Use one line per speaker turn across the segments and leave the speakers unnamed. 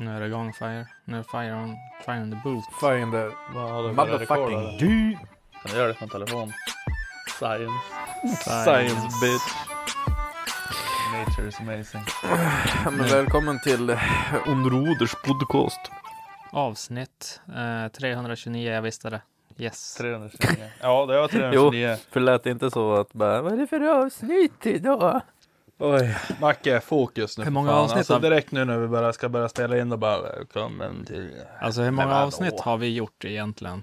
Nu är det igång fire. Nu är fire on, fire on the boot.
Fire in the
Vad har du för rekord,
motherfucking
eller?
du.
Kan du göra det från telefon? Science.
Science
bitch. Nature is amazing.
Ja, men välkommen till eh, Onroders podcast.
Avsnitt eh, 329, jag visste det. Yes.
329. Ja, det var
Jo,
329.
för det lät inte så att bara, vad är det för avsnitt idag?
Oj. Macke, fokus nu.
Hur
för
många
fan.
avsnitt
alltså,
har vi-
direkt nu när vi bara ska börja spela in och bara välkommen till...
Alltså hur
Men
många
vadå?
avsnitt har vi gjort egentligen?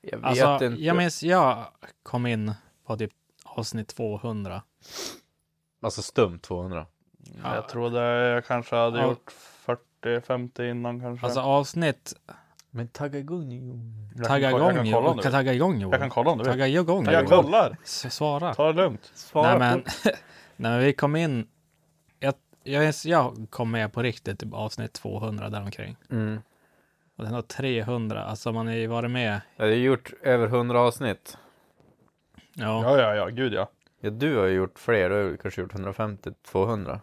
Jag vet
Alltså,
inte.
jag minns, jag kom in på typ avsnitt 200.
Alltså stum 200.
Jag trodde jag kanske hade
Ja.
gjort 40-50 innan kanske.
Alltså avsnitt,
Men tagga igång nu.
jag kan,
tagga
ko-
igång
Jag kan kolla om du vill.
Tagga igång Joel.
Jag kan kolla om du vill.
Tagga igång
Jag
Joel.
kollar.
S- Svara.
Ta det lugnt.
Nej
Svara
men,
på-
nej men vi kom in, jag, jag, jag kom med på riktigt typ avsnitt 200 däromkring.
Mm.
Och det är nog 300, alltså man har ju varit med.
Jag har gjort över 100 avsnitt.
Ja.
Ja, ja, ja. Gud ja.
Ja, du har ju gjort fler. Du har ju kanske gjort 150-200.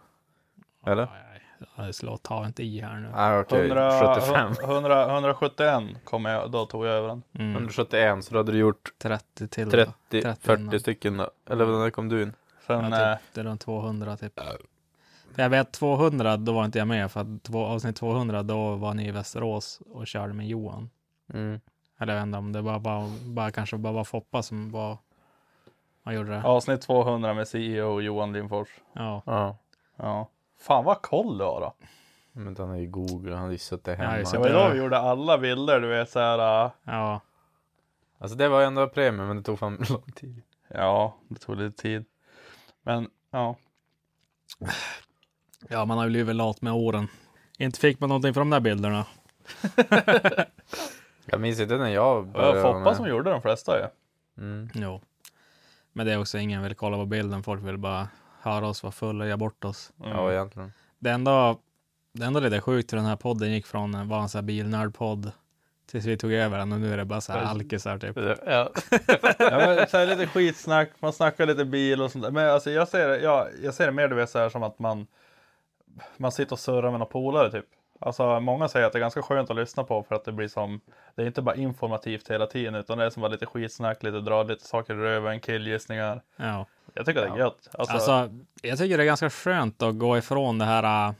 Eller?
Nej, nej, slå, ta inte i här nu.
Nej, okej.
100,
75.
100, 171 kom jag, då tog jag över den.
Mm,
171, så då hade du gjort
30 till. då.
30,
30
40 stycken. då. Eller när kom du in?
Sen,
Ja,
eh,
typ, det är runt 200 typ. För jag vet 200, då var inte jag med för att två, avsnitt 200, då var ni i Västerås och körde med Johan.
Mm.
Eller jag vet inte om det bara, bara, bara kanske bara var Foppa som var, man gjorde det. Ja.
eh, avsnitt 200 med CEO Johan Lindfors.
ja.
Ja.
Ja. Fan vad koll du har då.
Men han är ju Google. Han har ju suttit
Ja,
hemma.
just
Det
det.
var ju då vi gjorde alla bilder, du vet såhär. äh,
Alltså det var ju ändå premium, men det tog fan lång tid.
Ja, det tog lite tid. Men ja,
Ja, man har ju blivit lat med åren. Inte fick man någonting från de där bilderna.
Jag minns inte när jag
det var
började.
Foppa som gjorde de flesta ju.
Mm.
Jo. Men det är också ingen vill kolla på bilden. Folk vill bara höra oss vara fulla och göra bort oss.
Mm.
Ja, egentligen.
det enda, det enda lite sjukt hur den här podden gick från en var en sån här bilnördpodd tills vi tog över den och nu är det bara så här alkisar typ.
Ja. men, så här, lite skitsnack, man snackar lite bil och sånt där. Men alltså, jag, ser det, ja, jag ser det mer du vet, så här, som att man, man sitter och surrar med några polare typ. Alltså, många säger att det är ganska skönt att lyssna på för att det blir som, det är inte bara informativt hela tiden utan det är som bara lite skitsnack, lite dra lite saker i röven, killgissningar.
Ja.
Jag tycker det är gött. Alltså,
Alltså, jag tycker det är ganska skönt att gå ifrån det här, äh,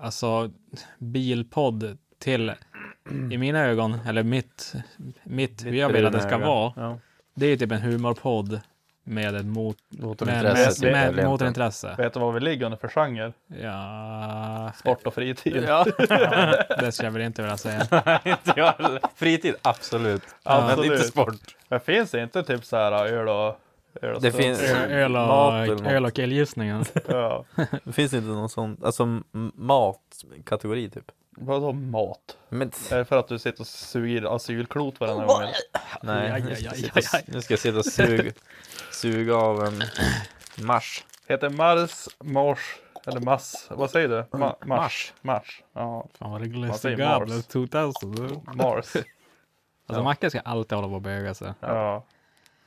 alltså bilpodd till i mina ögon, eller mitt, mitt hur jag vill att det ska
bruna
vara.
öga. Ja.
Det är ju typ en humorpodd med ett mot, med,
Motorintresset.
med, med,
eller inte.
motorintresse.
vet du vad vi ligger under för genre?
Ja,
Sport och fritid.
Ja,
det skulle jag väl inte vilja säga.
inte jag heller. Fritid, absolut. Men
Absolut.
inte sport.
Men finns det inte typ så här öl och... Öl och
Det
stuff?
finns-
Ö- Öl
Mat eller
och,
något.
öl och elgissningen.
Ja.
Det finns inte någon sån, alltså m- matkategori typ.
Vadå mat?
Men
Är det för att du sitter och suger asylklot varenda gång? eller?
nej,
Aj,
nu
aj,
ska jag
aj,
sitta och-
aj, aj.
nu ska jag sitta och suga, suga av en mars.
Heter Mars, Mars eller Mass? Vad säger du?
Mm,
Ma- mars. Mars. Ja,
Fan vad det
Man
glöser
säger
gamla
Mars.
2000.
Mars.
Alltså Macke ska alltid hålla på och böga sig.
Ja.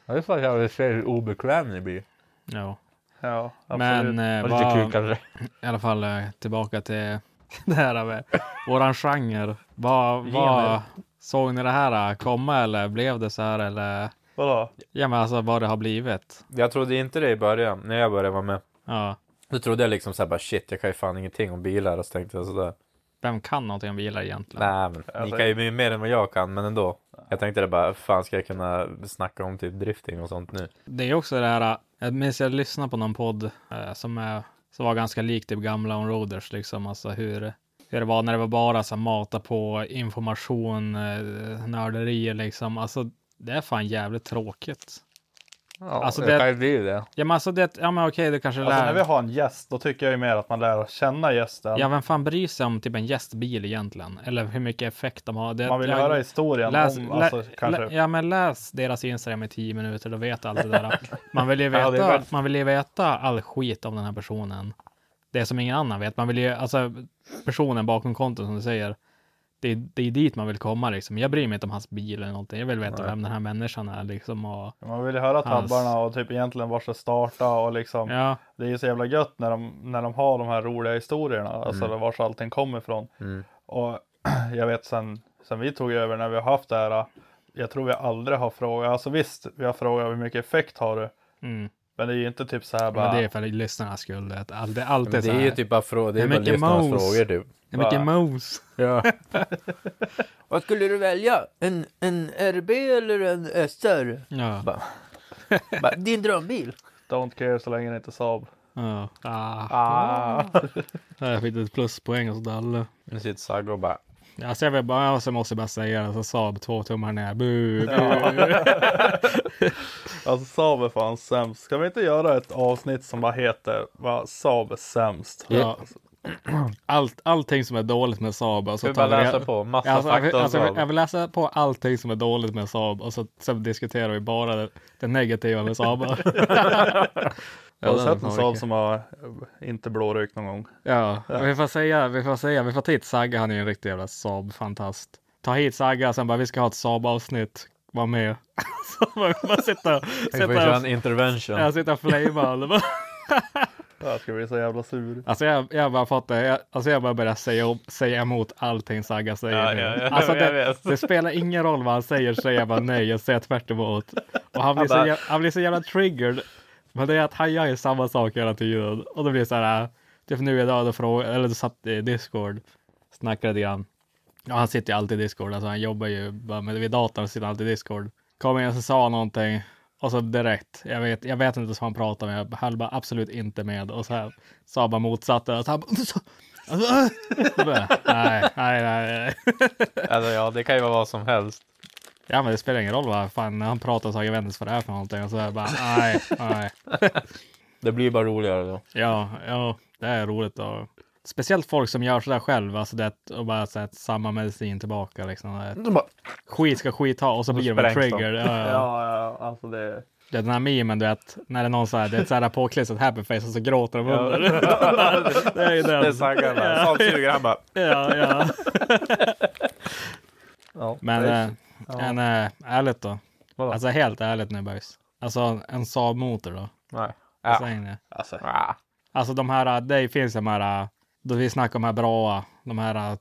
Det är för att jag vill se hur obekväm ni blir.
Ja,
Ja, absolut.
men eh,
Och lite
vad-
kukare.
i alla fall eh, tillbaka till det här med våran genre. Vad, vad såg ni det här eh, komma eller blev det så här eller?
Vadå?
Ja, men alltså vad det har blivit.
Jag trodde inte det i början, när jag började vara med.
Ja,
Då trodde jag liksom såhär bara shit, jag kan ju fan ingenting om bilar och så tänkte jag sådär.
vem kan någonting om bilar egentligen?
Nej men, ni
Alltså-
kan ju mer än vad jag kan, men ändå. Jag tänkte det bara, fan ska jag kunna snacka om typ drifting och sånt nu?
Det är också det här, äh, jag minns jag lyssnade på någon podd eh, som, är, som var ganska lik typ gamla onroaders, liksom alltså hur, hur det var när det var bara så här, mata på information, eh, nörderier liksom. Alltså det är fan jävligt tråkigt.
Ja,
Alltså,
alltså
det-
det kan ju bli det.
Ja men alltså det, ja men okej det kanske lär.
Alltså när vi har en gäst, då tycker jag ju mer att man lär känna gästen.
Ja vem fan bryr sig om typ en gästbil egentligen? Eller hur mycket effekt de har. Det,
man vill ju
jag-
höra historien
Läs,
om,
lä,
alltså, kanske.
lä, ja, men läs deras Instagram i tio minuter, då vet du allt det där. Man vill, ju
Ja,
veta,
det är väl-
man vill ju veta all skit om den här personen. Det som ingen annan vet. Man vill ju, alltså personen bakom kontot som du säger, det, är- det är dit man vill komma liksom. Jag bryr mig inte om hans bil eller någonting. Jag vill veta vem den här människan är liksom. Och,
Man vill ju höra
Hans.
tabbarna och typ egentligen vart det startade och liksom.
ja,
Det är ju så jävla gött när de, när de har de här roliga historierna,
Mm.
alltså vars allting kommer ifrån. Och jag vet sen, sen vi tog över när vi har haft det här, jag tror vi aldrig har frågat, alltså visst, vi har frågat hur mycket effekt har du?
mm.
Men det är ju inte typ så här bara,
men det är för lyssnarnas skull. Det är all- det är alltid
Men det
så
är
här.
ju typ bara, frå- det
Hur
är bara
mycket
lyssnarnas
mos?
frågor typ.
Hur mycket mos.
Ja. Vad skulle du välja? En, en RB eller en SR?
Ja.
Bara, bara, din drömbil?
don't care så länge det inte är Saab.
ja. Ah,
Ah.
jag fick ett pluspoäng hos Dalle.
Nu sitter Sagge och bara,
Alltså jag vill bara, alltså jag måste bara säga det, alltså Saab två tummar ner, bu, bu.
Alltså Saab är fan sämst. Ska vi inte göra ett avsnitt som bara heter vad Saab är sämst?
Ja. Allt, allting som är dåligt med Saab.
ska vi
Alltså,
bara
tar vi-
läsa på? Massa
Alltså, jag, vill,
fakta om
alltså, jag, vill, jag
Saab.
vill läsa på allting som är dåligt med Saab och så, så diskuterar vi bara det, det negativa med Saab.
Jag har sett en Saab som har eh, inte blårök någon gång.
Ja, vi får säga, vi får säga, vi får ta hit Sagga, han är ju en riktig jävla Saab-fantast. Ta hit Sagga, sen bara vi ska ha ett Saab-avsnitt, var med. så bara, bara sitta,
Tänk på att köra
sitta,
en intervention.
ja, sitta och flamea. alla bara.
Jag ska bli så jävla sur.
Alltså jag, jag bara fattar, jag, alltså jag bara börjar säga, om- säga emot allting Saga säger
Ja,
nu.
ja, ja,
alltså
jag
det,
vet.
det spelar ingen roll vad han säger, säger jag bara nej, jag säger tvärt emot. Och han blir, så,
bara-
jävla, han blir så jävla triggered. Men det är att han gör ju samma sak hela tiden. Och det blir så här, typ nu idag, då fråga, eller då satt i Discord, snackade lite grann. Ja, han sitter ju alltid i Discord, alltså han jobbar ju bara med, vid datorn, sitter alltid i Discord. Kom igen, så sa han någonting. Och så direkt, jag vet, jag vet inte ens vad han pratar med, jag höll bara absolut inte med. Och så här, sa bara motsatsen. Och så han bara, "Så- alltså, äh." Så bara, nej, nej, nej. nej.
Alltså, ja, det kan ju vara vad som helst.
Ja, men det spelar ingen roll vad fan, när han pratar så har jag vet inte ens vad det är för någonting. Och så här, bara, nej, nej.
Det blir bara roligare då.
Ja, ja, det är roligt. Och, speciellt folk som gör sådär själv, alltså det att- och bara så här, samma medicin tillbaka liksom. Det är-
De bara,
Skit ska skit ha och så blir de
sprängs de.
trigger. Ja, ja.
ja, alltså det
Det är den här memen du vet, när det är någon så här, det är ett så här påklistrat happy face och så gråter de under. det är ju
det är
den.
Sagge bara. Saab suger, han bara.
Ja, ja.
Ja,
Men,
det-
äh, men äh, ärligt då. Alltså helt ärligt nu boys. Alltså en Saab-motor då.
Nej.
Vad
Ja.
säger ni?
alltså,
Ah.
Alltså de här, äh, det finns de här, äh, då vi snackar om de här bra, de här, äh, jag vet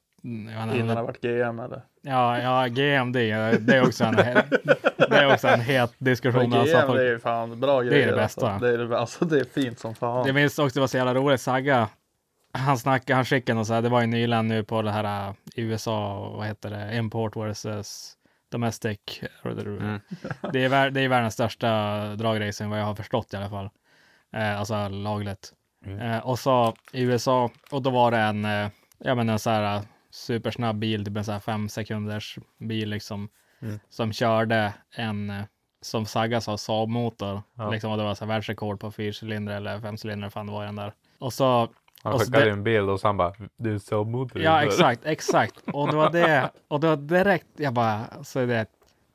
innan det
inte,
har varit GM eller?
ja, ja, GMD, äh, det är också en, he- det är också en het diskussion.
GM
Alltså, folk-
det är ju fan bra grejer.
det bästa.
Alltså. Det, är, det- alltså, det är fint som fan.
Jag minns också det var så jävla roligt. Sagga, han snackade, han skickade och så här, det var ju nyligen nu på det här äh, i USA, och vad heter det, import versus domestic.
Mm.
Det, är, vär- det är världens största dragracing vad jag har förstått i alla fall. Eh, alltså lagligt.
Mm.
Eh, och så i USA, och då var det en, eh, ja men en så här eh, supersnabb bil, typ en så här fem sekunders bil liksom,
Mm.
som körde en, eh, som Saga sa, Saab-motor. Liksom, och det var så här världsrekord på fyrcylindrar eller femcylindrar, fan det var i den där. Och så...
Han
och så
skickade
det-
en bild och så han bara, du är så modig.
Ja, exakt, exakt. Och det var det, och det var direkt, jag bara, så är det,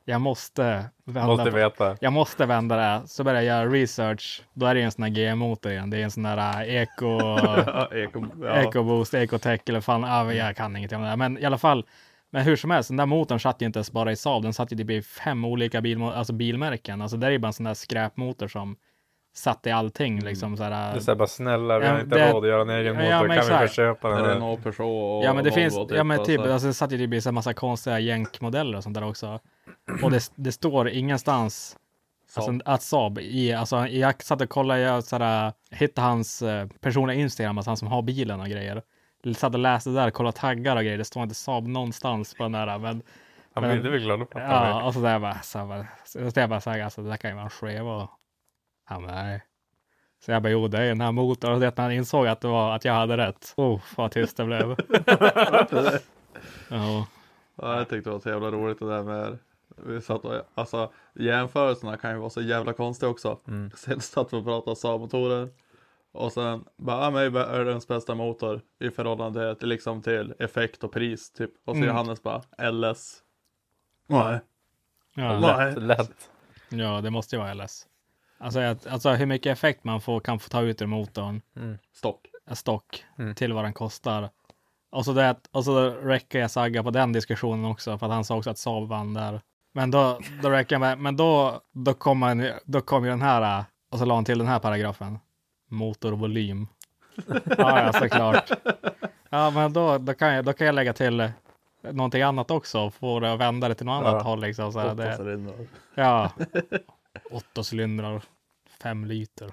jag måste vända
Måste
på-
veta.
jag måste vända det. Så började jag göra research. Då är det ju en sån här GM-motor igen. Det är en sån där äh, eko,
Ja, eko, ja.
EcoBoost, EcoTech eller fan, ah, men jag kan ingenting om det där. Men i alla fall, men hur som helst, den där motorn satt ju inte ens bara i Saab. Den satt ju typ i fem olika bilmo- alltså bilmärken. Alltså det är ju bara en sån där skräpmotor som satt i
Mm.
allting liksom. Så här,
Det är så här bara snälla, vi
Ja,
har inte
det-
råd att göra en egen
Ja,
motor.
men
kan vi bara
exakt.
köpa den? här?
Renault, Peugeot och
Ja men det
Volvo,
finns, ja men typ,
alltså.
alltså, det satt ju typ i en massa konstiga jänkmodeller och sånt där också. Och det, det står ingenstans alltså, att Saab i, alltså jag satt och kollade, jag sådär, hittade hans eh, personliga Instagram, alltså han som har bilen och grejer. Satt och läste där, kollade taggar och grejer, det står inte Saab någonstans på den där. Men,
Han
men-
blir väl glad att prata med.
ja, och så där bara, så bara, så jag bara så här, alltså det där kan ju vara en skeva. och- Han bara, nej. Så jag bara, jo det är den här motorn. Och det när han insåg att, det var, att jag hade rätt. Oh, vad tyst det blev. ja.
Ja, jag tyckte det var så jävla roligt det där med vi satt och, alltså jämförelserna kan ju vara så jävla konstiga också.
Mm.
Sen satt vi och pratade Saab-motorer och sen bara, ja men det är världens bästa motor i förhållande till, liksom, till effekt och pris typ. Och så Johannes bara, LS. Nej.
Ja,
Nej.
Lätt.
ja, det måste ju vara LS. Alltså, jag, alltså hur mycket effekt man får, kan få ta ut ur motorn,
Stock.
en stock, till vad den kostar. Och så, det, och så räcker jag Sagga på den diskussionen också, för att han sa också att Saab vann där. Men då, då räcker jag med, men då, då kom, man, då kom ju den här, äh, och så la han till den här paragrafen. Motorvolym. ja, ja, såklart. Ja, men då, då, kan jag, då kan jag lägga till äh, någonting annat också, och få det att vända det till något annat håll liksom. Så här, det,
Åtta cylindrar.
Ja. Åtta cylindrar, fem liter.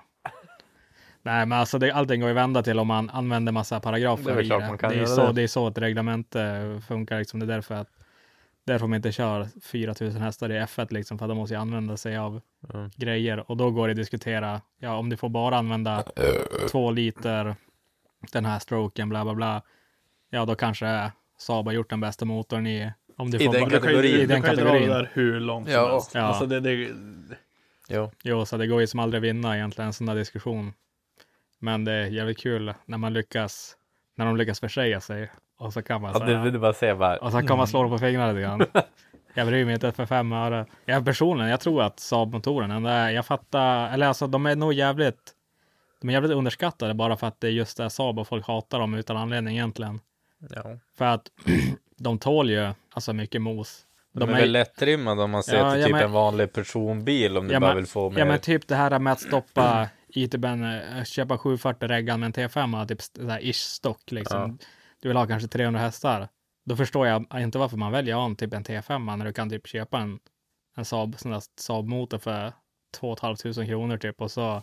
Nej, men alltså det, allting går ju att vända till om man använder massa paragrafer.
Det är väl
i
klart man kan
det, är
göra
så,
det.
det är så ett reglement eh, funkar. Liksom. Det är därför att därför man inte kör 4000 hästar i F1, liksom, för att de måste ju använda sig av grejer. Och då går det att diskutera, ja, om du får bara använda två liter, den här stroken, bla bla bla. Ja, då kanske Saab har gjort den bästa motorn i, om du
I
får
den
bara-
Du kan ju,
Kategorin.
i
du
den
kan ju dra det
kategorin.
där hur långt
Ja.
som helst.
Ja.
Alltså det, det,
Jo, så det går ju som aldrig att vinna egentligen en sån där diskussion. Men det är jävligt kul när man lyckas, när de lyckas försäga sig. Och så kan man,
Ja,
så
det Mm.
här,
vill du bara säga bara.
och så kan man slå dem på fingrarna lite grann. Jag bryr mig inte för fem öre. Jag personligen, jag tror att Saab-motorerna, jag fattar, eller alltså de är nog jävligt, de är jävligt underskattade bara för att det är just det här Saab och folk hatar dem utan anledning egentligen.
Ja.
För att de tål ju alltså mycket mos.
De, är, väl lättrimmade om man ser
Ja,
till
ja,
typ
men-
en vanlig personbil om du
Ja,
bara
men-
vill få mer.
Ja men typ det här med att stoppa IT-ben, eh, köpa 740 reggan med en T5, och typ sådär ish stock liksom. Du vill ha kanske 300 hästar. Då förstår jag inte varför man väljer att ha en, typ en T5 när du kan typ köpa en, en Saab, sån där Saab-motor för 2 500 kronor typ och så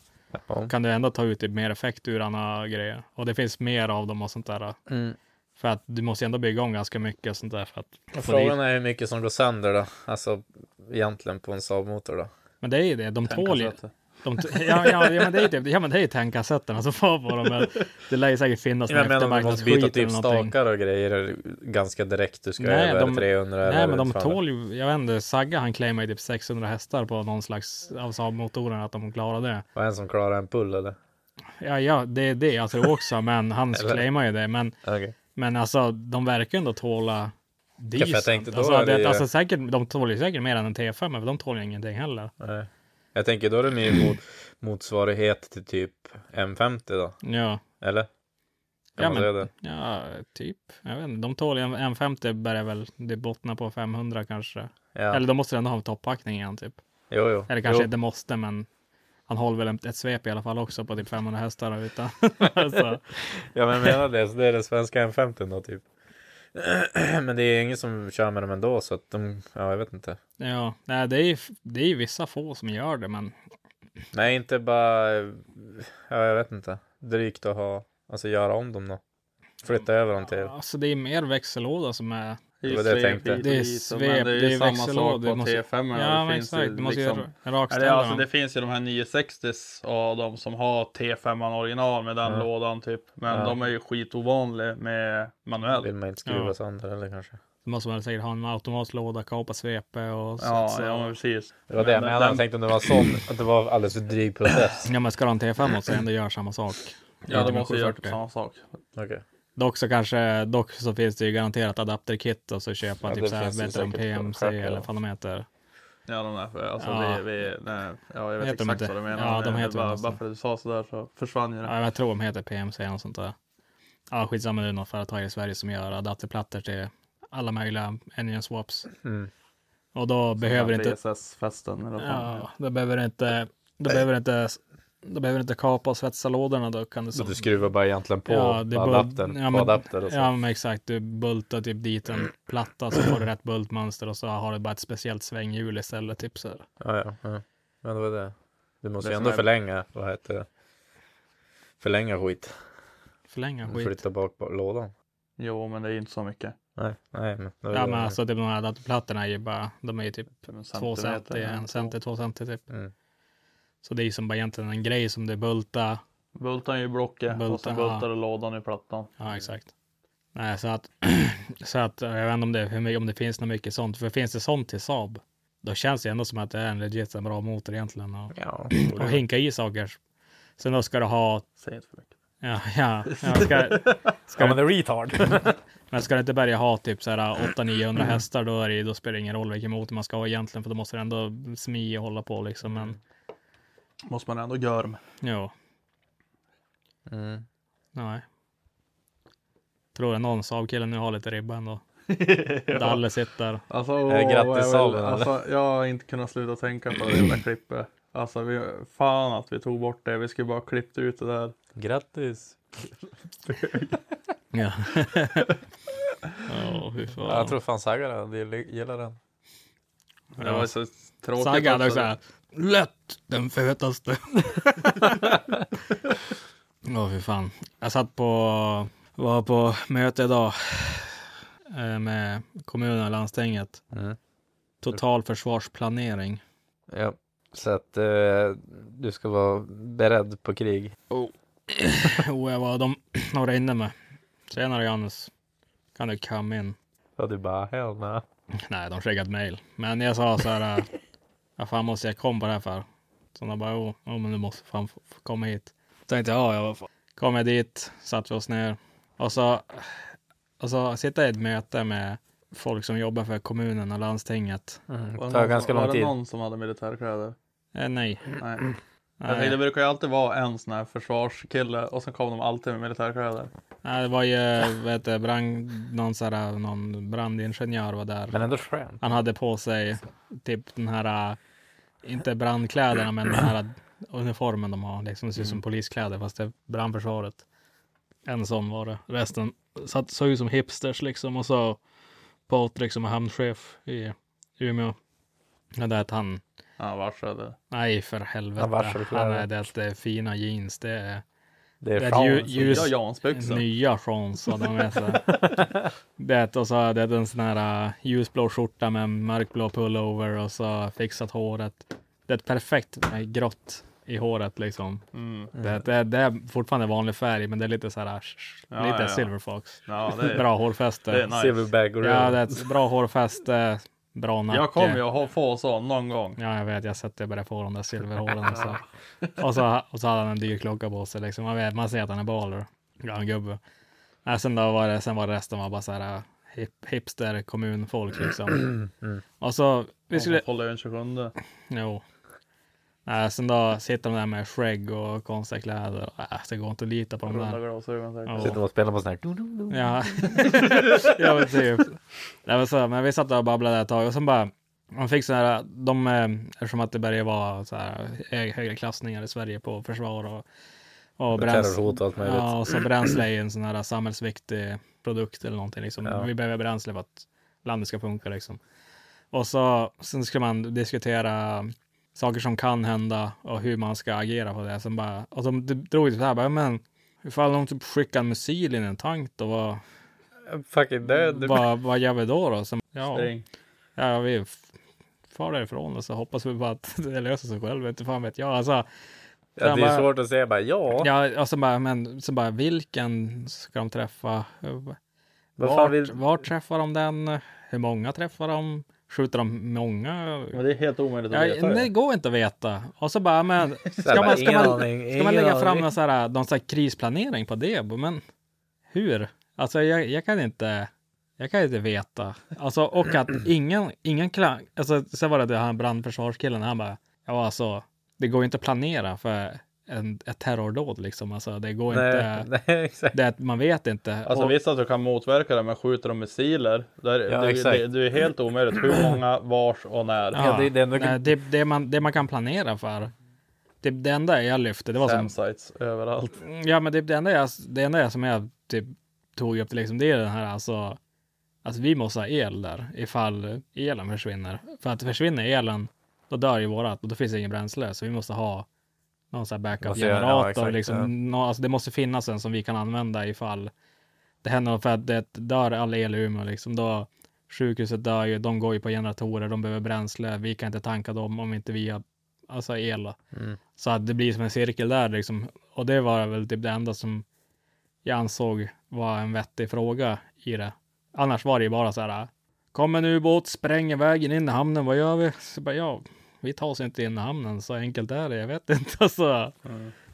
Ja.
kan du ändå ta ut typ mer effekt ur andra grejer. Och det finns mer av dem och sånt där.
Mm.
För att du måste ju ändå bygga om ganska mycket och sånt där för att få dit.
Frågan är hur mycket som går sönder då. Alltså egentligen på en Saab-motor då.
Men det är ju det, de tål ju. De t- ja, ja, ja, men det är ju typ, ja, men det är ju alltså, tankkassetterna som far på dem. Men det lär ju säkert finnas
Jag
någon
menar om du måste byta
eftermarknadsskit
typ
eller någonting.
stakar och grejer ganska direkt. Du ska
Nej,
över
de-
300
Nej,
eller
men de
fan.
tål ju, jag vet inte, Sagga han claimar ju typ 600 hästar på någon slags av Saab-motoren, att de klarar det.
Var det en som klarade en pull eller?
Ja, ja, det är det jag tror också, men han
Eller-
claimar ju det. Men,
Okej.
men alltså, de verkar ändå tåla
jag
diesel.
tänkte då
Alltså,
är det
det,
ju-
alltså säkert, de tål ju säkert mer än en T5, men de tål ju ingenting heller.
Nej. Jag tänker då är det mer mot, motsvarighet till typ M50 då.
Ja.
Eller? Kan
Ja,
man
men-
säga det?
Ja, typ. Jag vet inte, de tål ju en, en 50 börjar väl, det bottnar på 500 kanske.
Ja.
Eller de måste ändå ha en toppackning igen typ.
Jo, jo.
Eller kanske
jo.
inte måste, men han håller väl ett, ett svep i alla fall också på typ 500 hästar utan. alltså,
Ja, men jag menar det. Så det är den svenska M50 då typ. men det är ingen som kör med dem ändå så att de, ja jag vet inte.
ja, nej, det är ju det är ju vissa få som gör det, men
Nej, inte bara, ja jag vet inte. Drygt att ha, alltså göra om dem då. Flytta över dem till.
alltså det är mer växellåda som är.
Det var det jag tänkte.
Det är svep, det är,
ju samma sak
växellåda.
på
du måste-
T5.
Ja, men
det finns ju
exakt. Du måste
liksom-
ju rakställa
Eller, alltså,
dem.
det finns ju de här 960s och de som har T5 original med den lådan typ. Men
Ja.
de är ju skitovanliga med
Vill
manuell.
man inte skruva
Ja.
sönder eller kanske.
Då måste man säkert ha en automatlåda, kapa svepe och så.
Ja,
så.
ja men precis.
Det var det, men jag hade
den-
tänkt om det var sån, att det var alldeles för dryg process.
Ja, men ska du ha en T5 så ändå gör samma sak.
Ja, de
Inte med
måste ju göra
740.
typ samma sak.
Okej.
Dock så kanske, dock så finns det ju garanterat adapterkit och så köpa
Ja,
typ
det
så här
finns ju
bättre än
säkert
PMC
självklart, ja.
eller vad de heter.
Ja, de där. För, alltså,
Ja.
vi, vi, nej, ja, jag vet
Heter de
exakt
inte?
vad du menar.
Ja, de
Det är
heter
bara,
något sånt.
bara för att du sa sådär så försvann ju det.
Ja, jag tror de heter PMC eller något sånt där. Ja, skitsamma nu något företag i Sverige som gör adapterplattor till alla möjliga engine swaps.
Mm.
Och då behöver inte,
VSS-festen eller vad fan.
ja, då behöver inte, då behöver inte Då behöver du inte kapa och svetsa lådorna. Då kan du,
Så
som-
du skruvar bara egentligen på
det är bul-
adaptern.
ja,
på
men,
adapter och så.
Ja, men exakt. Du bultar typ dit en platta så får du rätt bultmönster och så har du bara ett speciellt svänghjul istället. Typ så här.
Ja, ja, ja. Men det var det. Du måste
Det
ju
som
ändå
är-
förlänga, vad heter det? Förlänga skit.
Förlänga skit.
Flytta bak på lådan.
Jo, men det är ju inte så mycket.
Nej, nej men. det var
Ja,
det.
men alltså typ de här adapterplattorna är ju bara, de är ju typ
Typ en
två
centimeter
centi,
eller
en
något.
centi, två centi typ.
Mm.
Så det är ju som bara egentligen en grej som du bultar.
Bultar ju i blocket och
Bultar,
sen bultar
ja.
du lådan i plattan.
Mm.
Ja, exakt. Nej, så att, så att jag vet inte om det, hur mycket, om det finns något mycket sånt. För finns det sånt till Saab, då känns det ändå som att det är en legit en bra motor egentligen. Och,
Ja,
och hinka i saker. Sen då ska du ha
Säg inte för mycket.
Ja, ja. ja ska,
Ska man en retard?
men ska du inte börja ha typ så här 800-900
Mm.
hästar, då, är det, ju- då spelar det ingen roll vilken motor man ska ha egentligen, för då måste du ändå smi och hålla på liksom. Men
Måste man ändå göra med.
jo,
Mm.
nej. Tror jag någon Saab-kille nu har lite ribba ändå. Dalle sitter.
Alltså,
Eh,
åh,
grattis,
jag vill-
Salmen,
alltså, jag har inte kunnat sluta tänka på det jävla klippet. Alltså vi, fan att vi tog bort det. Vi skulle bara klippt ut det där.
Grattis.
Ja. Åh, fy fan.
Ja, jag tror fan Saga hade gillat den.
Det var så tråkigt
Sagga hade också
också.
här, lätt den fetaste. Åh fy fan. Jag satt på, var på möte idag eh, med kommunen och landstinget.
Mm.
Totalförsvarsplanering.
Ja. Så att eh, du ska vara beredd på krig.
Och jag var de några inne med. Senare Janus, kan du come in?
Ja, du bara hell Mm, nah.
Nej, de skickade ett mejl. Men jag sa så här, eh, vad fan måste jag komma på det här för? Så de bara, jo, jo, men du måste fan få få komma hit. Tänkte jag, ja, ja, vad fan. Kom jag dit, satt vi oss ner. Och så, och så sitter jag i ett möte med folk som jobbar för kommunen och landstinget.
Mm. Det
Var det
tar
någon
ganska
som-
lång
Var det
tid.
någon som hade militärkläder?
Eh, nej.
Nej. Jag tänkte, det
nej.
brukar ju alltid vara en sån här försvarskille och sen kom de alltid med militärkläder.
nej, det var ju, vad heter det, brand, någon, så här, någon brandingenjör var där.
Men ändå skönt.
Han hade på sig typ den här, äh, inte brandkläderna, men den här uniformen de har. Liksom, det ser ut som poliskläder, fast det är brandförsvaret. En sån var det. Resten satt, såg ut som hipsters liksom. Och så Patrik som är hamnchef i Umeå. Ja, det är att han,
Ja, varslade.
nej för helvete.
Han varselkläder.
Han är det, att det är fina jeans. Det är
Det är
Det är
fan.
ju-
så-
ju- Just-
Ja, Jansbyxor.
nya Seans hade han med sig. det, och så hade det en sån här äh, ljusblå skjorta med en mörkblå pullover och så fixat håret. Det är ett perfekt äh, grått i håret liksom.
Mm.
Det, det, det är fortfarande vanlig färg, men det är lite så här, äh, sh- sh-
Ja,
lite
ja, ja.
silverfox.
Ja, det är
Bra hårfäste.
Det är nice.
Silverback och
Ja, det är ett bra hårfäste, bra nacke.
Jag kommer ju att ha- få så någon gång.
Ja, jag vet. Jag har sett det börja få de där silverhålen. Och så. Och, så, och så hade han en dyr klocka på sig. Liksom. Man, vet, man ser att han är baller. Gammal gubbe. Nej, sen, då var det, sen var det resten var bara så här äh, hip, hipster kommunfolk liksom. Och så vi skulle...
Håller den 27.
Jo. Nej, sen då sitter de där med skägg och konstiga kläder. Äh, det går inte att lita på dem
Runda
där.
glasögon säkert.
Ja.
Sitter och spelar på sån här.
Ja, ja men typ. Det var så, men vi satt där och babblade ett tag och sen bara, man fick så här, de, eh, eftersom att det började vara så här, hö- högre klassningar i Sverige på försvar och, och bränsle.
Terrorhot och allt möjligt.
Ja, och så bränsle är ju en sån här samhällsviktig produkt eller någonting. Liksom.
Ja.
Vi behöver bränsle för att landet ska funka liksom. Och så sen skulle man diskutera saker som kan hända och hur man ska agera på det. Sen bara, och de drog ju så här, bara, men ifall de typ skickar en missil in i en tank då, vad,
Fucking död.
vad, vad gör vi då? då? Sen, ja,
Spring.
ja, vi f- far därifrån och så hoppas vi bara att det löser sig själv. Inte fan vet jag. Alltså,
Ja, det är
bara-
svårt att säga bara ja.
ja, och sen bara, men sen bara, vilken ska de träffa?
Vad
Vart,
fan vill-
var träffar de den? Hur många träffar de? Skjuter de många?
Men det är helt omöjligt att
Ja,
veta.
det
det.
går inte att veta. Och så bara, men
här
ska
bara,
man, ska
ingen
man,
aning,
ska man lägga
ingen
fram
aning.
någon, så här, någon så här krisplanering på det? Men hur? Alltså jag, jag kan inte, jag kan inte veta. Alltså och att ingen, ingen klang, alltså sen var det det här brandförsvarskillen, han bara, ja alltså, det går ju inte att planera för en, ett terrordåd liksom. Alltså det går
Nej,
inte,
nej, exakt.
det, man vet inte.
Alltså
och,
visst att du kan motverka det, men skjuter de missiler? Där,
Ja,
det,
exakt.
det, det är helt omöjligt hur många, vars och när.
Ja, det är det enda-
nej, det, det, man, det man kan planera för. Det, det enda jag lyfte, det var som...
Samsites överallt.
Ja, men det, det, enda jag, det enda jag som jag typ tog upp det, liksom, det är den här alltså. Att vi måste ha el där ifall elen försvinner. För att försvinner elen, då dör ju vårat och då finns det ingen bränsle. Så vi måste ha någon sån här
Måste göra- ja,
backup-generator.
exakt,
liksom,
ja.
nå- alltså, det måste finnas en som vi kan använda ifall det händer något. För att det dör all el i Umeå liksom. Då, sjukhuset dör ju, de går ju på generatorer, de behöver bränsle. Vi kan inte tanka dem om inte vi har alltså, el. då.
Mm.
Så att det blir som en cirkel där liksom. Och det var väl typ det enda som jag ansåg var en vettig fråga i det. Annars var det ju bara så här. Kom en ubåt, spränger vägen in i hamnen, vad gör vi? Så bara, ja, vi tar oss inte in i hamnen, så enkelt är det, jag vet inte. Alltså.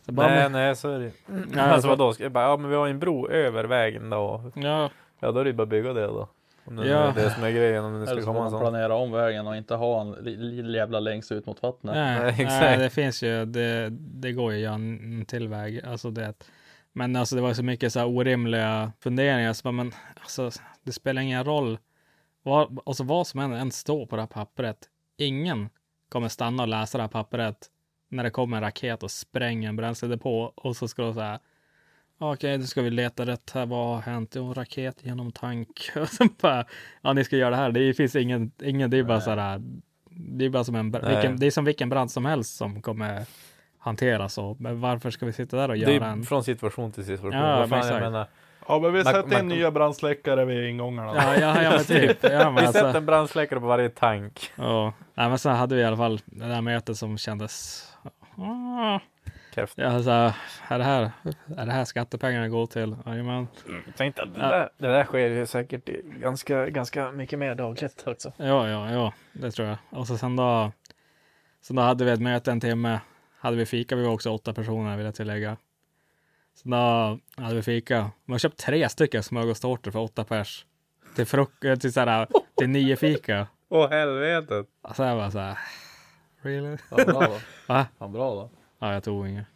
Så bara,
Nej,
men-
nej, så är det
Ja,
Alltså
så-
vadå? Ska jag bara, ja men vi har ju en bro över vägen då.
ja,
Ja, då är det ju bara att bygga det då. Om det
Ja.
är det som är grejen, om det
Eller
skulle
så får
komma en sån.
man planera om vägen och inte ha en li- li- jävla längs ut mot vattnet.
nej,
Nej,
nej,
exakt.
det finns ju, det, det går ju att göra en en till väg. Alltså det, men alltså det var så mycket så här orimliga funderingar, så bara, men alltså, det spelar ingen roll. Vad, alltså vad som än, än står på det här pappret, ingen kommer stanna och läsa det här pappret när det kommer en raket och spränger en bränsledepå och så ska de så här Okej, nu ska vi leta rätt här. Vad har hänt? Jo, raket genom tank. Och så bara, ja, ni ska göra det här. Det finns ingen, ingen det är bara så här. Det är bara som en, br-
Nej.
vilken, det är som vilken brand som helst som kommer hanteras. Och, men varför ska vi sitta där och
Det är
göra
ju
en?
från situation till situation.
Ja,
Vad fan, jag
exakt.
menar,
Ja men vi
Man-
sätter
man-
in nya brandsläckare vid ingångarna.
Ja, ja, ja, men typ. Ja, men
vi
alltså.
sätter en brandsläckare på varje tank.
Ja, nej, men sen hade vi i alla fall det där mötet som kändes. Ah,
Kräft.
Ja, alltså, är, det här, är det här skattepengarna går till? Jajamän.
Tänkte att
det där-
det där sker ju säkert ganska, ganska mycket mer dagligt också.
Ja, ja, ja, det tror jag. Och så sen då, sen då hade vi ett möte en timme. Hade vi fika, vi var också åtta personer vill jag tillägga. Sen då hade vi fika. Man köpt tre stycken smörgåstårtor för åtta pers. Till frukost, till, såhär, till nio fika.
Åh helvetet!
Alltså jag var så här, really?
Fan bra då.
Va?
Fan bra då.
Ja, jag tog inget.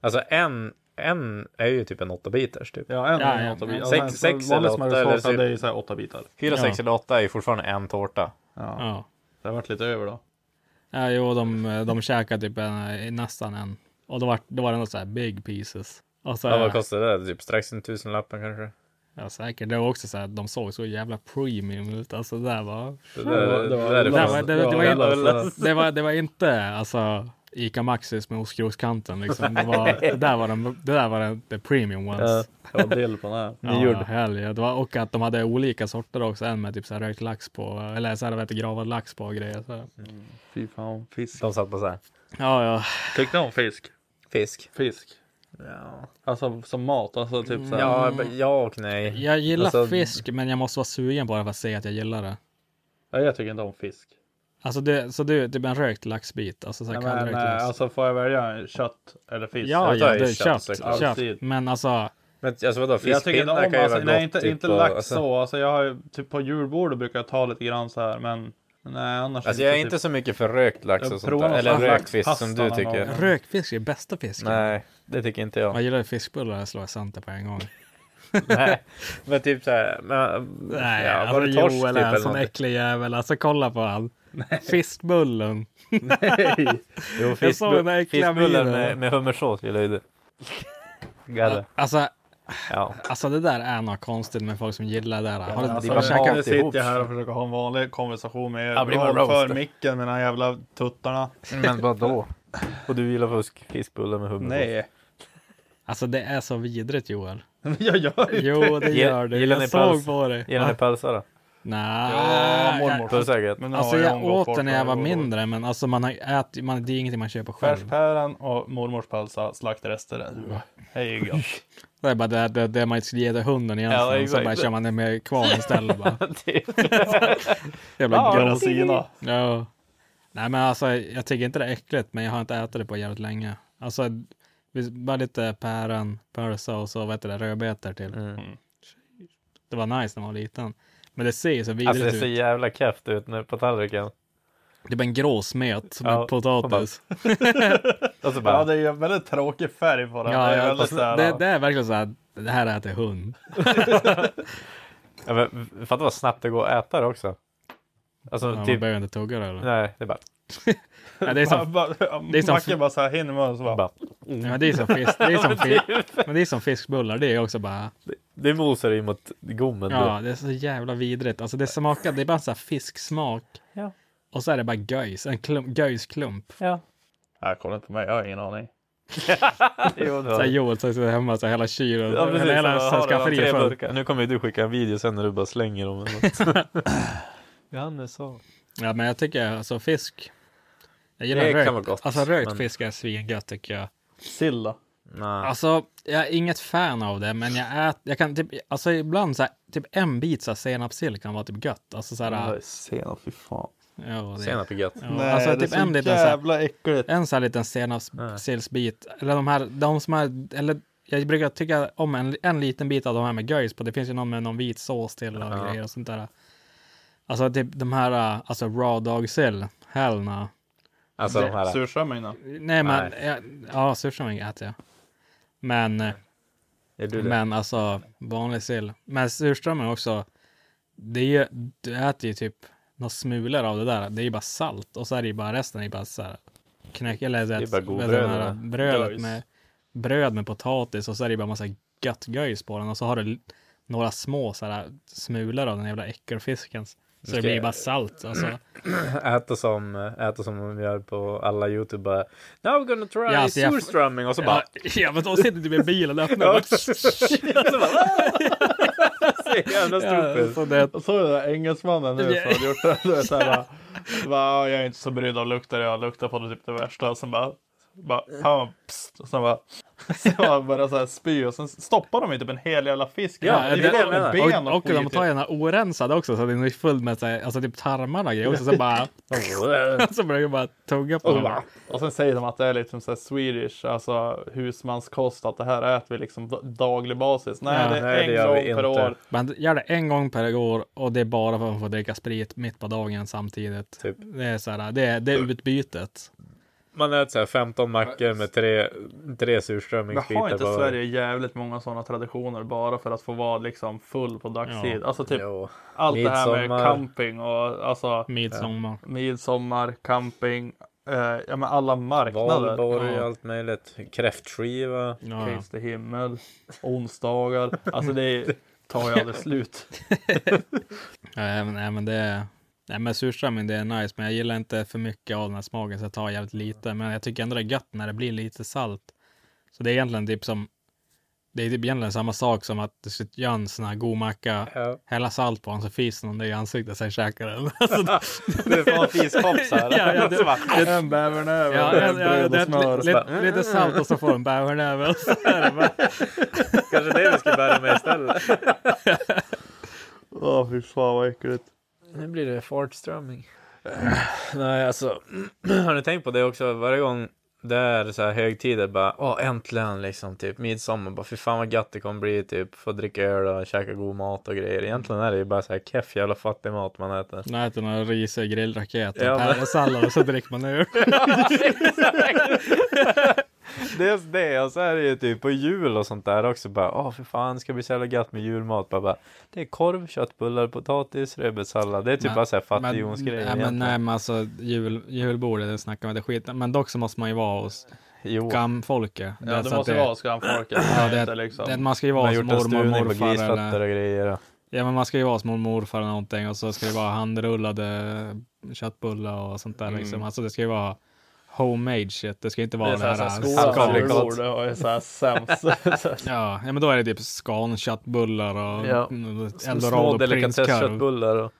Alltså en, en är ju typ en åtta bitars typ.
Ja en
Ja,
en
ja.
åtta bitar.
Sex-
Men
sex
så vanligt
eller åtta,
smörgåstårta,
eller så-
Det är ju så här åtta bitar.
Fyra,
Ja.
sex eller åtta är ju fortfarande en tårta.
Ja.
Ja.
Det har varit lite över då.
Ja, jo, de, de käkade typ en, nästan en. Och då var, då var det något så här big pieces. Och så,
Ja, vad kostar det? Typ strax en tusenlappen kanske?
ja, säkert. Det var också så här, de såg så jävla premium ut. Alltså det där var...
Det där, det
Det var-
där är
Det, där
fan-
var, det, det,
Ja,
var,
det
inte-
var-
det, var, det var inte alltså Ica Maxis med ostkrokskanten liksom. Det, var, det där var, de, det där var den, the premium ones.
Ja, Det var dill på den här.
Ja, helg. Det var, och att de hade olika sorter också. En med typ så här rökt lax på, eller så här vet, du, gravad lax på och grejer. Så.
Fy fan fisk.
De satt på så här.
Ja, ja.
Tyckte du om fisk?
Fisk.
Fisk.
Ja,
Alltså som mat, alltså typ så här.
ja, b- ja och nej.
Jag gillar
Alltså-
fisk, men jag måste vara sugen på det för att säga att jag gillar det.
Ja, jag tycker inte om fisk.
Alltså det, så du, typ en rökt laxbit, alltså så här
Nej, men,
kallrökt
nej,
lax.
alltså får jag välja kött eller fisk?
ja,
jag tar
ja,
ju
det är
kött
kött,
såklart.
kött,
Alltid.
Men alltså,
Men alltså vadå,
jag tycker inte
fiskpinnar
om,
kan ju
alltså,
vara
nej
gott.
inte,
typ,
inte
och-
lax
alltså,
så, alltså jag har ju, typ på julbordet brukar jag ta lite grann så här men nej annars
Alltså jag är
typ-
inte så mycket för rökt lax
Jag
och sånt
provar
där.
någon
Eller
sån här
rökt fisk som
laxpasta
du
någon
tycker.
gång.
rökfisk är bästa fisken.
Nej, det tycker inte jag.
Jag gillar ju fiskbullar, jag slår sönder på en gång.
Nej, men typ såhär. Men,
Nej,
ja, var
alltså
det torsk
Joel
typ
är en
eller
sån
någonting?
äcklig jävel. Alltså kolla på han. Fiskbullen.
Jo,
Jag såg den där
fiskbu-
äckliga
fiskbullar
minen.
med, med hummersås gillar ju du. Galle.
Alltså,
Ja.
alltså det där är något konstigt med folk som gillar det där. Har du
Alltså,
bara
käkat?
mat
nu
ihop,
sitter jag här
så.
och försöker ha en vanlig konversation med er.
Ja, det blir
Du
bara
håller för
roast.
micken med de här jävla tuttarna.
Men vadå? Och du gillar fusk? Fiskbullar med hummersås?
Nej,
Alltså det är så vidrigt Joel.
jag gör inte
Jo, det
Ge-
gör du.
gillar
Jag
ni
såg
päls?
på dig.
Gillar ni pölsa då?
Nej.
Ja,
jag-
mormor.
Pölsägget?
Men nu
Alltså
har
jag
omgått
åt
bort
den när jag var
här och då.
mindre, men alltså man har ätit, man, det är ingenting man köper själv.
Färspäran och mormors pölsa, slaktrester. Hej gott.
Det är bara det, det, det man skulle ge till hunden
Ja,
egentligen, så
exakt.
bara kör man det med kvarn istället. Bara. Jävla
Ja,
ja,
den sina.
ja. Nej men alltså jag tycker inte det är äckligt, men jag har inte ätit det på jävligt länge. Alltså vi- bara lite päron, pölsa och så vad heter det, rödbetor till.
Mm.
Mm. Det var nice när man var liten. Men det ser ju så vidrigt
Alltså det ser
ut.
jävla kräft ut nu på tallriken.
Det är bara en grå smet med
Ja,
potatis.
Och så bara,
Ja, det är ju en väldigt tråkig färg på den.
Ja,
det är
ja,
väldigt
fast
så här,
det, det är verkligen så här, det här äter hund.
ja, men, fatta vad snabbt det går att äta det också. Alltså
Ja, Man
typ,
behöver inte tugga det eller?
nej, det är bara
Ja, det är som, det är som-
Macke bara så här hinner med och så bara.
Bara,
ja, men det är som, fisk, det är som, fisk,
typ.
men det är som fiskbullar. Det är också bara...
det mosar ju mot gommen.
Ja, det är så jävla vidrigt. Alltså det smakar, det är bara så här fisksmak.
Ja.
Och så är det bara göjs, en klump, göjsklump.
Ja.
Nej, kolla inte på mig. Jag har ingen aning.
Så
Jo, det var-
här Joel som sitter hemma, så här, hela kylen,
Ja, precis.
hela, hela
Jag har redan
skafferiet
tre
fullt.
burkar. Nu kommer ju du skicka en video sen när du bara slänger dem. eller något. Johannes sa.
Ja, men jag tycker alltså fisk. Jag gillar
Det kan
rökt.
vara gott,
alltså rökt
men-
fisk är svingött tycker jag.
Sill då?
Nej.
Alltså, jag är inget fan av det, men jag äter, jag kan typ, alltså ibland så här, typ en bit så här senapssill kan vara typ gött. Alltså så här,
Nej, Senap, fy fan.
ja, det,
Senap är gött.
ja,
Nej,
alltså
det
typ
är
en
så
liten så här,
jävla äckligt.
en så här liten senapssillsbit, eller de här, de som är, eller jag brukar tycka om en, en liten bit av de här med göjs på, det finns ju någon med någon vit sås till och
Ja.
grejer och sånt där. Alltså typ de här, äh, alltså raw dog sill, hell no.
Alltså de här.
Surströmming då?
Nej men,
Nej.
ja, ja surströmming äter jag. Men, eh,
Är du det?
men alltså vanlig sill. Men surströmming också, det är ju, du äter ju typ några smulor av det där. Det är ju bara salt och så är det ju bara resten är ju bara så här knäck, eller så
är
att-
bara god
vad heter det
bröd,
här
va?
brödet
Göjs.
med, bröd med potatis och så är det ju bara massa gött göjs på den och så har du l- några små så här smulor av den jävla äckelfisken. Så det
Ska
blir ju
jag- Mm.
bara salt. Alltså.
Äta som, äta som de gör på alla YouTube. Bara, Now we're gonna try
Ja, alltså jag-
surströmming. Och så bara.
Ja, ja, men de sitter typ i bilen och öppnar. och bara-
Så jävla
Ja,
strupen.
så det,
Jag såg den där engelsmannen nu som hade gjort det. Du vet, så här, bara, bara, jag är inte så brydd av lukter. Jag luktar på det typ det värsta. Och sen bara, bara han bara, psst, och sen bara, sen bara började så här spy och sen stoppar de ju typ en hel jävla fisk.
Ja, det är det jag
var
menar.
ben
Och, och
skit
de
i.
tar gärna orensade också så den är full med så här, alltså typ tarmar och grejer. Och så, så bara, så börjar jag bara tugga på
Oh,
Och, så
den.
bara, och sen säger de att det är liksom så här Swedish, alltså husmanskost, att det här äter vi liksom d- daglig basis. Nej,
Ja,
det är
nej, det
en
gör
gång
vi
per
inte.
år.
Men gör det en gång per år och det är bara för att man får dricka sprit mitt på dagen samtidigt.
Typ.
Det är så här, det, är- det är utbytet.
Man äter så här 15 mackor med tre, tre
Men har
surströmmingsbitar.
inte
på-
Sverige jävligt många sådana traditioner bara för att få vara liksom full på dagstid? Alltså typ
Jo.
allt det här med
Midsommar.
camping och alltså
Mm. Midsommar.
midsommar, camping, eh, ja men alla marknader.
Valborg
Ja.
och allt möjligt. Kräftskiva.
Ja. ja.
Kristi himmel, onsdagar. Alltså det tar ju aldrig slut.
Nej, men, nej, men det är... Nej, men surströmming det är nice, men jag gillar inte för mycket av den här smaken så jag tar jävligt lite. Men jag tycker ändå det är gött när det blir lite salt. Så det är egentligen typ som... Det är typ egentligen samma sak som att du skulle göra en sån här god macka,
Ja.
hälla salt på den så fiser någon det i ansiktet sen käkar den. Alltså,
Du får en fiskkompsar.
Ja, ja, det-
En bävern över,
ja, ja, ja,
bröd
det
och
är
smör.
li- li- lite salt och så får den bävernäve. och så är det bara-
Kanske det vi ska bära med istället.
Åh fy fan vad äckligt.
Nu blir det fartströmming.
Nej, alltså. Har ni tänkt på det också? Varje gång det är så här högtider bara, åh äntligen liksom typ midsommar bara, fy fan vad gött det kommer bli typ, få dricka öl och käka god mat och grejer. Egentligen är det ju bara så här keff jävla fattig mat man äter.
Man äter några risig grillraket och
Ja, men-
päronsallad och så dricker man öl.
Dels det och så är det ju typ på jul och sånt där också bara, åh för fan det ska bli så jävla gött med julmat. Bara, bara, det är korv, köttbullar, potatis, rödbetssallad. Det är typ
Men-
bara så här
nej,
fattighjonsgrejer
men,
egentligen.
nej men alltså jul, julbordet, det snackar man inte skit Men dock så måste man ju vara hos
Jo,
gamfolket. Det
Ja,
är
det
så att
måste
det-
vara skamfolket.
Ja,
det,
det,
inte liksom.
det, man ska ju
man
vara
har
hos
gjort en
mormor och
stuvning på
morfar.
grisfötter
Eller,
och grejer. och-
ja, men man ska ju vara hos mormor och morfar eller någonting och så ska det vara handrullade köttbullar och sånt där liksom. Alltså det ska ju vara homemade shit. Det ska inte vara
det är
det,
såhär, såhär,
här.
skolans
halvfabrikat.
julbord och är såhär sämst.
ja, ja, men då är det typ skanköttbullar och
Ja.
mm,
Små
eldorado prinskorv.
delikatessköttbullar och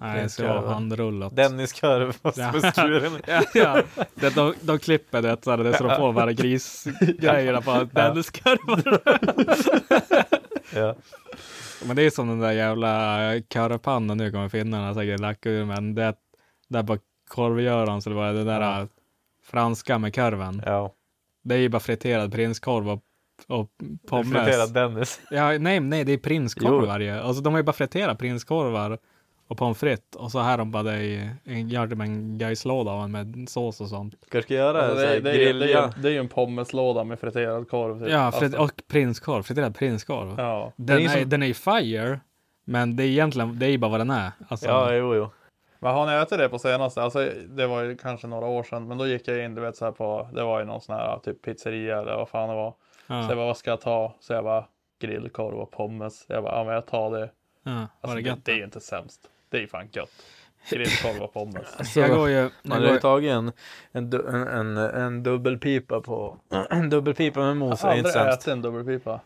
Nej, det ska vara
prinskorv.
handrullat.
Denniskorv och
Ja.
skuren.
ja, ja. Det, de, de klipper det så här, det slår på varje grisgrejerna på Denniskorvar.
Ja.
Men det är som den där jävla körpannan nu kommer finnarna säkert lacka ur men det där på korvgöran så det var det där
Ja.
franska med korven.
ja.
Det är ju bara friterad prinskorv och, och pommes.
Friterad Dennis.
Ja, nej, nej, det är
Jo.
prinskorvar ju. Alltså de har ju bara friterat prinskorvar och pommes frites och så här de bara det i, i- gör det med en geislåda av en med sås och sånt.
Kanske ska göra
Alltså,
en sån
det,
här
är- det, är ju- det, är
grilla.
ju- det är ju en pommeslåda med friterad korv. Typ.
Ja, frit-
Alltså,
och prinskorv, friterad prinskorv.
ja.
Den,
Det är
är
som-
den är ju fire, men det är egentligen, det är ju bara vad den är. Alltså,
Ja, jo, jo.
Men har ni ätit det på senaste? Alltså, det var ju kanske några år sedan, men då gick jag in, du vet så här på, det var ju någon sån här typ pizzeria eller vad fan det var.
Ja.
Så jag bara, vad ska jag ta? Så jag bara, grillkorv och pommes. Jag bara, ja men jag tar det.
Ja, var
Alltså,
det
det,
gött?
det är ju inte sämst. Det är ju fan gött. Grillkorv och pommes.
Alltså,
Jag går ju...
man
Jag
hade ju
går,
tagit en, en, du- en, en, en dubbelpipa på... En dubbelpipa med mos är inte
Aldrig
sämst.
ätit en dubbelpipa.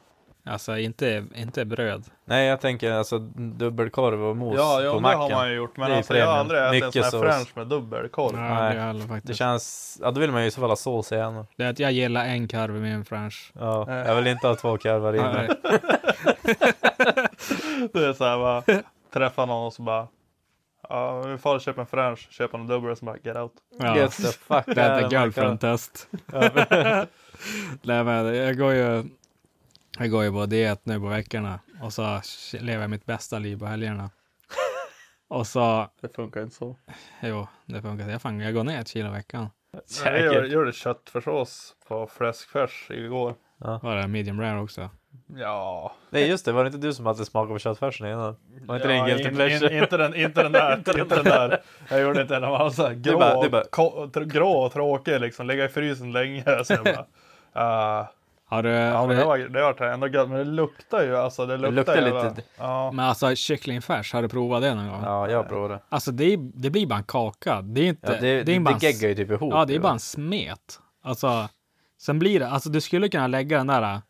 alltså inte, inte bröd.
Nej, jag tänker alltså dubbelkorv och mos
Ja, jo,
på
det
macken.
har man ju gjort. Men
Det är
alltså, jag har
premium.
aldrig ätit en sån
Mycket
här
sås.
french med dubbelkorv.
Nej,
Nej.
det är aldrig
Det
faktiskt.
känns... Ja, då vill man ju i så fall ha sås igen.
Det är att jag gillar en karv med en french.
Ja, jag vill inte ha två karvar inne.
Nej.
Det är så här bara, träffa någon och så bara. Ja, vi får köpa en french, köpa en dubbel och så bara get out.
Ja.
Get the fuck
Det är
out
the
of my
girlfriend test. Nej men jag går ju jag går ju på diet nu på veckorna och så lever jag mitt bästa liv på helgerna. Och så,
Det funkar inte så.
jo, det funkar. Jag, fan, jag går ner ett kilo i veckan.
Jag gjorde,
Säkert.
gjorde köttfärssås på fläskfärs igår.
Var det medium rare också?
Ja,
Nej, just det. Var det inte du som hade smakat på köttfärsen innan? Var inte det
ja
en guilty
in,
pleasure?
in, inte, den, inte den där. inte den där. Jag gjorde inte den. Den var så här grå,
bara-
och
du bara-
ko- tr- grå och tråkig liksom. Ligga i frysen länge. Så jag bara, ah,
Har du,
ja,
har
men det
du
var, det var ändå gött. Men det luktar ju alltså. Det luktar,
luktar
jävla-
lite-
Ja.
men alltså kycklingfärs, har du provat det någon gång?
Ja, jag provade.
Alltså det, är- det blir bara en kaka. Det är inte...
Ja, det, det,
är
det,
bara en s-
geggar ju typ ihop.
Ja, det är
ju, va?
bara en smet. Alltså, sen blir det, alltså du skulle kunna lägga den där äh,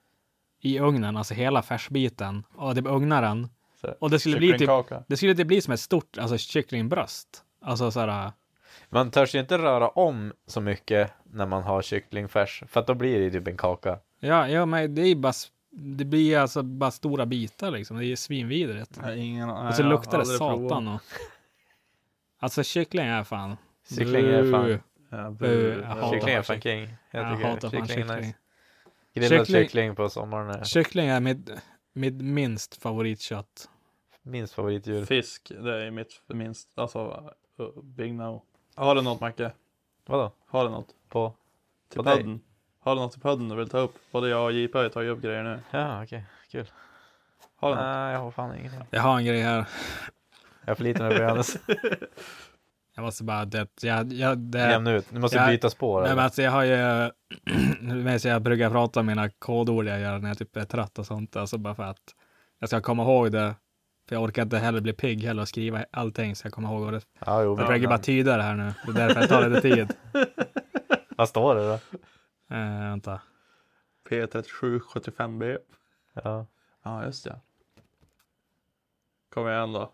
i ugnen, alltså hela färsbiten, och det ugnar den.
Så,
Och det skulle bli typ,
kycklingkaka.
det skulle typ bli som ett stort, alltså kycklingbröst. Alltså så här, äh,
Man törs ju inte röra om så mycket när man har kycklingfärs. För att då blir det ju typ en kaka.
ja, ja, men det är bara, s- det blir alltså bara stora bitar liksom. Det är svinvidrigt.
Ingen,
Och så luktar det satan och... Alltså kyckling är fan...
Kyckling är fan-
Uh, uh, jag hatar
Kyckling är fan
kyckling.
king. Jag
Jag
tycker
hatar fan
kyckling är
kyckling.
nice. Grillad
Kyckling-
kyckling. på sommaren är
Kyckling är mitt, mitt minst favoritkött.
minst favoritdjur.
Fisk, det är mitt minst. Alltså, uh, big no. Har du något Macke?
Vadå?
Har du något?
På?
Till
På dig?
podden? Har du något till podden du vill ta upp? Både jag och JP har ju tagit upp grejer nu.
Ja, okej. Kul.
Har du något?
Nej, jag har fan ingenting.
Jag har en grej här.
Jag förlitar mig på Johannes.
Jag måste bara, det, jag, jag, det,
Lämna ut. Nu måste
Ja.
vi byta spår.
Nej,
eller?
men alltså jag har ju, men så jag brukar prata om mina kodord jag gör när jag typ är trött och sånt, alltså bara för att jag ska komma ihåg det. För jag orkar inte heller bli pigg heller och skriva allting så jag kommer ihåg vad det.
Ja, jo,
Jag försöker
men,
bara tyda det här nu, det är därför det tar lite tid.
Vad står det då?
Eh, vänta.
P3775B.
Ja.
Ja, just ja. Kom igen då.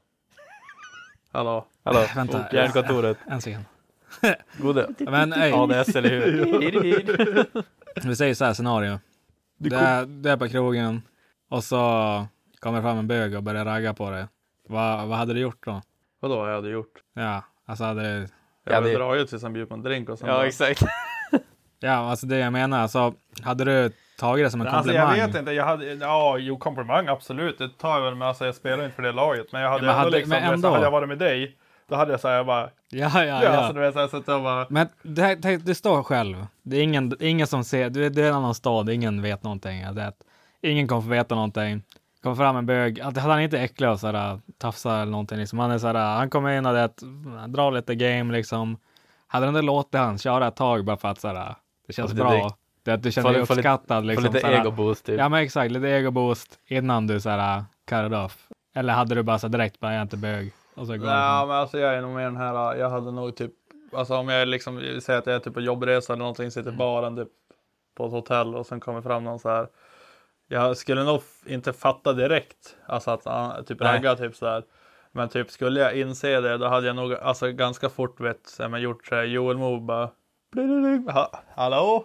Hallå?
Hallå,
Vänta,
Hjärnkontoret.
en sekund.
Gode.
Men ej,
ADS eller hur?
vi säger så här scenario. Det är, det är på krogen och så kommer fram en bög och börjar ragga på dig. Vad, vad hade du gjort då?
Vadå vad jag hade gjort?
Ja, alltså hade du
Jag
Ja,
hade
det-
dragit tills han bjöd på en drink och sen
ja,
bara...
exakt.
Ja, alltså det jag menar. Alltså, hade du tagit det som en
Alltså
komplimang?
jag vet inte, jag hade, ja jo komplimang absolut, det tar jag väl med, alltså jag spelar inte för det laget. Men jag hade
Ja, men
ändå
hade-
liksom,
men
du vet, så
ändå.
hade jag varit med dig, då hade jag såhär bara,
Ja, ja,
ja,
ja.
alltså du vet såhär suttit och bara,
Men det, här- tänk, du står själv. Det är ingen, ingen som ser. Du, du är i en annan stad. Ingen vet någonting. Ja, Det, är att ingen kommer få veta någonting. Kommer fram en bög. Att han är inte äcklig och sådär tafsar eller någonting. Liksom. Han är sådär. Han kommer in och det, är att, han drar lite game liksom. Hade du inte låtit han köra ett tag bara för att sådär. Det känns
Få lite
bra.
dikt.
Det, är att du
Få
känner dig
lite- få lite-
uppskattad.
Få
Liksom,
lite
såhär.
egoboost typ.
Ja men exakt, lite egoboost innan du så här cut it off. Eller hade du bara så här direkt bara jag är inte bög och så går
Nej,
ja.
men alltså jag är nog mer den här, jag hade nog typ, alltså om jag liksom säger att jag är typ på jobbresa eller någonting, sitter i baren typ på ett hotell och sen kommer fram någon så här. Jag skulle nog f- inte fatta direkt, alltså att han typ
Nej.
raggar typ så här. Men typ skulle jag inse det, då hade jag nog alltså ganska fort vet, så här, men gjort så här Joel Moe bara, "Blididig, ha, hallå?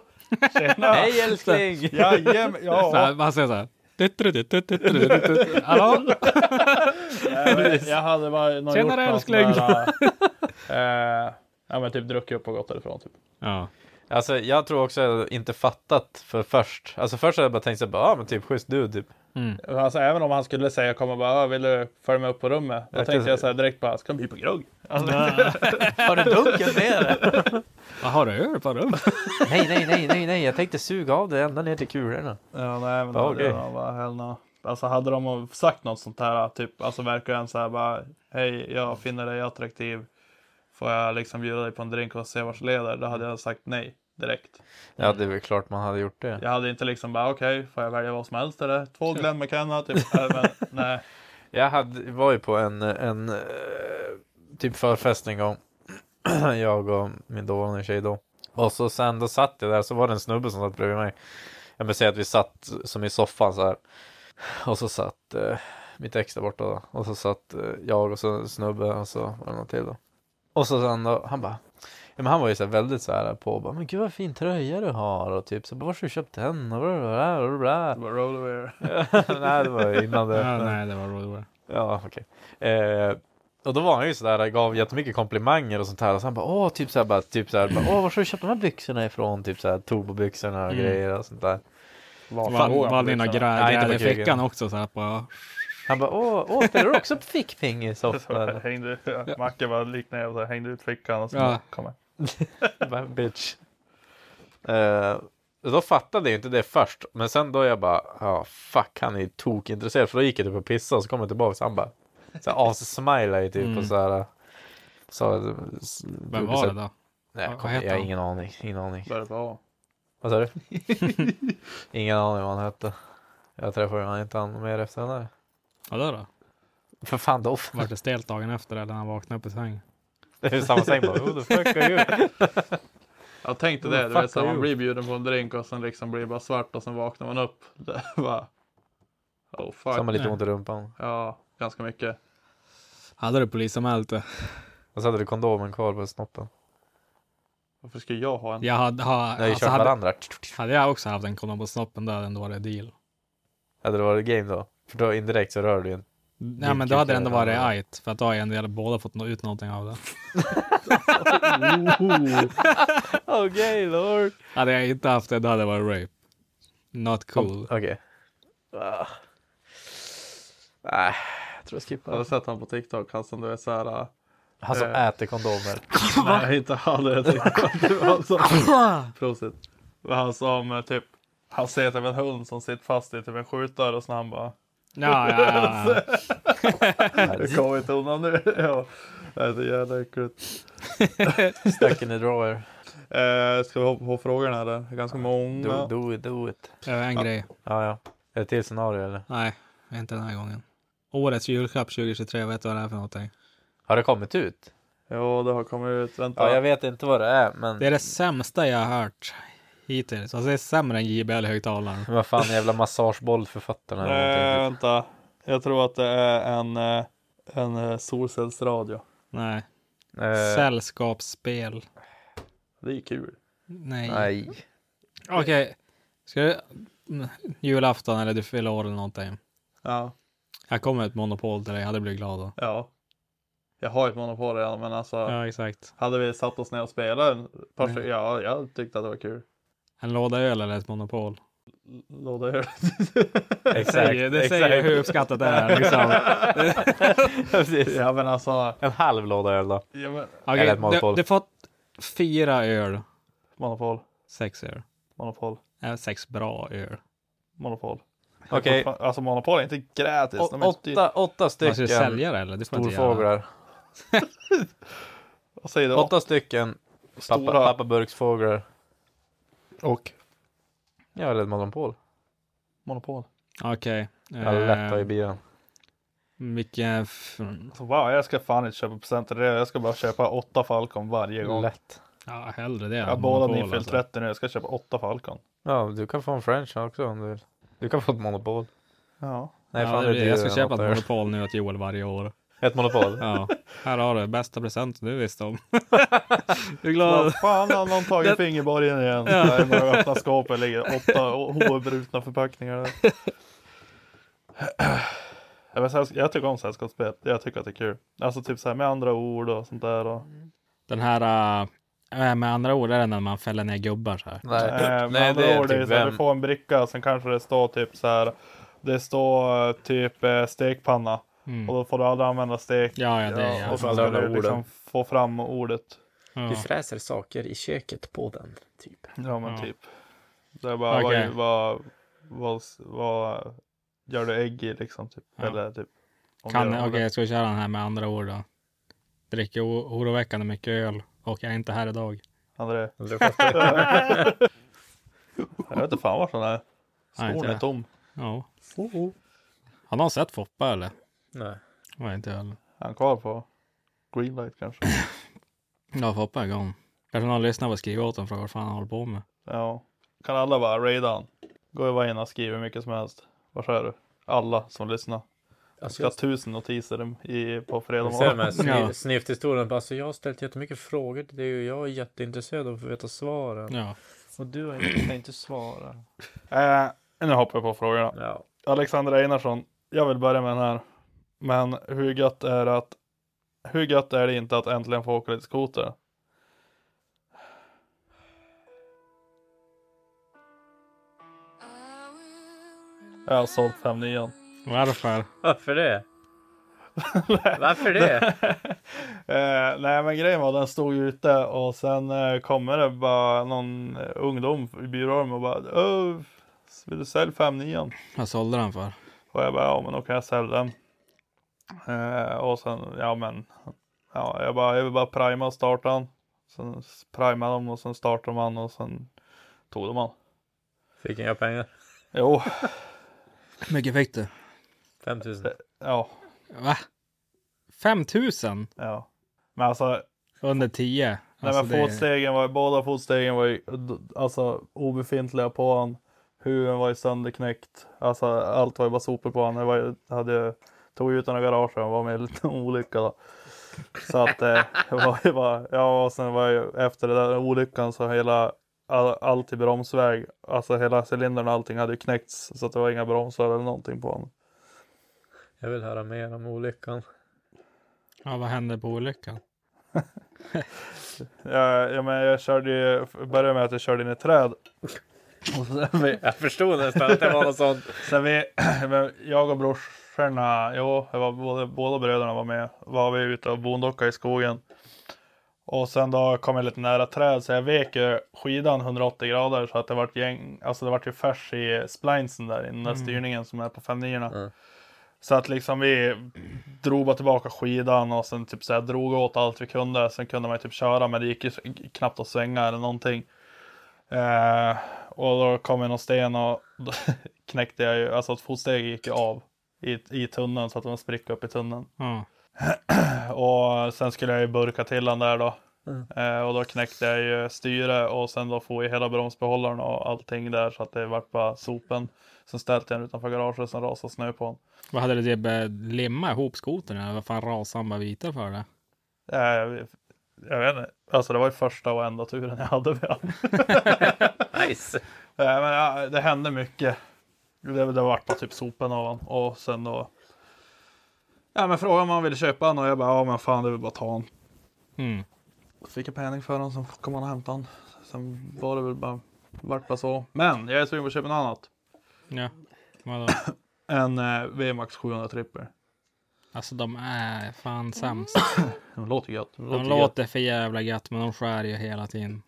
Tjena!
Hej älskling!
Jajamän,
så här,
ja.
man säger så här. "Tuttrututtrututtrututtru." Hallå?
Jag, vet, jag hade bara nog
Tjenare,
gjort någon sån
älskling.
där, eh, ja men typ druckit upp och gått därifrån typ.
Ja.
Alltså jag tror också jag inte fattat för först. Alltså först hade jag bara tänkt såhär, ja ah, men typ schysst du typ.
Alltså, även om han skulle säga komma och bara "Ah, vill du följa med upp på rummet? Då
Jag
tänkte
tänkte-
jag så här direkt bara ska vi på grogg? Alltså,
Har du dunken nere?
Vad har du öl på rummet?
nej, nej, nej, nej, nej, jag tänkte suga av det ända ner till kulorna.
ja nej men
Ja, okej.
det var hell no. Alltså hade de sagt något sånt här typ alltså verkligen så här bara hej jag finner dig attraktiv. Får jag liksom bjuda dig på en drink och se vart det leder? Då
Mm.
hade jag sagt nej direkt.
Ja, det är väl klart man hade gjort det.
Jag hade inte liksom bara okej, får jag välja vad som helst eller? Två Glenn McKenna typ. Nej, men, nej.
Jag hade, var ju på en, en eh, typ förfest en gång. jag och min dåvarande tjej då. Och så sen då satt jag där så var det en snubbe som satt bredvid mig. Jag vill säga att vi satt som i soffan så här. Och så satt eh, mitt ex där borta då. Och så satt eh, jag och så en snubbe och så var det någon till då. Och så sen då, han bara. Ja, men han var ju så här väldigt så här på och bara, men gud vad fin tröja du har och typ så bara, var har du köpt den och blablabla, blablabla.
Det var rollaware.
Nej det var ju innan det.
Ja, nej, det var roligt.
Ja, okej. Eh, och då var han ju sådär, gav jättemycket komplimanger och sånt här. Och så han bara, åh, typ såhär, bara, typ såhär, bara, åh, var har du köpt de här byxorna ifrån? Typ såhär, Tobo-byxorna och
Mm.
grejer och sånt där.
Var, var det några
Nej, inte
gräl
på
i
kuken.
fickan också? Så här, på,
Han bara, åh, åh, spelar du också fickpingis ofta?
Så
eller?"
hängde, Macke bara liknade och så hängde ut fickan och så
Ja.
kom jag.
Jag bara, Bitch. Eh, då fattade jag inte det först, men sen då jag bara, ja, fuck, han är ju tokintresserad. För då gick jag typ och pissade och så kom jag tillbaka och så han bara, såhär assmilade ju typ
Mm.
och såhär. Så,
vem var det då?
Nej,
Vad
kom,
heter
jag har
han?
ingen aning, ingen aning.
Började på A.
Vad sa du? Ingen aning vad han hette. Jag träffade ju han inte han mer efter den där.
Ja, då, då.
För fan då.
Vart det stelt dagen efter eller när han vaknade upp i sängen?
Det är ju samma säng bara. Who the fuck are you?
Jag tänkte
Vad
det, du
fuck
vet, så
are
här, man
you?
blir bjuden på en drink och sen liksom blir det bara svart och sen vaknar man upp. Det var oh fuck.
Samma lite
nej.
ont i rumpan.
Ja, ganska mycket.
Hade du polisanmält det?
Och så hade du kondomen kvar på snoppen.
Varför ska jag ha en?
Jag hade, ha,
När vi
alltså,
kört
hade,
varandra.
hade jag också haft en kondom på snoppen då hade det ändå varit deal.
Hade det varit game då? För då indirekt så rör du ju en.
Nej men
Vilket eh,
då hade det ändå
jävla-
varit ajt för att då har ju en del båda fått nå- ut någonting av det.
Okej lord.
Oh. Hade jag inte haft det då hade det varit rape. Not cool.
Okej. Ah. Nej, jag tror jag
Jag
skippar.
hade sett han på TikTok, han som du är såhär. äh,
Han som äter kondomer.
Nej, inte han. Jag tänkte på att det var han som- Prosit. Det var han som eh, typ. Han ser typ en hund som sitter fast i typ en skjutdörr och så han bara.
Ja, ja, ja, ja.
Du kommer inte undan nu. ja. Nej, det är jävla äckligt.
Stuck in the drawer.
Eh, ska vi hoppa på frågorna eller? Det är ganska
Do,
många.
do it, do it.
Jag har en grej.
Ja, ja. Är det till scenario eller?
Nej, inte den här gången. Årets julklapp 2023, vet du vad det är för någonting?
Har det kommit ut?
Jo, det har kommit ut. Vänta.
Ja, jag vet inte vad det är, men
Det är det sämsta jag har hört hittills. Alltså det är sämre än JBL-högtalaren.
vad fan jävla massageboll för fötterna
Nej,
eller någonting.
Eh,
typ.
vänta. Jag tror att det är en, eh, en eh, solcellsradio.
Nej.
Eh,
Sällskapsspel.
Det är kul.
Nej.
Nej.
Okej. Ska du... mm, Julafton eller du fyller år eller någonting.
Ja.
Jag kommer med ett monopol till dig, jag hade blivit glad då.
ja. Jag har ett monopol redan, men alltså.
Ja, exakt.
Hade vi satt oss ner och spelat en par
Nej.
Ja, jag tyckte att det var kul.
En låda öl eller ett monopol?
Låda öl.
Det säger, det säger hur uppskattat det är. Liksom.
Precis.
ja, men alltså.
En halv låda öl då.
Ja, men,
Okej,
Eller ett monopol.
Du, du fått fyra öl.
monopol.
Sex öl.
Monopol.
Äh, sex bra öl.
Monopol.
Okej.
Alltså monopol är inte gratis.
Å-
de är inte dyra.
Åtta, åtta
Man ska ju
stycken
sälja det eller? Det får man inte göra.
storfåglar.
Vad säger du?
Åtta stycken pappa,
Stora.
pappaburksfåglar.
Och
Ja, eller ett monopol.
monopol.
Okej.
Jag
Eh.
hade lätt att i bilen.
Vilken... F-
Alltså, wow, jag ska fan inte köpa presenter. Det- Jag ska bara köpa åtta Falcon varje gång.
Lätt.
ja, hellre det.
Jag
än
har båda
monopol,
min fel
alltså.
30 nu. Jag ska köpa åtta Falcon.
Ja, du kan få en french också om du vill. Du kan få ett monopol.
Ja.
Nej,
ja,
fan,
det blir,
är
jag ska
dyrare än
köpa ett
åtta öl.
monopol nu åt Joel varje år.
Ett monopol?
Ja, här har du bästa presenten du visste om. du är glad.
Vad fan har någon tagit fingerborgen igen? Där i bara öppna skåpet ligger åtta obrutna förpackningar. Där. Ja, men sällsk- Jag tycker om sällskapsspel. Jag tycker att det är kul. Alltså typ så här med andra ord och sånt där. Och...
Den här, äh, med andra ord är det när man fäller ner gubbar så här.
Nej,
Eh, med
Nej
andra
det är
ord, det är
typ
så här, du
vem?
får en bricka, sen kanske det står typ så här. Det står eh, typ eh, stekpanna
Mm.
och då får du aldrig använda stek.
Ja, ja, det är
Ja,
ja,
och sen
alla
ska du
orden.
liksom få fram ordet.
ja.
fräser saker i köket på den, typ.
Ja men
Ja.
typ. Det är bara
Okej.
vad, vad, vad, vad gör du ägg i liksom typ.
Ja.
Eller typ. om
Kan,
du gör
okej,
det.
jag ska köra den här med andra ord då. dricker o- oroväckande mycket öl och jag är inte här idag.
André.
Det fattar
Jag vet inte fan vart den är.
Nej, inte
Stolen är
jag.
tom.
Ja. Har någon sett Foppa eller?
Nej.
Nej, inte jag heller.
Är han kvar på greenlight kanske?
Ja, Foppa är igång. Kanske någon lyssnar på skriva åt honom och frågar vad fan han håller på med.
Ja. Kan alla bara raida han? Gå ju bara in och skriv hur mycket som helst. Vad säger du? Alla som lyssnar. Jag
Alltså,
ska ha
jag
tusen notiser i, på fredag
Jag ser
morgon.
med
Ja.
sni- snyfthistorien. bara, Alltså, jag har ställt jättemycket frågor till dig och jag är jätteintresserad av att få veta svaren.
Ja.
Och du har inte, kan inte svara.
Eh, nu hoppar jag på frågorna.
Ja.
Alexander Einarsson, jag vill börja med den här. Men hur gött är det att hur gött är det inte att äntligen få åka lite skoter? Jag har sålt 59
Varför?
Varför det? Varför det?
eh, nej men grejen var den stod ju ute och sen eh, kommer det bara någon eh, ungdom i byrån och bara "Öh, vill du sälja 59
Vad sålde den för?
Och jag bara, ja men då kan jag sälja den. Eh, och sen, ja men. Ja, jag bara, jag vill bara prima och starta den. Sen primade de och sen startade man och sen tog de han.
Fick inga pengar.
Jo,
Hur mycket fick du?
5000.
ja,
Va? 5000
ja. Men alltså,
under Alltså, 10?
nej, men fotstegen var, båda fotstegen var ju d- alltså, obefintliga på han. Huven var ju sönderknäckt. Alltså allt var ju bara sopor på han. Jag var, ju- hade, tog ut den ur garaget och var med i en liten olycka då. Så att eh, det var ju bara, ja och sen var ju efter den där olyckan så hela all, allt i bromsväg, alltså hela cylindern och allting hade ju knäckts så att det var inga bromsar eller någonting på honom.
Jag vill höra mer om olyckan.
Ja, vad hände på olyckan?
Jag, jag, men jag körde ju, började med att jag körde in i ett träd. Och sen vi,
Jag förstod nästan att det var något sånt.
Sen vi, men jag och brorsorna, jo, jag var, båda, båda bröderna var med, var vi ute och bondockade i skogen. Och sen då kom jag lite nära träd så jag vek ju skidan 180 grader så att det vart gäng, alltså det vart ju färs i splinesen där i den där styrningen som är på 59
Mm.
Så att liksom vi drog bara tillbaka skidan och sen typ så här drog åt allt vi kunde. Sen kunde man ju typ köra men det gick ju s- knappt att svänga eller någonting. Eh, och då kom en och sten och då knäckte jag ju, alltså ett fotsteg gick ju av i, i tunneln så att det var en spricka upp i tunneln.
Ja.
Och sen skulle jag ju burka till den där då. Eh, och då knäckte jag ju styre och sen då får jag hela bromsbehållaren och allting där så att det vart bara sopen. Sen ställde jag den utanför garaget och sen rasade snö på den.
Vad hade du typ eh, limma ihop skotern eller vad fan rasade han bara bitar för det?
Eh, jag vet inte, alltså det var ju första och enda turen jag hade med den.
Nice!
Nej, men ja, det hände mycket. Det, det var bara typ sopen av han. och sen då. Ja men frågade om han ville köpa han och jag bara ja men fan det vill bara ta han.
Mm.
Fick jag penning för han sen kom han och hämtade han. Sen var det väl bara vart bara så. Men jag är sugen på att köpa något annat.
Ja. Vadå?
En eh, VMAX 700 trippel.
Alltså de är fan sämst.
De låter gött. De
Mm.
De låter för jävla gött men de skär ju hela tiden.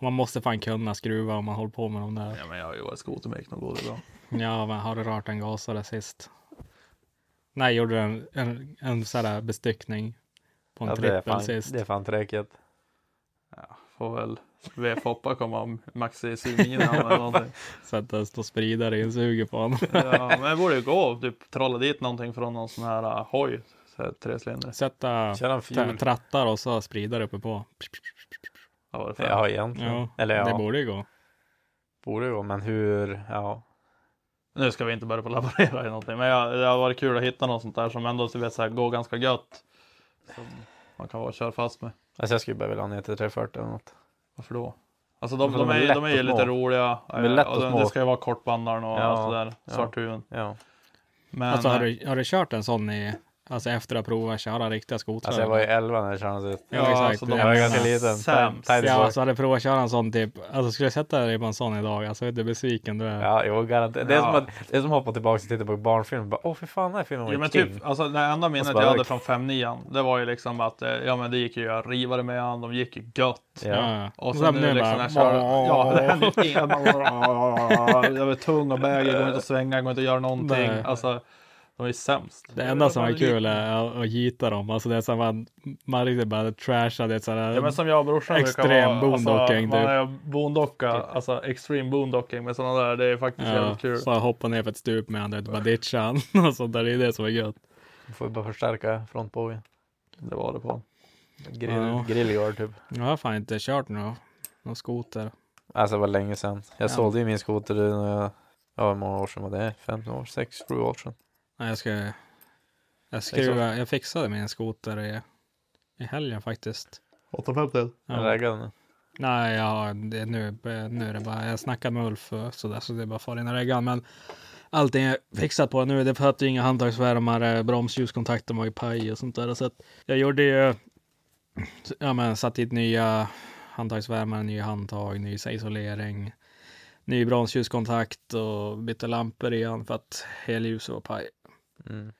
Man måste fan kunna skruva om man håller på med de där.
Ja men jag har ju varit skotermek någon gång det är bra.
Ja, men har du rört en gasare sist? När gjorde du en, en, en sån där bestyckning på en
Ja, det, är
trippel
fan,
sist?
det är fan träkigt.
Får väl VF-hoppa komma om Maxi Simingen eller någonting.
Sätta en spridare i en suger på honom.
Ja, men det borde ju gå att typ trolla dit någonting från någon sån här uh, hoj. Så här trecylindrig.
Sätta
Kör en
tra-
fjol.
trattar och så spridare uppe på.
Ja, vad är det för-
Ja, egentligen.
Ja,
Eller ja,
det
det
borde ju gå.
borde gå. Men hur? Ja.
Nu ska vi inte börja på laborera i någonting. Men jag, det har varit kul att hitta något sånt där som ändå du vet, så här, går ganska gött. Som man kan vara och köra fast med.
Alltså jag skulle bara vilja ha ner till 340 eller något.
Varför då? Alltså de,
För
de,
de är
är,
lätt
de är ju
och
lite
små.
roliga.
De är lätt
Eh,
och
den-
små.
Det ska ju vara kortbandaren och
Ja,
allt det där.
ja.
Svarthuvuden.
Ja.
Men
Alltså har
eh,
du, har du kört en sån i, alltså efter att ha provat köra riktiga skotrar?
Alltså jag var ju 11 när jag körde den sist.
Ja,
ja,
exakt.
alltså, de
Jag
är
var
ganska
sämst.
liten.
Sämst.
Tight-
Ja,
tight-
alltså hade du provat köra en sån typ, alltså skulle jag sätta dig på en sån idag, alltså vet du hur besviken du är.
Ja, jo, garanterat. Det är
Ja.
som att det är som att hoppa tillbaka och titta på barnfilm. Bara, Åh, för fan, den här filmen var
Ja,
ju
men
king.
typ, alltså, det enda minnet
bara-
jag hade från 5-9 det var ju liksom att eh, ja, men det gick ju att riva det med han, de gick ju gött.
Ja.
Och sen nu liksom när jag kör, ja, det händer ju ingenting. Jag var tung och bäger, går inte att svänga, går inte att göra någonting.
Nej.
Alltså, De är sämst.
Det enda som är kul är att- att gita dem. Alltså det är som man, man riktigt bara trashar. Det är så här,
Ja men som jag och brorsan
Extrem
brukar vara.
boondocking,
Alltså, man
typ.
är boondocka, alltså extreme boondocking med sådana där. Det är faktiskt
ja,
jävligt kul.
så jag hoppar ner för ett stup med andra och bara ditchar han. Och sånt där. Det är det som är gött.
Du får ju bara förstärka frontbågen.
Det var det på.
Grill,
Ja.
Grillgård typ.
Jag har fan inte kört någon, någon skoter.
Alltså det var länge sedan. Jag
Ja.
sålde ju min skoter när jag, ja hur många år sedan var det? 15 år, 6, 7 år sedan.
Nej, jag ska... Jag, skruva, jag fixade min skoter i, i helgen faktiskt.
850.
Jag
Ja.
raggade den.
Nej, jag har, det, är nu, nu är det bara, jag snackar med Ulf och sådär, så det är bara far in i reggan. Men allting är fixat på nu. Det behövde ju inga handtagsvärmare, bromsljuskontakter var ju paj och sånt där. Så att jag gjorde ju, ja men satt dit nya handtagsvärmare, nya handtag, ny isolering, ny bromsljuskontakt och bytte lampor igen för att helljuset var paj.
Mm.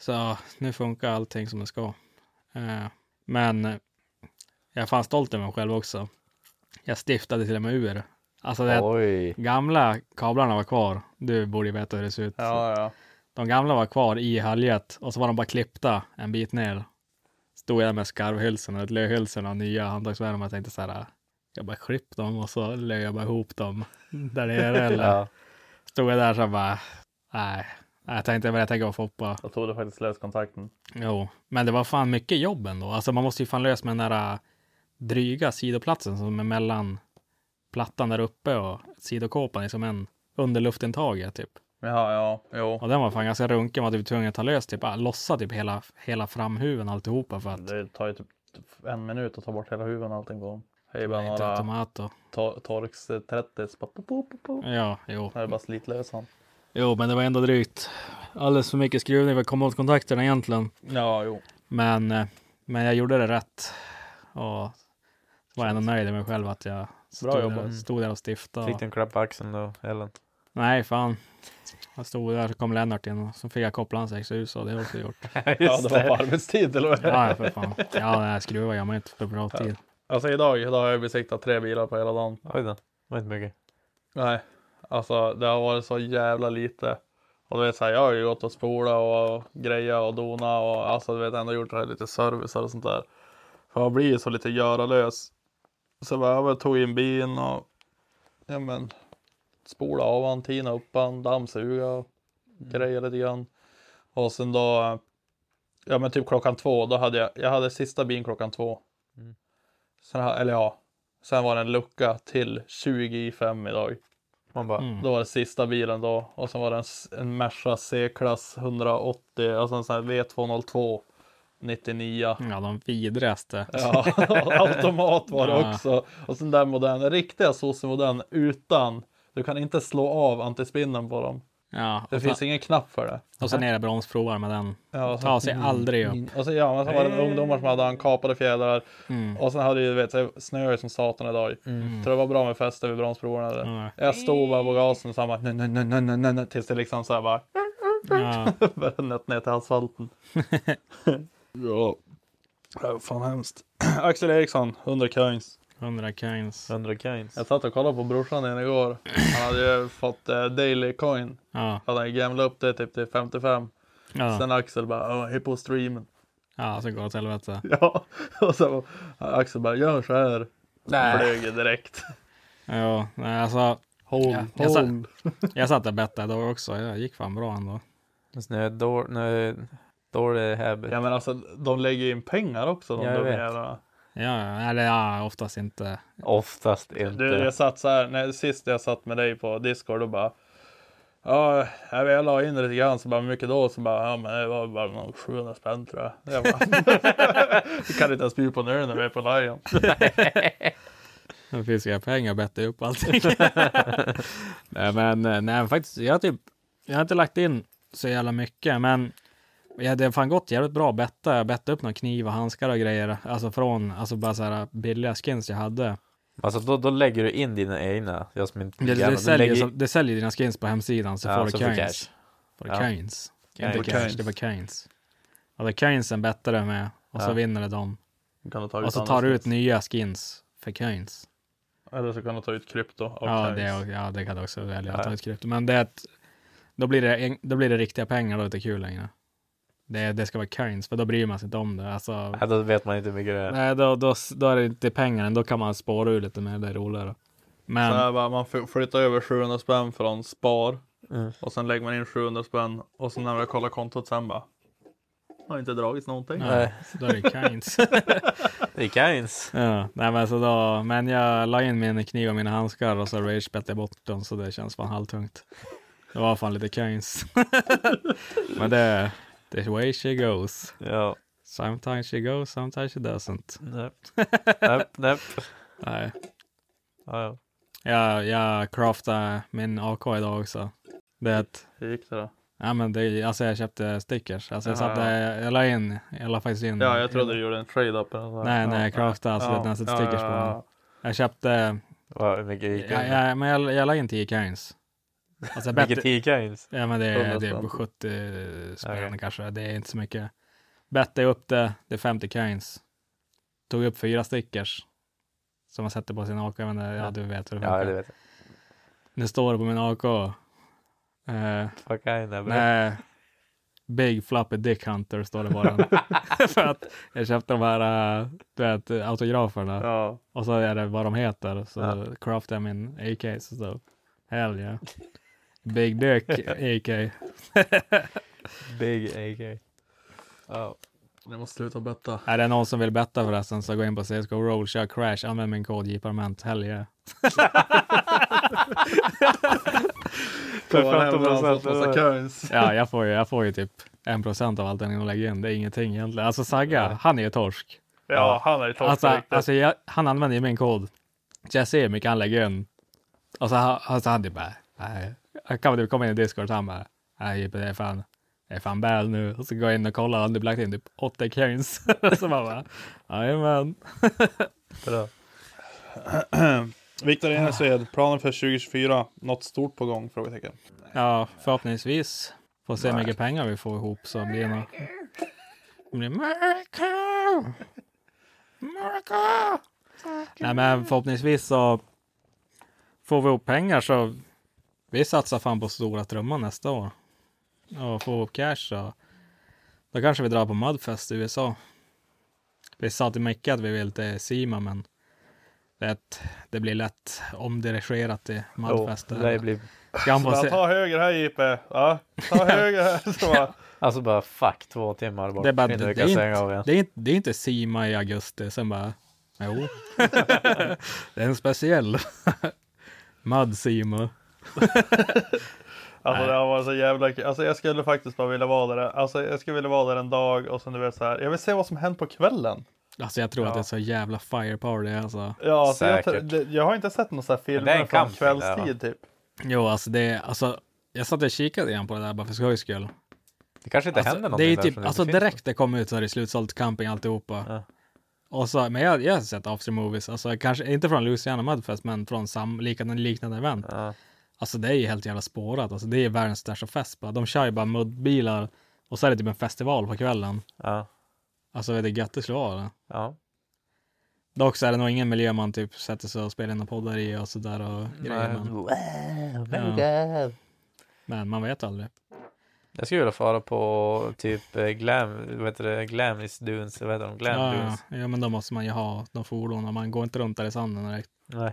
Så nu funkar allting som det ska. Eh, Men jag är fan stolt över mig själv också. Jag stiftade till och med ur. Alltså det,
Oj!
gamla kablarna var kvar. Du borde ju veta hur det ser ut.
Ja, ja.
De gamla var kvar i haljet och så var de bara klippta en bit ner. Stod jag där med skarvhylsorna, ett löhylsorna och nya handtagsvärmare och tänkte så här. Jag bara klipp dem och så löj jag bara ihop dem där nere. Eller
Ja.
stod jag där så bara, nej. Nej, Jag tänkte, jag tänker på Foppa.
Jag tog det faktiskt löskontakten.
Jo, men det var fan mycket jobb ändå. Alltså man måste ju fan lösa med den där äh, dryga sidoplatsen som är mellan plattan där uppe och sidokåpan, liksom en underluftintaget typ.
Ja, ja, jo.
Och den var fan ganska runkig, man var typ tvungen att ta lös, typ äh, lossa typ hela, hela framhuven alltihopa för att
Det tar ju typ en minut att ta bort hela huvudet och allting på dem. Det är bara
Nej, inte
några
tomato.
to- Torx 30. så bara pop, pop, pop, pop.
Ja, jo.
Det är bara slitlösan.
Jo, men det var ändå drygt. Alldeles för mycket skruvning för att komma åt kontakterna egentligen.
Ja, jo.
Men, eh, men jag gjorde det rätt. Och så var jag ändå nöjd med mig själv att jag stod, där,
jobbat.
och- stod där och stiftade.
Fick du en klapp på axeln då, Ellen?
Nej, fan. Jag stod där så kom Lennart in och så fick jag koppla hans exus och det har jag också gjort.
Ja, det var på arbetstid eller vad?
Ja, för fan. Ja, nej, skruva gör man inte för bra tid.
Alltså idag, idag har jag besiktat tre bilar på hela dagen.
Oj då, det var inte mycket.
Nej, alltså det har varit så jävla lite. Och du vet så här, jag har ju gått och spola och greja och dona och alltså du vet ändå gjort det här lite service och sånt där. För jag blir ju så lite göralös. Så jag bara, jag bara tog in bin och ja men spola av han, tina upp han, dammsuga och greja lite grann. Och sen då, ja men typ klockan två, då hade jag, jag hade sista bin klockan två.
Mm.
Sen, ha- eller ja, sen var det en lucka till 20 i fem idag.
Man bara,
Mm.
Då var det sista bilen då och sen var det en, s- en Merca C-klass 180, alltså en sån här V202 99.
Ja, de vidraste.
Ja, automat var det
Ja.
också. Och sen den modellen, riktiga sossemodellen utan, du kan inte slå av antispinnen på dem.
Ja,
Det
och,
finns
sen,
ingen knapp för det.
och sen är det bromsprovar med den.
Ja, och sen-
Ta sig aldrig upp.
Och sen, ja, men sen var det ungdomar som hade han kapade fjädrar
Mm.
och sen hade ju du vet, så snö som satan idag. Tror det var bra med fäste vid bromsprovarna. eller?
Ja.
Jag stod bara på gasen och så han bara, nej, nej, nej, nej, nej, nej, nej, tills det liksom så här bara
Ja.
Bara nött ner till asfalten. ja. Det var fan hemskt. Axel Eriksson, 100 coins.
100 coins.
100 coins.
Jag satt och kollade på brorsan igen igår. Han hade ju fått eh, daily coin.
Ja,
Han hade gamlat upp det typ till 55.
ja.
Sen Axel bara, "Ja, hej på streamen.
ja så går det åt helvete.
Ja, och sen bara, Axel bara, gör så här. Flög ju direkt.
Ja, nej, alltså.
Håll,
Ja, jag sa- Jag satt där bättre idag också. Jag gick fan bra ändå.
Snö, dår, nö, dålig habit.
Ja men alltså, de lägger ju in pengar också. De
Ja, jag
dumma
vet.
jävlarna.
Ja, eller ja, oftast inte.
Oftast inte.
Du, jag satt så här, när, sist jag satt med dig på Discord och bara Ja, jag vet, jag la in det lite grann så bara, hur mycket då? Så bara, ja men det var bara någon 700 spänn tror jag. jag bara, du kan inte ens bjuda på en öl när vi är på Lion.
Det finns inga pengar att betta upp allting. nej, men eh, nej, faktiskt, jag, har typ, jag har inte lagt in så jävla mycket, men ja, det har fan gått jävligt bra att betta. Jag bettade upp några kniv och handskar och grejer, alltså från alltså bara så här billiga skins jag hade.
Alltså då, då lägger du in dina egna. Jag som inte
Det,
jävlar,
det,
du
säljer,
lägger-
det säljer dina skins på hemsidan så
Ja,
får du
så
coins.
får
Cash.
cash.
Får du
Ja.
coins. Inte
Coins.
cash,
Coins.
det var coins. Och det är coinsen bettar du med och så
Ja.
vinner du dem.
Kan du ta
Och så
andra
tar du ut
skins?
nya skins för coins.
Eller så kan du ta ut krypto. och
Ja
coins.
det, ja, det kan du också välja att
Ja.
ta ett krypto. Men det är ett, Då blir det, en- då blir det riktiga pengar, då är det inte kul längre. Det, det ska vara coins, för då bryr man sig inte om det. Alltså,
Nej, då vet man inte hur mycket det är.
nej, då, då, då är det inte pengarna, då kan man spara ur lite mer, det är roligare. Men,
Så här bara, man f- flyttar över 700 spänn från spar
Mm.
och sen lägger man in 700 spänn och sen när jag kollar kontot sen bara har inte dragits någonting.
nej, då är det coins.
Det är Keynes.
ja, nej, men, så då, men jag la in min kniv och mina handskar och så ragebettade jag bort dem, så det känns fan halvtungt. Det var fan lite coins. men det, the way she goes.
Ja.
Sometimes she goes, sometimes she doesn't.
Nej. Nej. Nej.
Nej,
Ja, ja.
jag, jag craftade min AK idag också. Det är ett,
Hur gick det då?
ja men det, alltså jag köpte stickers. Alltså jag
Jaha,
satte, jag la in, jag la faktiskt in.
Ja, jag trodde du gjorde en trade-up eller något.
Nej, nej, jag craftade alltså när jag satte stickers på den. Jag köpte,
Vad- Hur mycket gick
jag,
det?
jag, men jag, jag la in 10 coins. Alltså
Vilket
bättre,
tio Keynes?
ja men det, är- det
100
är
spänn.
70 spänn
Okej.
kanske, det är inte så mycket. Bettade upp det, det är 50 coins. Tog upp fyra stickers. Som man sätter på sin AK, men det- ja du vet hur det
Ja, det vet jag.
Nu står det på min AK. Eh,
Fuck I never.
nej. Big Floppy Dick Hunter står det bara. För att jag köpte de här eh, du vet, autograferna.
Ja,
Och så är det vad de heter. Så
Ja.
craftade jag min AK. Så så. Hell yeah. Big Dick AK.
Big AK. Ja.
jag måste sluta betta.
Är det någon som vill betta förresten så gå in på CSGO Roll, kör Crash, använd min kod JParment. E Hell yeah.
För
15%
massa coins.
Ja, jag får ju, jag får ju typ 1% av allt jag lägger in. Det är ingenting egentligen. Alltså Saga, han är ju torsk.
Ja, han är ju torsk på
Alltså,
riktigt.
alltså jag, han använder ju min kod. Så jag ser hur mycket han lägger in. Och så han, alltså, han typ bara, nej. Jag kan väl typ komma in i Discord och han bara, nej Jeppe, det är fan, det är fan bad nu. Och så går jag in och kollar, han hade lagt in typ 8 coins. så man bara, jajamän.
Bra.
Viktor Enesved, planen för 2024, något stort på gång? Frågetecken.
Ja, förhoppningsvis får se hur mycket pengar vi får ihop så blir det något. Det blir miracle! Miracle! Nej men förhoppningsvis så får vi ihop pengar så vi satsar fan på stora trumman nästa år. Och får vi ihop cash så då kanske vi drar på Mudfest i USA. Vi sa till Micke att vi vill till Sima men det, det blir lätt omdirigerat till
Jo,
Mudfest.
det där blir...
Ska han
Så
få
bara,
se-
ta höger här Jippe. Ja, ta höger här. Så bara,
Alltså bara fuck två timmar bort.
Det är, bara,
Innan
det,
vi
det,
kan
är
stänga av
inte,
igen.
det, är inte, det är inte Sima i augusti, sen bara, jo. det är en speciell. Mud Sima.
alltså
Nej.
det har varit så jävla kul. Alltså jag skulle faktiskt bara vilja vara där. Alltså jag skulle vilja vara där en dag och sen du vet så här. Jag vill se vad som händer på kvällen.
Alltså jag tror att det är så jävla firepower det är, alltså.
Ja, så jag,
Säkert.
det- jag har inte sett någon sån här
det är en
film från
camping där, va?
kvällstid typ.
Jo, alltså det är, alltså. Jag satt och kikade igen på det där bara för skojs skull.
Det kanske inte händer
Alltså, det
någonting
är ju
där
typ,
som inte
alltså
finns.
direkt det kom ut så är det slutsålt camping alltihopa.
Ja.
Och så, men jag, jag har sett after movies, alltså kanske inte från Louisiana Mudfest, men från sam, liknande, liknande event.
Ja.
Alltså det är ju helt jävla spårat. Alltså det är världens största fest bara. De kör ju bara muddbilar och så är det typ en festival på kvällen.
Ja.
Alltså vet du hur gött det skulle vara? eller?
Ja.
Dock så är det nog ingen miljö man typ sätter sig och spelar in och poddar i och sådär och grejer. Men,
Ja.
men man vet aldrig.
Jag skulle vilja fara på typ eh, glam, vad heter det, glamis dunes, vad heter de, glam
Ja, ja,
dunes?
ja, men då måste man ju ha de fordon och man går inte runt där i sanden direkt.
Nej.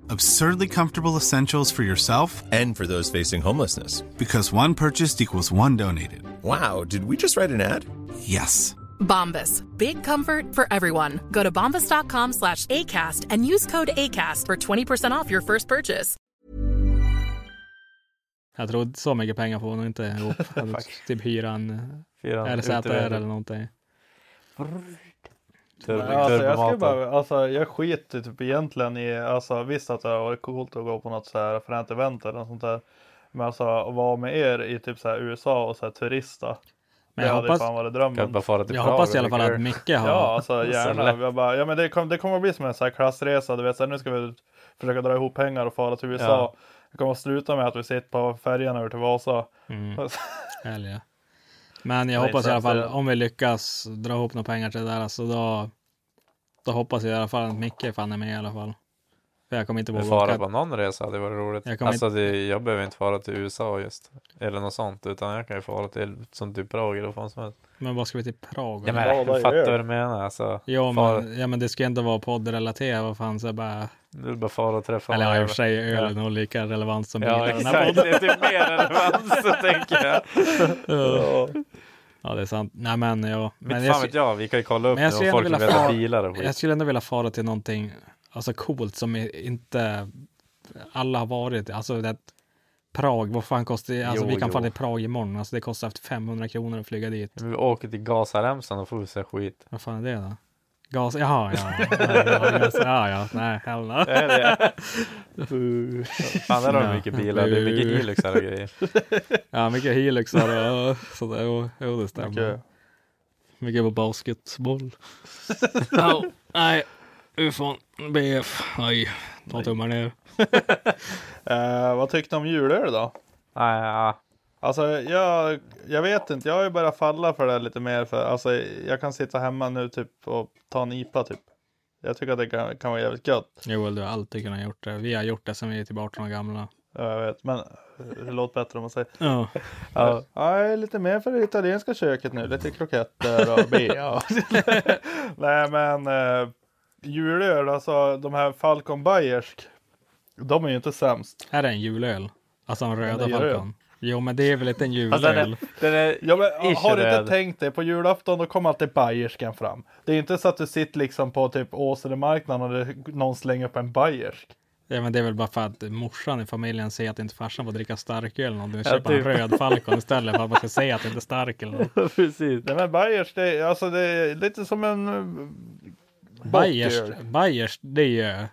Absurdly comfortable essentials for yourself
and for those facing homelessness.
Because one purchased equals one donated.
Wow, did we just write an ad?
Yes.
Bombas. Big comfort for everyone. Go to bombas.com slash ACAST and use code ACAST for 20% off your first purchase.
Jag tror så mycket pengar får nog inte ihop. Hade typ hyra en
Hyra en
RZR
uteväder.
eller någonting.
Nej, alltså, jag, skulle bara, alltså, jag skiter typ egentligen i, alltså visst att det har varit coolt att gå på något så här fränt event eller något sånt där. Men alltså att vara med er i typ så här USA och så här turista.
Men
det
jag
hade
hoppas-
fan varit drömmen.
Kan bara fara till Jag Prag hoppas i alla fall eller- att Micke har-
Ja alltså
Så
gärna.
lätt.
Jag bara, ja men det, kom, det kommer att bli som en så här klassresa. Du vet så här, nu ska vi försöka dra ihop pengar och fara till USA.
Ja.
Det kommer att sluta med att vi sitter på färjan över till Vasa.
Mm. Härliga. Men jag
Alltså. Nej,
hoppas i
för
alla fall
att- eh,
om vi lyckas dra ihop några pengar till det där så då, då hoppas jag i alla fall att Micke fan är med i alla fall. För jag kommer inte
Men
våga
fara
åka.
på någon resa hade varit roligt.
Jag
Jag,
kommer
alltså, det, jag behöver inte fara till USA just. Eller något sånt. Utan jag kan ju fara till som typ Prag eller vad fan som helst.
Men vad ska vi till Prag?
Ja, men,
eller?
jag fattar vad du menar. Alltså,
Ja
fara-
men, ja men det ska inte vara poddrelaterat, vad fan så jag bara...
Du vill bara fara och träffa
Eller
någon
ja, i och för sig öl
jävel.
är nog lika relevant som
Ja,
bilar i den här
exakt.
podden.
Det är typ mer relevant, så tänker jag.
Ja. Ja det är sant. Nej men ja.
Men fan vet jag, vi kan ju kolla upp
men jag
nu om
skulle ändå
folk som
vilja
vet
fara-
bilar och skit.
Jag skulle ändå vilja fara till någonting alltså coolt som i- inte alla har varit. Alltså det att Prag, vad fan kostar det? Alltså
Jo,
vi kan
jo.
fara till Prag imorgon. Alltså det kostar efter 500 kronor att flyga dit.
Vi åker till Gazaremsan och får se skit.
Vad fan är det då? Gas, jaha ja. Nej, ja, gas, ja, ja. Nej, hell no.
Är det? Fan, där har de mycket bilar. Det är mycket Hiluxar och grejer.
Ja, mycket Hiluxar och sådär. Jo, jo, det stämmer.
Mycket-
Mycket på basketboll. Ja, nej, ufon, BF, nej, ta tummar ner.
Eh, vad tyckte du om julöl då?
Nej, ja.
Alltså jag, jag vet inte, jag har ju börjat falla för det här lite mer. För, alltså, jag kan sitta hemma nu typ och ta en IPA typ. Jag tycker att det kan, kan vara jävligt gött.
Joel, du har alltid kunnat gjort det. Vi har gjort det sedan vi är typ 18 år gamla.
Ja, jag vet, men eh, det låter bättre om man säger.
Ja.
Ja. ja, jag är lite mer för det italienska köket nu. Lite kroketter och bea. Nej, men eh, julöl, alltså de här Falcon Bayersk. De är ju inte sämst.
Här är en julöl. Alltså en röda
Den är röd.
Falcon. Jo, men det är väl inte en
Alltså, den är-
julöl?
Ja, men,
Ish,
har du inte
röd.
tänkt dig, på julafton då kommer alltid bayerskan fram. Det är inte så att du sitter liksom på typ Åselemarknaden och det, någon slänger upp en bayersk.
Ja, men det är väl bara för att morsan i familjen säger att inte farsan får dricka starköl eller någonting.
Ja,
Köper
typ.
en röd Falcon istället för att man ska säga att det inte är stark eller något.
Precis.
Nej men bayersk, det, är- alltså, det är lite som en... eh,
Bayers,
eh,
bockgöl.
Bayers, det är ju eh,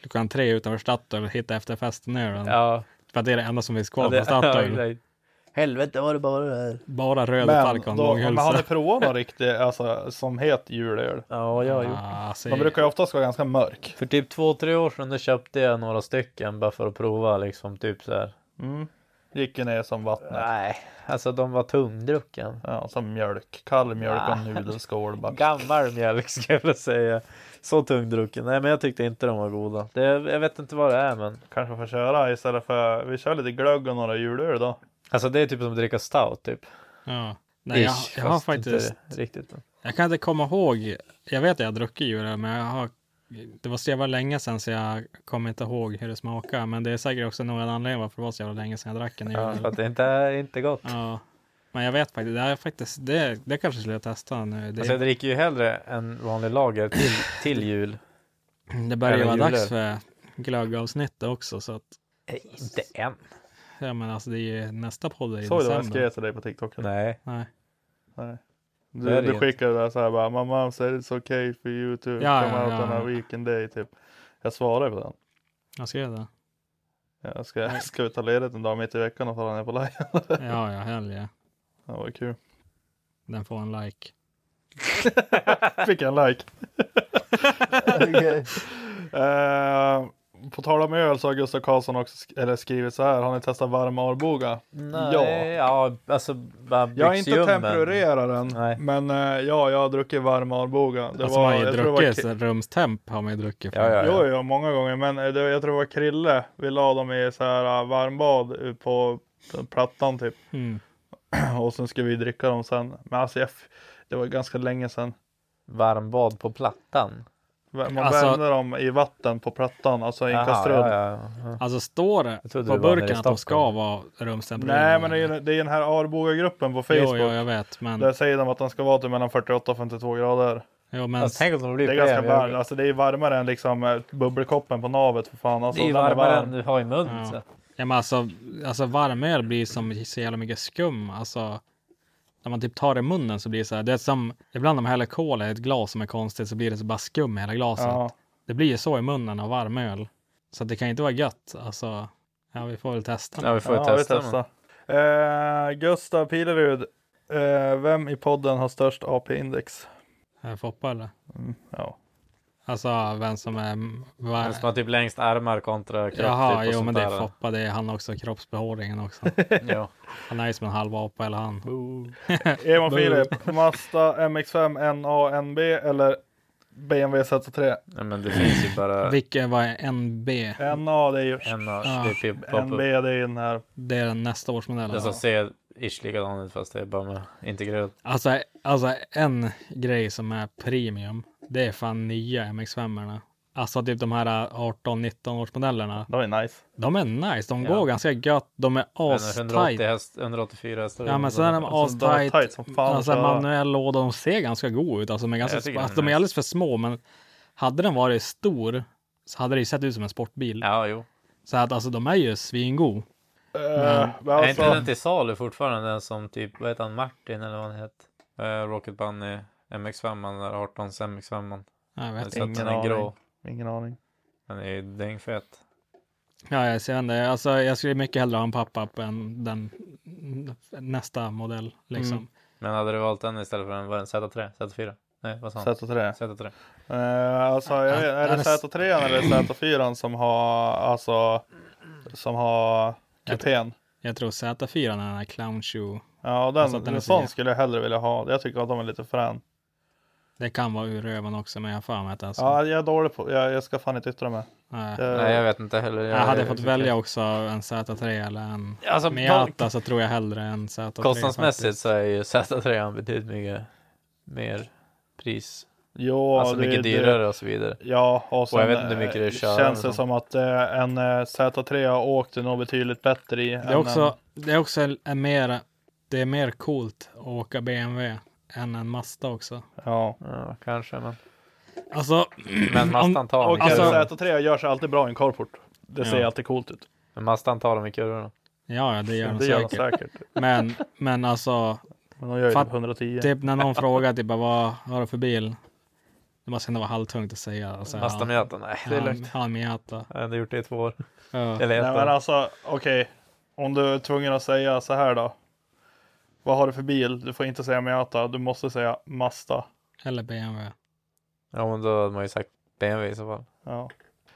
klockan tre utanför Statoil, hitta efter festen nu.
Ja.
För att det är det enda som finns kvar
Ja, det-
på Statoil.
ja, exakt.
Helvete var det bara det här.
Bara röd
Men
Falcon,
då-
långhylsa.
Men har ni provat någon riktig, alltså som heter julöl?
Ja, jag har gjort.
Ah,
De brukar ju oftast vara ganska mörk.
För typ två, tre år sedan då köpte jag några stycken bara för att prova liksom typ så här.
Mm. Gick ju ner som vattnet.
Nej, alltså de var tungdrucken.
Ja, som mjölk. Kall mjölk och
Nej.
nudelskål bara.
Gammal mjölk ska jag väl säga. Så tungdrucken. Nej, men jag tyckte inte de var goda. Det, jag vet inte vad det är, men.
Kanske får köra istället för, vi kör lite glögg och några julöl då.
Alltså det är typ som att dricka stout typ.
Ja. Nej, jag,
Ish,
jag har
fast
faktiskt...
inte riktigt. men-
Jag kan inte komma ihåg. Jag vet att jag har druckit julöl, men jag har... Det var så jävla länge sedan så jag kommer inte ihåg hur det smakade. Men det är säkert också någon anledning varför det var så jävla länge sedan jag drack en
Ja,
julöl.
för att det inte är inte gott.
Ja. Men jag vet faktiskt, det, är faktiskt, det, det kanske skulle jag testa nu. Det,
Alltså jag dricker ju hellre en vanlig lager till, till jul.
det börjar ju
Eller
vara
julöl.
dags för glöggavsnittet också. Så att,
Inte än.
ja, men alltså det är ju nästa podd är i
Såg du vad jag skrev
december.
till dig på TikTok?
Nej.
Nej.
Nej.
Det
Du,
är det
du
inte.
skickade det där så här bara, my mom said it's okay for you to
Ja,
come
ja,
out
ja,
on
ja.
a weekend day typ. Jag svarade på den.
Jag skrev det.
Jag ska, ska vi ta ledigt en dag mitt i veckan och falla ner på Lion?
Ja, ja, helge.
Det var kul.
Den får en like.
Fick jag en like? Eh, på tal om öl så har Gustav Karlsson också sk- eller skrivit så här. Har ni testat varm Arboga?
Nej, ja, alltså bara
Jag har inte
byxjummen.
temporerat den, men eh, ja, jag har druckit varm Arboga. Det
alltså man har ju
jag tror det var
druckit
Ki-
så rumstemp har man ju druckit.
Jo, jo, många gånger. Men eh, det, jag tror det var Krille. Vi la dem i så här eh, varmbad eh, på på plattan typ.
Mm.
Och sen skulle vi dricka dem sen. Men alltså jag, f- det var ganska länge sedan.
Varmbad på plattan?
Man
Alltså-
värmde dem i vatten på plattan, alltså i en
Jaha,
kastrull.
ja, ja, ja. Alltså, står det
trodde
på
det var nere i
burken att de ska
Stockholm.
vara rumstempererade?
Nej, men det är, ju- det är den här Arboga-gruppen på Facebook.
Jo, jo, jag vet, men-
Där säger de att den ska vara till mellan 48 och 52 grader.
Jo, men- Alltså, tänk om de blir
det är ganska
premium.
varmt. Alltså, det är varmare än liksom eh, bubbelkoppen på navet för fan. Alltså,
Det är
den
varmare
varm.
än du har i munnen, så. Ja, men alltså, alltså varmöl blir som så jävla mycket skum. Alltså, när man typ tar det i munnen så blir det så här. Det är som ibland när man häller kola i ett glas som är konstigt så blir det så bara skum i hela glaset.
Ja.
Det blir ju så i munnen av varmöl. Så att det kan ju inte vara gött. Alltså, ja, vi får väl testa.
vi testar. Eh, Gustav Pilerud, eh, vem i podden har störst AP-index?
Eh, Foppa eller?
ja.
Alltså vem som är... Var...
Den som har typ längst armar kontra kropp.
Jaha,
typ, och
jo
sånt
men det är
där.
Foppa, det är han också, kroppsbehåringen också.
Ja.
Han är ju som en halv apa eller han.
Eman
Boo.
Filip, Mazda MX5 NANB eller BMW Z3?
Nej, men det finns ju bara...
Vilken var NB?
NA det är ju...
NA, det är pip- pop-up.
NB det är den här.
Det är den nästa alltså. årsmodellen.
Den som Alltså, ser ish likadan ut fast det är bara med integrerat.
Alltså, alltså en grej som är premium, det är fan nya MX5. -erna. Alltså typ de här 18-19 årsmodellerna.
De är nice.
De är nice, de
Ja.
går ganska gött, de är
Den är
astight.
180 häst, 184 hästar.
Ja men sen är de
Alltså,
Alltså,
astight, alltså en manuell låda, de ser ganska god ut. Alltså, de, är ganska,
Jag tycker
alltså,
den
de
är
är alldeles för små, men hade den varit stor så hade det ju sett ut som en sportbil.
Ja, jo.
Så att alltså de är ju svingod.
men
Är
alltså-
inte den till salu fortfarande? Den som typ, vad heter han, Martin eller vad han heter? Eh, Rocket Bunny, MX5, eller 18 MX5.
Jag vet
Så att
inte.
den är
Ingen
grå.
Ingen aning.
Den är ju dyngfet.
Ja, jag ser det. Alltså, jag skulle mycket hellre ha en pappa än den nästa modell. Liksom.
Mm. Men hade du valt den istället för en, var det en Z3? Z4? Nej, vad sa han?
Z3.
Z3.
Eh, alltså, jag vet, är det Z3 eller Z4 som har, alltså, som har kupén?
Jag tror Z4 är den här clown shoe.
Ja, och den,
Alltså att den är
en
så
sån
jä-
skulle jag hellre vilja ha. Jag tycker att de är lite frän.
Det kan vara ur röven också, men jag har för mig att det är så.
Ja, jag är dålig på, jag, jag ska fan inte yttra mig.
Nej.
Eh,
Nej, jag vet inte heller.
Jag, hade jag fått välja också en Z3 eller en
Alltså,
Miata så tror jag hellre en Z3.
Kostnadsmässigt
faktiskt.
så är ju Z3 betydligt mycket mer pris.
Jo,
alltså
det-
mycket
det-
dyrare och så vidare.
Ja, och, sen,
jag vet inte hur mycket det
eh,
kör.
känns det som att eh, en eh, Z3 har åkt nog betydligt bättre i.
Det är också, det är också en- en mer, det är mer coolt att åka BMW än en Mazda också.
Ja.
kanske. Men...
Alltså,
Men Mazdan tar
Och
dem i kurvorna.
en Z3 gör sig alltid bra i en carport. Det
Ja.
ser alltid coolt ut.
Men Mazdan tar dem i kurvorna.
Ja, ja, det gör de
Det gör de
säkert.
säkert.
Men, men alltså.
Men de gör ju
fatt-
typ 110.
Typ när någon frågar typ bara, vad har du för bil? Det måste ändå vara halvtungt att säga. och säga,
Mazda
ja,
Miata? Nej, det är
ja,
lugnt.
Ja, en Miata.
Jag hade gjort det i två år.
Ja.
Eller ett
Nej,
år.
men alltså, okej. Om du är tvungen att säga så här då. Vad har du för bil? Du får inte säga Miata. Du måste säga Mazda.
Eller BMW.
Ja, men då hade man ju sagt BMW i så fall.
Ja,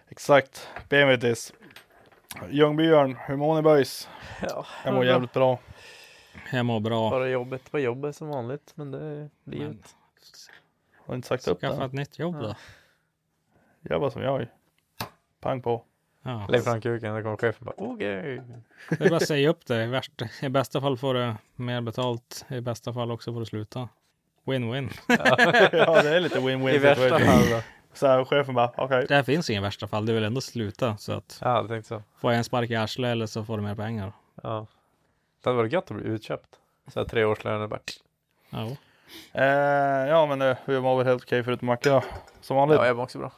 exakt. BMW diss. Ljungbyarn, hur mår ni boys?
Ja,
jag mår jävligt bra.
Jag mår bra.
Bara jobbet på jobbet som vanligt, men det är livet.
Har du inte sagt upp
Skaffa
det?
ett nytt jobb då.
Jobba som jag. Pang på.
Ja.
Lägg fram kuken, då kommer chefen bara okej.
Det är bara att säga upp det. I, värsta, I bästa fall får du mer betalt. I bästa fall också får du sluta. Win-win.
ja, det är lite win-win
I värsta
situation.
fall då.
Så här, chefen bara, okej.
Det här finns ingen värsta fall. Du vill ändå sluta. Så att
Ja, jag tänkte så.
får jag en spark i arslet eller så får du mer pengar.
Ja. Det hade varit gött att bli utköpt. Så här tre årslöner bara.
Ja.
Eh, ja, men nu, vi mår väl helt okej förutom Macke då. Som vanligt.
Ja, jag mår också bra.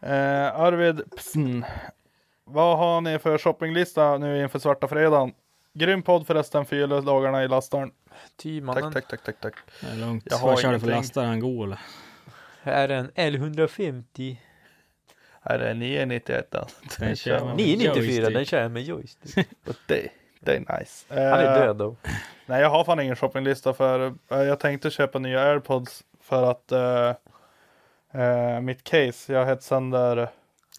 Eh, Arvid Psn. Vad har ni för shoppinglista nu inför svarta fredagen? Grym podd förresten, fyra dagarna i lastaren.
Ty mannen.
Tack, tack, tack, tack, tack.
Det är lugnt.
Jag har
Vad kör du för
ingenting.
lastare? En god eller?
Här är en L150.
Här är 991.
Den kör man med
994,
joystick.
den kör jag med joystick.
det, det är nice. Han
är död då.
Nej, jag har fan ingen shoppinglista för eh, jag tänkte köpa nya airpods för att eh, eh, mitt case, jag hetsade sönder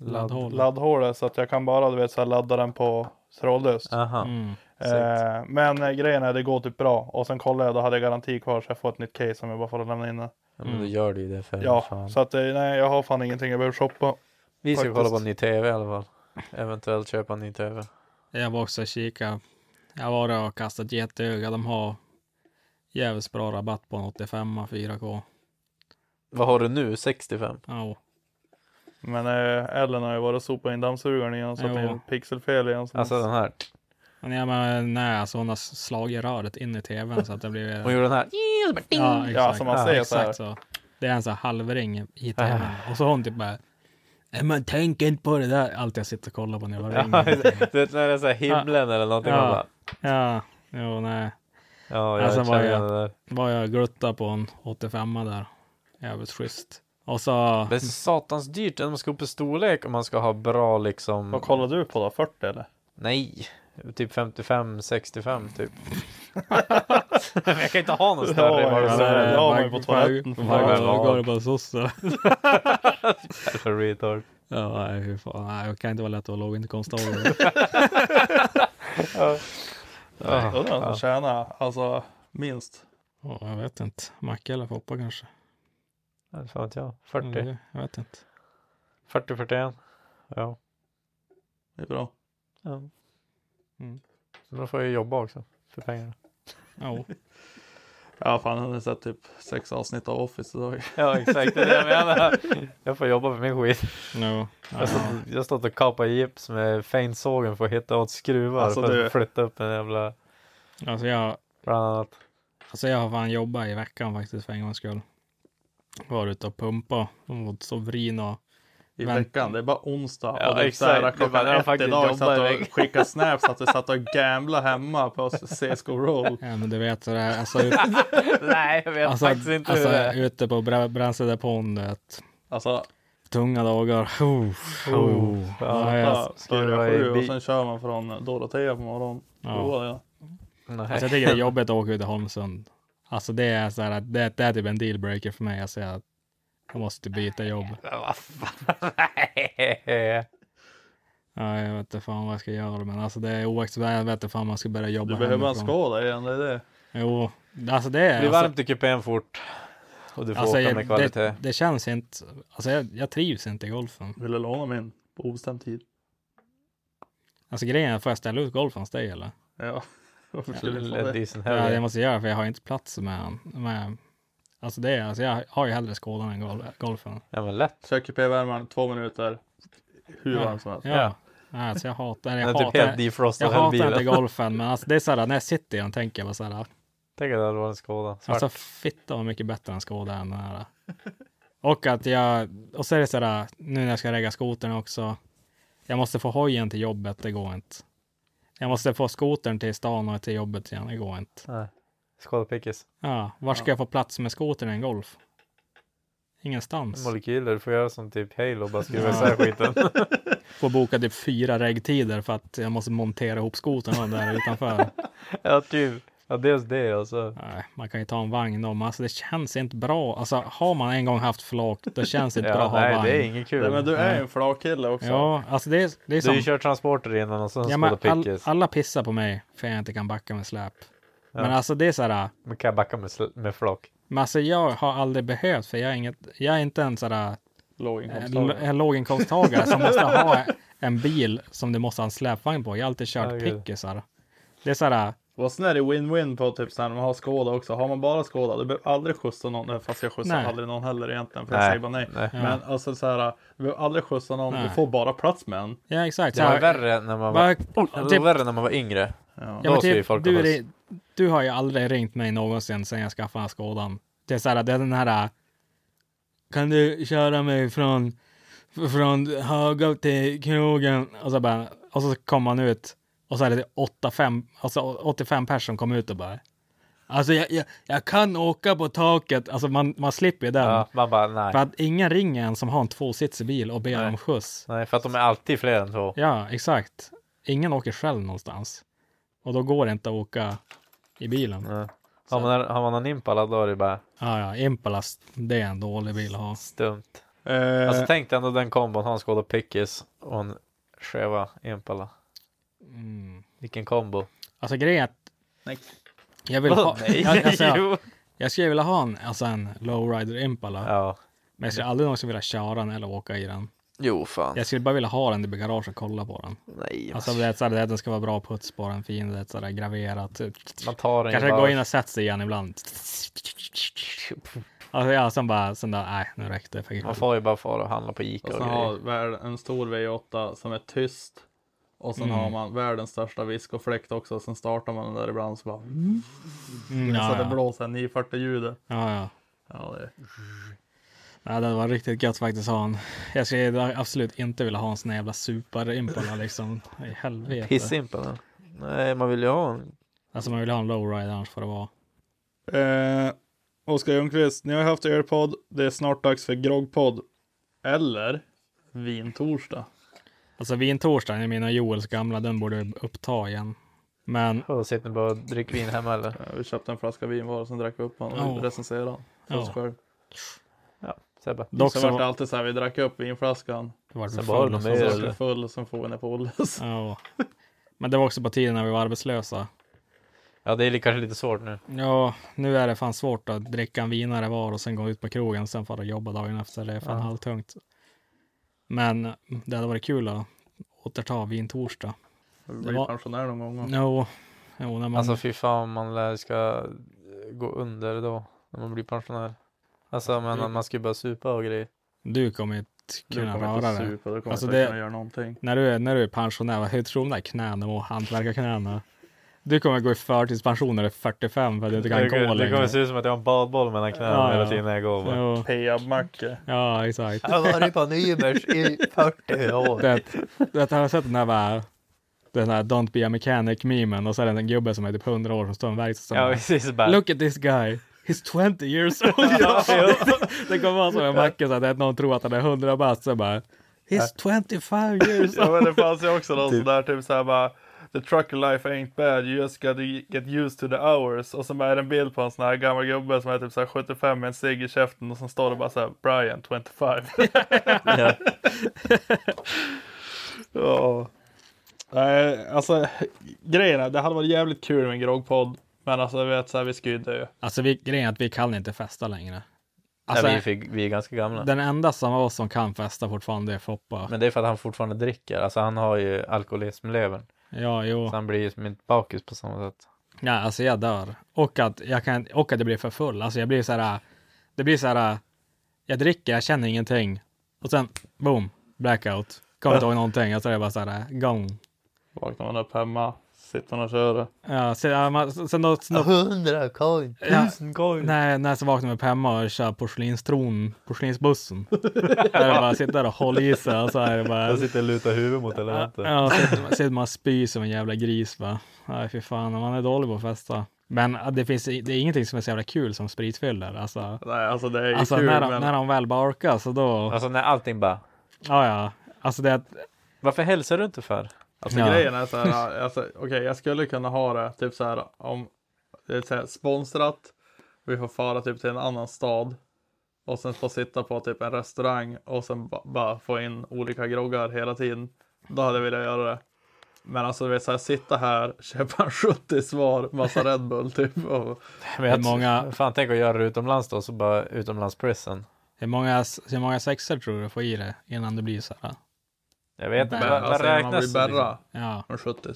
Laddhål.
laddhålet så att jag kan bara du vet, så här, ladda den på trådlöst.
Aha.
Mm,
eh, men eh, grejen är det går typ bra och sen kollar jag då hade jag garanti kvar så jag får ett nytt case som jag bara får lämna in.
Ja,
Mm.
men då gör du ju det för
Ja,
fan.
så att eh, nej jag har fan ingenting jag behöver shoppa.
Vi ska
Faktiskt.
kolla på en ny TV i alla fall. Eventuellt köpa en ny TV.
Jag var också och kika. Jag var där och kastade ett jätteöga. De har jävligt bra rabatt på en 85 4K.
Vad har du nu? 65?
Ja.
Men eh, Ellen har ju varit och sopat in dammsugaren igen så att det är
Jo.
en pixelfel igen. så-
Alltså den här.
Men jag menar, nej, alltså hon har slagit röret in i tvn så att det blir...
Hon gjorde den här.
Ja, exakt.
Ja, som man ser så här.
exakt så. Det är en sån här halvring i tvn. Och så har hon typ bara... "Nej, Men tänk inte på det där. Allt jag sitter och kollar på när jag
Ja,
ringer.
du vet när det är så här himlen eller någonting. man
Ja,
bara,
ja, jo, nej.
Ja, jag
alltså var
känner det
jag,
där.
var jag glutta på en 85 där. Jävligt schysst. Och så...
Det är så satans dyrt när man ska upp i storlek om man ska ha bra liksom.
Vad kollar du på då? 40 eller?
Nej, typ 55, 65 typ. jag kan inte ha någon
Ja,
större.
ja,
bara så
ja,
här.
ja, har man ju på toaletten.
Varje-
Fan, vad
varje dag
lag.
går det bara sossar.
Jävla retard.
Ja, nej, fy fan. Nej, jag kan inte vara lätt att vara låginkomsttagare.
Ja.
Ja.
Undrar vem som tjänar alltså minst.
Ja, jag vet inte. Macke eller Foppa kanske?
Ja, det Fan vet jag. 40.
Ja, det- jag vet inte.
40, 41. Ja.
Det är bra.
ja.
Mm.
Men då får jag jobba också för pengarna.
Ja.
Ja fan jag hade sett typ sex avsnitt av Office idag.
Ja exakt, det är det jag menar. Jag får jobba för min skit.
No.
Jag har stått- jag har stått och kapat gips med feinsågen för att hitta åt skruvar
Alltså,
för
du-
att flytta upp en jävla...
Alltså jag...
Bland annat.
Alltså jag har fan jobbat i veckan faktiskt för en gångs skull. Varit ute och pumpa och så vrin och...
I
vänt-
veckan, det är bara onsdag.
Ja,
och det är
exakt.
exakt.
Det är bara-
klockan
jag har
ett
faktiskt
idag
jobbat
satt
i
och
veckan.
skickade snaps alltså, att du satt och gamblade hemma på CSGO roll.
Ja men du vet sådär, alltså...
Nej, jag vet faktiskt inte
alltså,
hur det är.
ute på bra- bränsledepån, du vet.
Alltså...
Tunga dagar. Oh, oh. Ja,
Ja,
jag-
börjar
i
sju och
bi-
sen kör man från Dorotea på morgonen.
Ja.
Då, ja.
Alltså, jag tycker det är jobbigt att åka ut till Holmsund. Alltså det är så här, att det, det är typ en dealbreaker för mig. Alltså, jag, jag måste byta jobb. Ja, jag vet inte fan vad jag ska göra, men alltså det är oacceptabelt. Jag vet inte fan om jag ska börja jobba
Du behöver en
hemifrån.
skåda igen, det är det.
Jo, alltså det är...
Det blir
alltså,
varmt i kupén fort. Och du får
alltså,
åka med
jag,
kvalitet.
det, det känns inte... Alltså jag, jag trivs inte i golfen.
Vill du låna min på obestämd tid?
Alltså grejen är, får jag ställa ut golfen hos dig eller?
Ja. Varför
skulle du få det? Decent helg.
ja, det måste jag göra för jag har inte plats med han. Med, alltså det är, alltså jag har ju hellre skådan än gol, golfen.
Ja men lätt.
Kör kupévärmaren, två minuter. Hur
Ja.
varmt som helst.
Ja. ja. Alltså jag hatar, jag
Den är
hatar,
typ helt defrostad,
jag
hela
hatar
bilen.
inte golfen, men alltså det är så här, när jag sitter i den tänker jag bara så här,
Tänk att det hade varit en skåda. Svart.
alltså fitta vad mycket bättre än Skoda än den här. Och att jag, och så är det så här, nu när jag ska regga skotern också, jag måste få hojen till jobbet, det går inte. Jag måste få skotern till stan och till jobbet igen, det går inte.
Nej. Skåda pickis.
Ja, var ska jag få plats med skotern i en golf? Ingenstans.
Molekyler, du får göra som typ Halo bara skruva
Ja.
isär skiten.
Får boka typ fyra reggtider för att jag måste montera ihop skotern där utanför.
ja typ. Ja dels det och så.
Nej, man kan ju ta en vagn om. Alltså det känns inte bra. Alltså har man en gång haft flak, då känns det inte
Ja,
bra att ha
nej,
vagn.
det är inget kul.
Nej, men du är ju en
Nej.
flakkille också.
Ja, alltså det är, det är
Du har ju
som...
kört transporter innan och sen
Ja,
skåda
men all,
pickis.
alla pissar på mig för jag inte kan backa med släp.
Ja.
Men alltså det är så här.
Men kan jag backa med, sl- med flock?
Men alltså jag har aldrig behövt, för jag är, inget, jag är inte en sån där
Låginkomsttagare.
en låginkomsttagare som måste ha en bil som du måste ha en släpvagn på. Jag har alltid
Ja,
kört
gud.
pickisar. Det är så här,
Vad sån är det win-win på typ så här när man har skåda också. Har man bara skåda, du behöver aldrig skjutsa någon. Nej, Fast jag skjutsar
Nej.
aldrig någon heller egentligen. För
Nej,
jag säger bara nej.
nej.
Men alltså så här, du behöver aldrig skjutsa någon. Du
Nej.
får bara plats med en.
ja exakt.
Det
Så
var
här-
värre när man var,
Bara-
det var
typ-
värre när man var yngre.
Ja,
Då
men
skulle ju
typ,
folk
du,
ha
ri- du har ju aldrig ringt mig någonsin sen jag skaffade den här skådan. Det är så här, det är den här. Kan du köra mig från, från Haga till krogen? Och så, bara, och så kom man ut och så är det 85, alltså 85 personer som kom ut och bara. Alltså jag, jag, jag kan åka på taket. Alltså man, man slipper ju den.
Ja, man bara nej.
För att ingen ringer en som har en tvåsitsig bil och ber om skjuts.
Nej, för att de är alltid fler än två.
Ja, exakt. Ingen åker själv någonstans. Och då går det inte att åka i bilen. Ja,
Har man, har man en Impala då är det bara
ja, Impala, det är en dålig bil att ha.
stumt.
Eh,
Alltså tänk dig ändå den kombon, han skålar pickis och en skeva impala. Vilken kombo.
Mm. Alltså grejen är att
Nej.
jag vill
Vadå
ha...
nej?
Jag, alltså,
Jo.
jag, jag skulle vilja ha en, alltså en Lowrider Impala. Men jag skulle aldrig någonsin vilja köra den eller åka i den.
Jo, fan.
Jag skulle bara vilja ha den i garaget och kolla på den.
Nej,
alltså det är så här, det är att den ska vara bra puts på den, fin, det är så här, typ. graverat.
Man tar den i
Kanske
bara-
går in och sätter sig igen ibland. Alltså ja, sen bara, sen där, nej, nu räckte det. för ikväll.
Man får ju bara fara och handla på Ica
Och
och,
sen
grejer.
har värld, en stor V8 som är tyst. Och sen
Mm.
har man världens största viskofläkt också. Sen startar man den där ibland så bara...
Mm,
så
ja,
det
ja.
blåser 940 ljudet.
Ja, ja.
Ja, det...
Ja, det var riktigt gött faktiskt att ha en. Jag skulle absolut inte vilja ha en sån här jävla superimpala liksom. I helvete.
Pissimpala? Nej, man vill ju ha en.
Alltså man vill ha en lowrider annars får det vara.
Eh, Oskar Ljungqvist, ni har haft Airpod. Det är snart dags för groggpodd. Eller vintorsdag.
Alltså vintorsdagen, jag menar Joels gamla, den borde vi uppta igen. Men...
Och sitter ni bara och dricker vin hemma eller?
Eh, vi köpte en flaska vin var och sen drack vi upp den och
Ja.
recenserade den. För
Ja.
oss själv.
Ja, Sebbe.
Dock
så,
så-
var det alltid så här, vi drack upp vinflaskan.
var det
sen
full
var det
och
något
sen så-
mer. full och sen får vi den på Olles.
Ja. Men det var också på tiden när vi var arbetslösa.
Ja, det är li- kanske lite svårt nu.
Ja, nu är det fan svårt att dricka en vinare var och sen gå ut på krogen och sen fara och jobba dagen efter. Det är fan
Ja.
halvtungt. Men det hade varit kul att återta vintorsdag.
Bli pensionär någon gång.
Jo, jo när man...
Alltså fy fan, man lär ska gå under då, när man blir pensionär. Alltså, men man ska ju börja supa och grejer.
Du kommer inte
Du
kunna
kommer inte
röra dig.
supa, du kommer
Alltså
inte
det-
kunna göra
någonting.
När du, är- när du är pensionär, vad- hur tror du de där knäna och hantverkarknäna? Du kommer gå i förtidspension när du är 45 för att du inte kan
Det-
gå
det
längre.
kommer se ut som att jag har en badboll mellan knäna hela tiden när jag går, va?
Ja.
Peab-Macke.
Ja, exakt.
Jag har varit på Nymers i 40 år.
Det, det har jag sett den här, va, den här Don't be a mechanic memen och så är det en gubbe som är typ 100 år som står i en verkstad. som
Ja,
bara,
precis, bara-
Look at this guy. He's 20 years old.
Ja, ja.
Det kommer vara som en macka så att någon tror att han är 100 bast. Så bara, He's 25 years
ja, men det
old.
fanns ju också någon
Typ.
sån där typ såhär bara The trucker life ain't bad, you just gotta get used to the hours. Och så bara är det en bild på en sån här gammal gubbe som är typ såhär 75 med en cigg i käften och sen står det bara såhär Brian 25.
Ja.
ja. Nej, alltså grejen är, det hade varit jävligt kul med en groggpodd. Men alltså jag vet såhär, vi skulle ju dö.
Alltså vi, grejen är att vi kan inte festa längre.
Alltså, vi, fick, vi är ganska gamla.
Den enda som av oss som kan festa fortfarande är Foppa.
Men det är för att han fortfarande dricker. Alltså han har ju alkoholism i levern.
Ja, jo.
Så han blir ju som inte bakis på samma sätt.
Ja, alltså jag dör. Och att jag, kan, och att jag blir för full. Alltså jag blir så här, det blir så här, jag dricker, jag känner ingenting. Och sen, boom, blackout. Kommer inte ihåg någonting. Alltså det är bara så här, gone.
Vaknar man upp hemma, sitter man och kör.
Ja, sen, ja, man, sen då, sen då,
Hundra coin,
Ja.
tusen coin.
Nej, när jag vaknar upp hemma och kör porslinstron, porslinsbussen. där jag bara sitter där och håller i sig. Och så är det bara,
Jag sitter och lutar huvudet mot elementet.
Ja, och sitter man- sitter man och spyr som en jävla gris va. Nej, fy fan, man är dålig på att festa. Men ah, det, finns, det är ingenting som är så jävla kul som spritfyller. Alltså,
Nej, alltså det är ju
alltså
kul.
när, de,
men...
när de väl bara orkar så då.
Alltså när allting bara.
Ja, ja. Alltså det är att...
Varför hälsar du inte för?
Alltså
Ja.
grejen är så här, alltså, okej jag skulle kunna ha det typ så här om det är så här, sponsrat, vi får fara typ till en annan stad och sen få sitta på typ en restaurang och sen ba- bara få in olika groggar hela tiden. Då hade jag velat göra det. Men alltså du vet så här, sitta här, köpa en 70 svar, massa Red Bull typ. Och,
Men jag, många... Fan tänk att göra det utomlands då, så bara utomlandsprison.
Hur många, hur många sexer tror du du får i dig innan det blir så här?
Jag vet inte,
Bär-
vad vad
alltså, när man
räknas? liksom?
blir
det
bärra. Ja.
En 70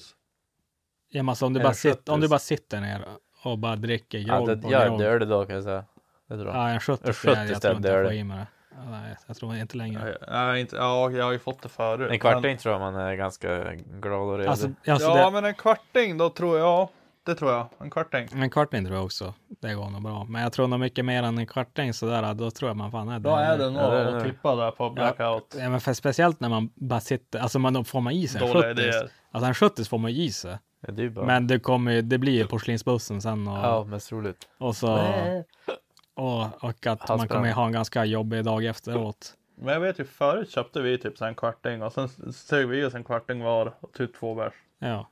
Ja, men alltså, om, du
Eller
bara sitter, om du
70s.
bara sitter ner och bara dricker
Ja,
grogg
det
på
gör
grogg.
dör det då kan jag säga. Det tror jag.
Ja, en 70
En
jag, jag
70
tror inte jag får
dör
i
det.
mig det. Ja, Nej, jag tror inte längre.
Nej, inte, ja, jag har ju fått det förut.
En kvarting tror jag man är ganska glad och redig.
Alltså,
ja, men en kvarting då tror jag. Det tror jag. En kvarting.
En kvarting tror jag också. Det går nog bra. Men jag tror nog mycket mer än en kvarting sådär. Då tror jag man fan är
Då är det nog
Ja,
att tippa där på blackout.
Ja, men för speciellt när man bara sitter. Alltså man, då får man i sig en
Dåliga
70.
idéer.
Alltså en 70 får man i sig.
Ja, det är ju bra.
Men det kommer ju- det blir ju porslinsbussen sen. Och,
Ja, mest roligt.
Och så. Och, och att man
Halsbrand.
kommer ju ha en ganska jobbig dag efteråt.
Men jag vet ju förut köpte vi typ så här en kvarting och sen sög vi oss en kvarting var och typ två bärs.
Ja.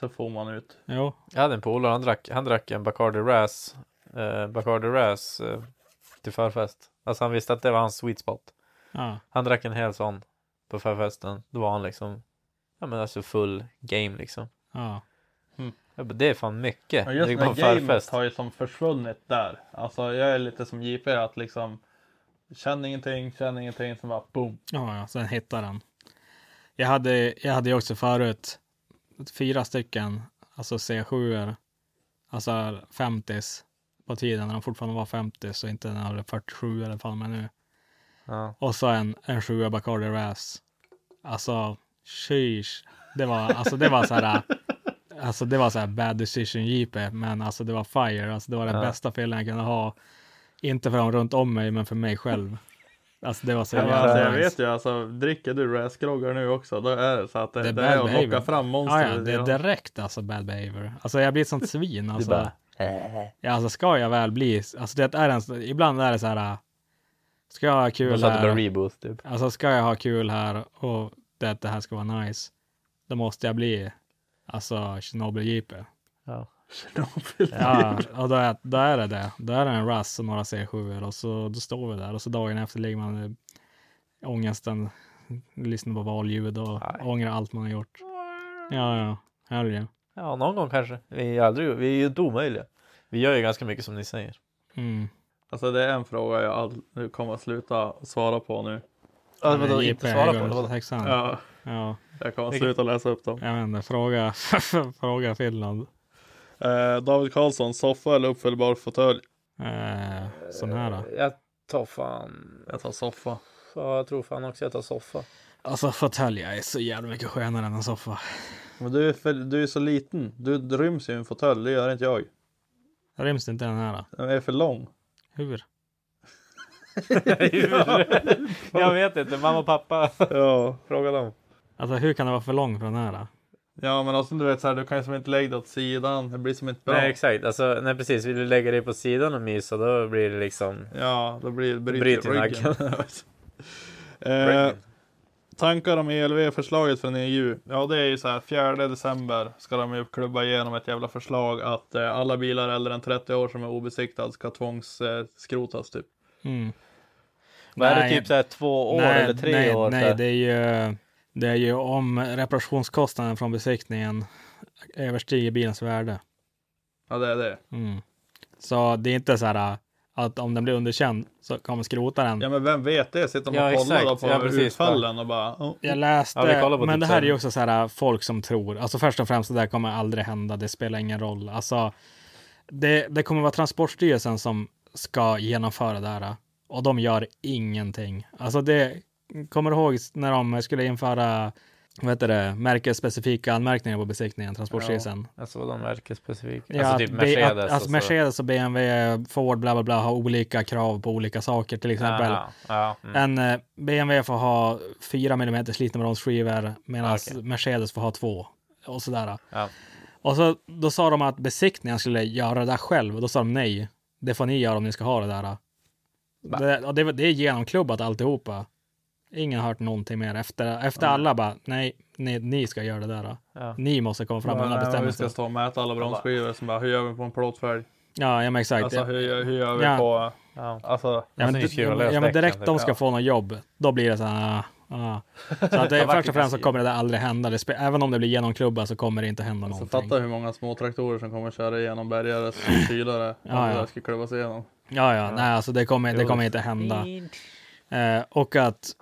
Så får man ut.
Jo.
Jag hade en polare, han drack, han drack en Bacardi Ras, eh, Bacardi Ras eh, till förfest. Alltså han visste att det var hans sweet spot.
Ja.
Han drack en hel sån på förfesten. Då var han liksom, ja men alltså full game liksom.
Ja.
Jag bara, det är fan mycket. det
Ja,
är
just det
bara
här gamet
förfest.
har ju som försvunnit där. Alltså jag är lite som JP att liksom känner ingenting, känner ingenting, sen bara boom.
Ja, ja, sen hittar han. Jag hade, jag hade ju också förut fyra stycken, alltså C7-er, alltså 50s på tiden när de fortfarande var 50 så inte några 47 eller fan men nu.
Ja.
Och så en, en 7 Bacardi Ras. Alltså, sheesh. Det var, alltså det var så här, alltså det var så här bad decision JP, men alltså det var fire, alltså det var den
Ja.
bästa feelingen jag kunde ha. Inte för de runt om mig, men för mig själv. Alltså det var så
Ja, men
jävla
alltså, jag
nice.
vet ju alltså, dricker du raskgroggar nu också, då är det så att det, det,
bad
är att
behavior.
locka fram
Ja, ja,
monster.
det är direkt alltså bad behavior. Alltså jag blir ett sånt svin. Alltså,
bara,
ja, alltså ska jag väl bli, alltså det är en, ibland är det så här, äh, ska jag ha
Då
kul
satt det bara
här,
reboot typ.
alltså ska jag ha kul här och det, det här ska vara nice, då måste jag bli, alltså Tjernobyl-JP.
Ja.
Ja, och då är, då är det det. Då är det en Russ och några C7 och så då står vi där och så dagen efter ligger man i ångesten, lyssnar på valljud och ångrar allt man har gjort. Ja, ja, herregud.
Ja, någon gång kanske. Vi är, aldrig, vi är ju inte omöjliga. Vi gör ju ganska mycket som ni säger.
Mm.
Alltså det är en fråga jag all... nu kommer att sluta svara på nu.
Ja, vadå, Men inte JP, svara på det? vadå?
Texan.
Ja.
Ja.
Jag kommer att
Vilket-
sluta läsa upp dem.
Jag vet inte, fråga, fråga Finland.
Eh, David Karlsson, soffa eller uppfällbar fåtölj?
Eh, sån här då.
Jag tar fan...
Jag tar soffa.
Ja, jag tror fan också jag tar soffa.
Alltså fåtölj är så jävla mycket skönare än en soffa.
Men du är, för, du är så liten. Du ryms i en fåtölj, det gör inte jag.
Ryms inte den här då?
Den är för lång.
Hur?
jag vet inte, mamma och pappa.
Ja.
Fråga dem.
Alltså hur kan det vara för lång för den här då?
Ja men också du vet så här, du kan ju som inte lägga det åt sidan. Det blir som inte bra.
Nej exakt, alltså, nej, precis. Vill du lägga dig på sidan och mysa då blir det liksom...
Ja, då blir det bryter
Bryter
ryggen.
nacken.
eh, tankar om E ELV-förslaget från EU? Ja, det är ju så här 4 december ska de ju klubba igenom ett jävla förslag att eh, alla bilar äldre än 30 år som är obesiktade ska tvångsskrotas eh, skrotas, typ.
Mm.
Vad är det,
Nej.
typ så här två år eller tre
nej,
år, så
Nej,
här?
det är, ju, det är ju om reparationskostnaden från besiktningen överstiger bilens värde.
Ja, det är det.
Mm. Så det är inte så här äh, att om den blir underkänd så kommer skrotaren.
Ja, men vem vet det? Sitter de
Ja,
och kollar då
exakt.
på
Ja, precis.
utfallen och bara... oh.
Jag läste,
Ja, vi kollar på
men
typ
det
så
här
här-
är ju också så här äh, folk som tror. Alltså först och främst, det där kommer aldrig hända. Det spelar ingen roll. Alltså, det, det kommer vara Transportstyrelsen som ska genomföra det här äh, och de gör ingenting. Alltså det, kommer du ihåg när de skulle införa vad heter det, märkesspecifika anmärkningar på besiktningen, Transportstyrelsen?
Ja, alltså vad de verkar specifika.
Ja,
alltså typ
att
Mercedes.
Be, att,
och
alltså
så-
Mercedes och BMW, Ford, bla bla bla har olika krav på olika saker till exempel.
Aha, ja, mm.
En eh, BMW får ha 4 mm slitna bromsskivor medan Mercedes får ha två och sådär.
Ja.
Och så, då sa de att besiktningen skulle göra det där själv och då sa de nej. Det får ni göra om ni ska ha det där. Det, och det, det är genomklubbat alltihopa. Ingen har hört någonting mer efter, efter alla bara nej, ni, ni ska göra det där.
Ja.
Ni måste komma fram med
Ja,
alla
nej, men vi ska
bestämmelser.
stå och mäta alla bromsskivor som bara, hur gör vi på en plåtfälg?
Ja, ja men exakt.
Alltså hur, hur gör vi
Ja.
på...
Ja.
Alltså,
Ja men,
Precis,
d-
hur löst
ja, men direkt
däcken,
de
typ.
ska
Ja.
få något jobb, då blir det så här. ah, ah. Så att
Ja,
det, först
verkligen.
och främst så kommer det där aldrig hända. Det spe, även om det blir genomklubbat så kommer det inte hända
Så
någonting. Mm.
fatta Alltså, hur många små traktorer som kommer köra igenom bergares kylare om
Ja,
det
ja.
där ska klubbas igenom.
Ja, ja, nej, alltså det kommer, det
Jo,
kommer
det-
inte hända. Eh, och att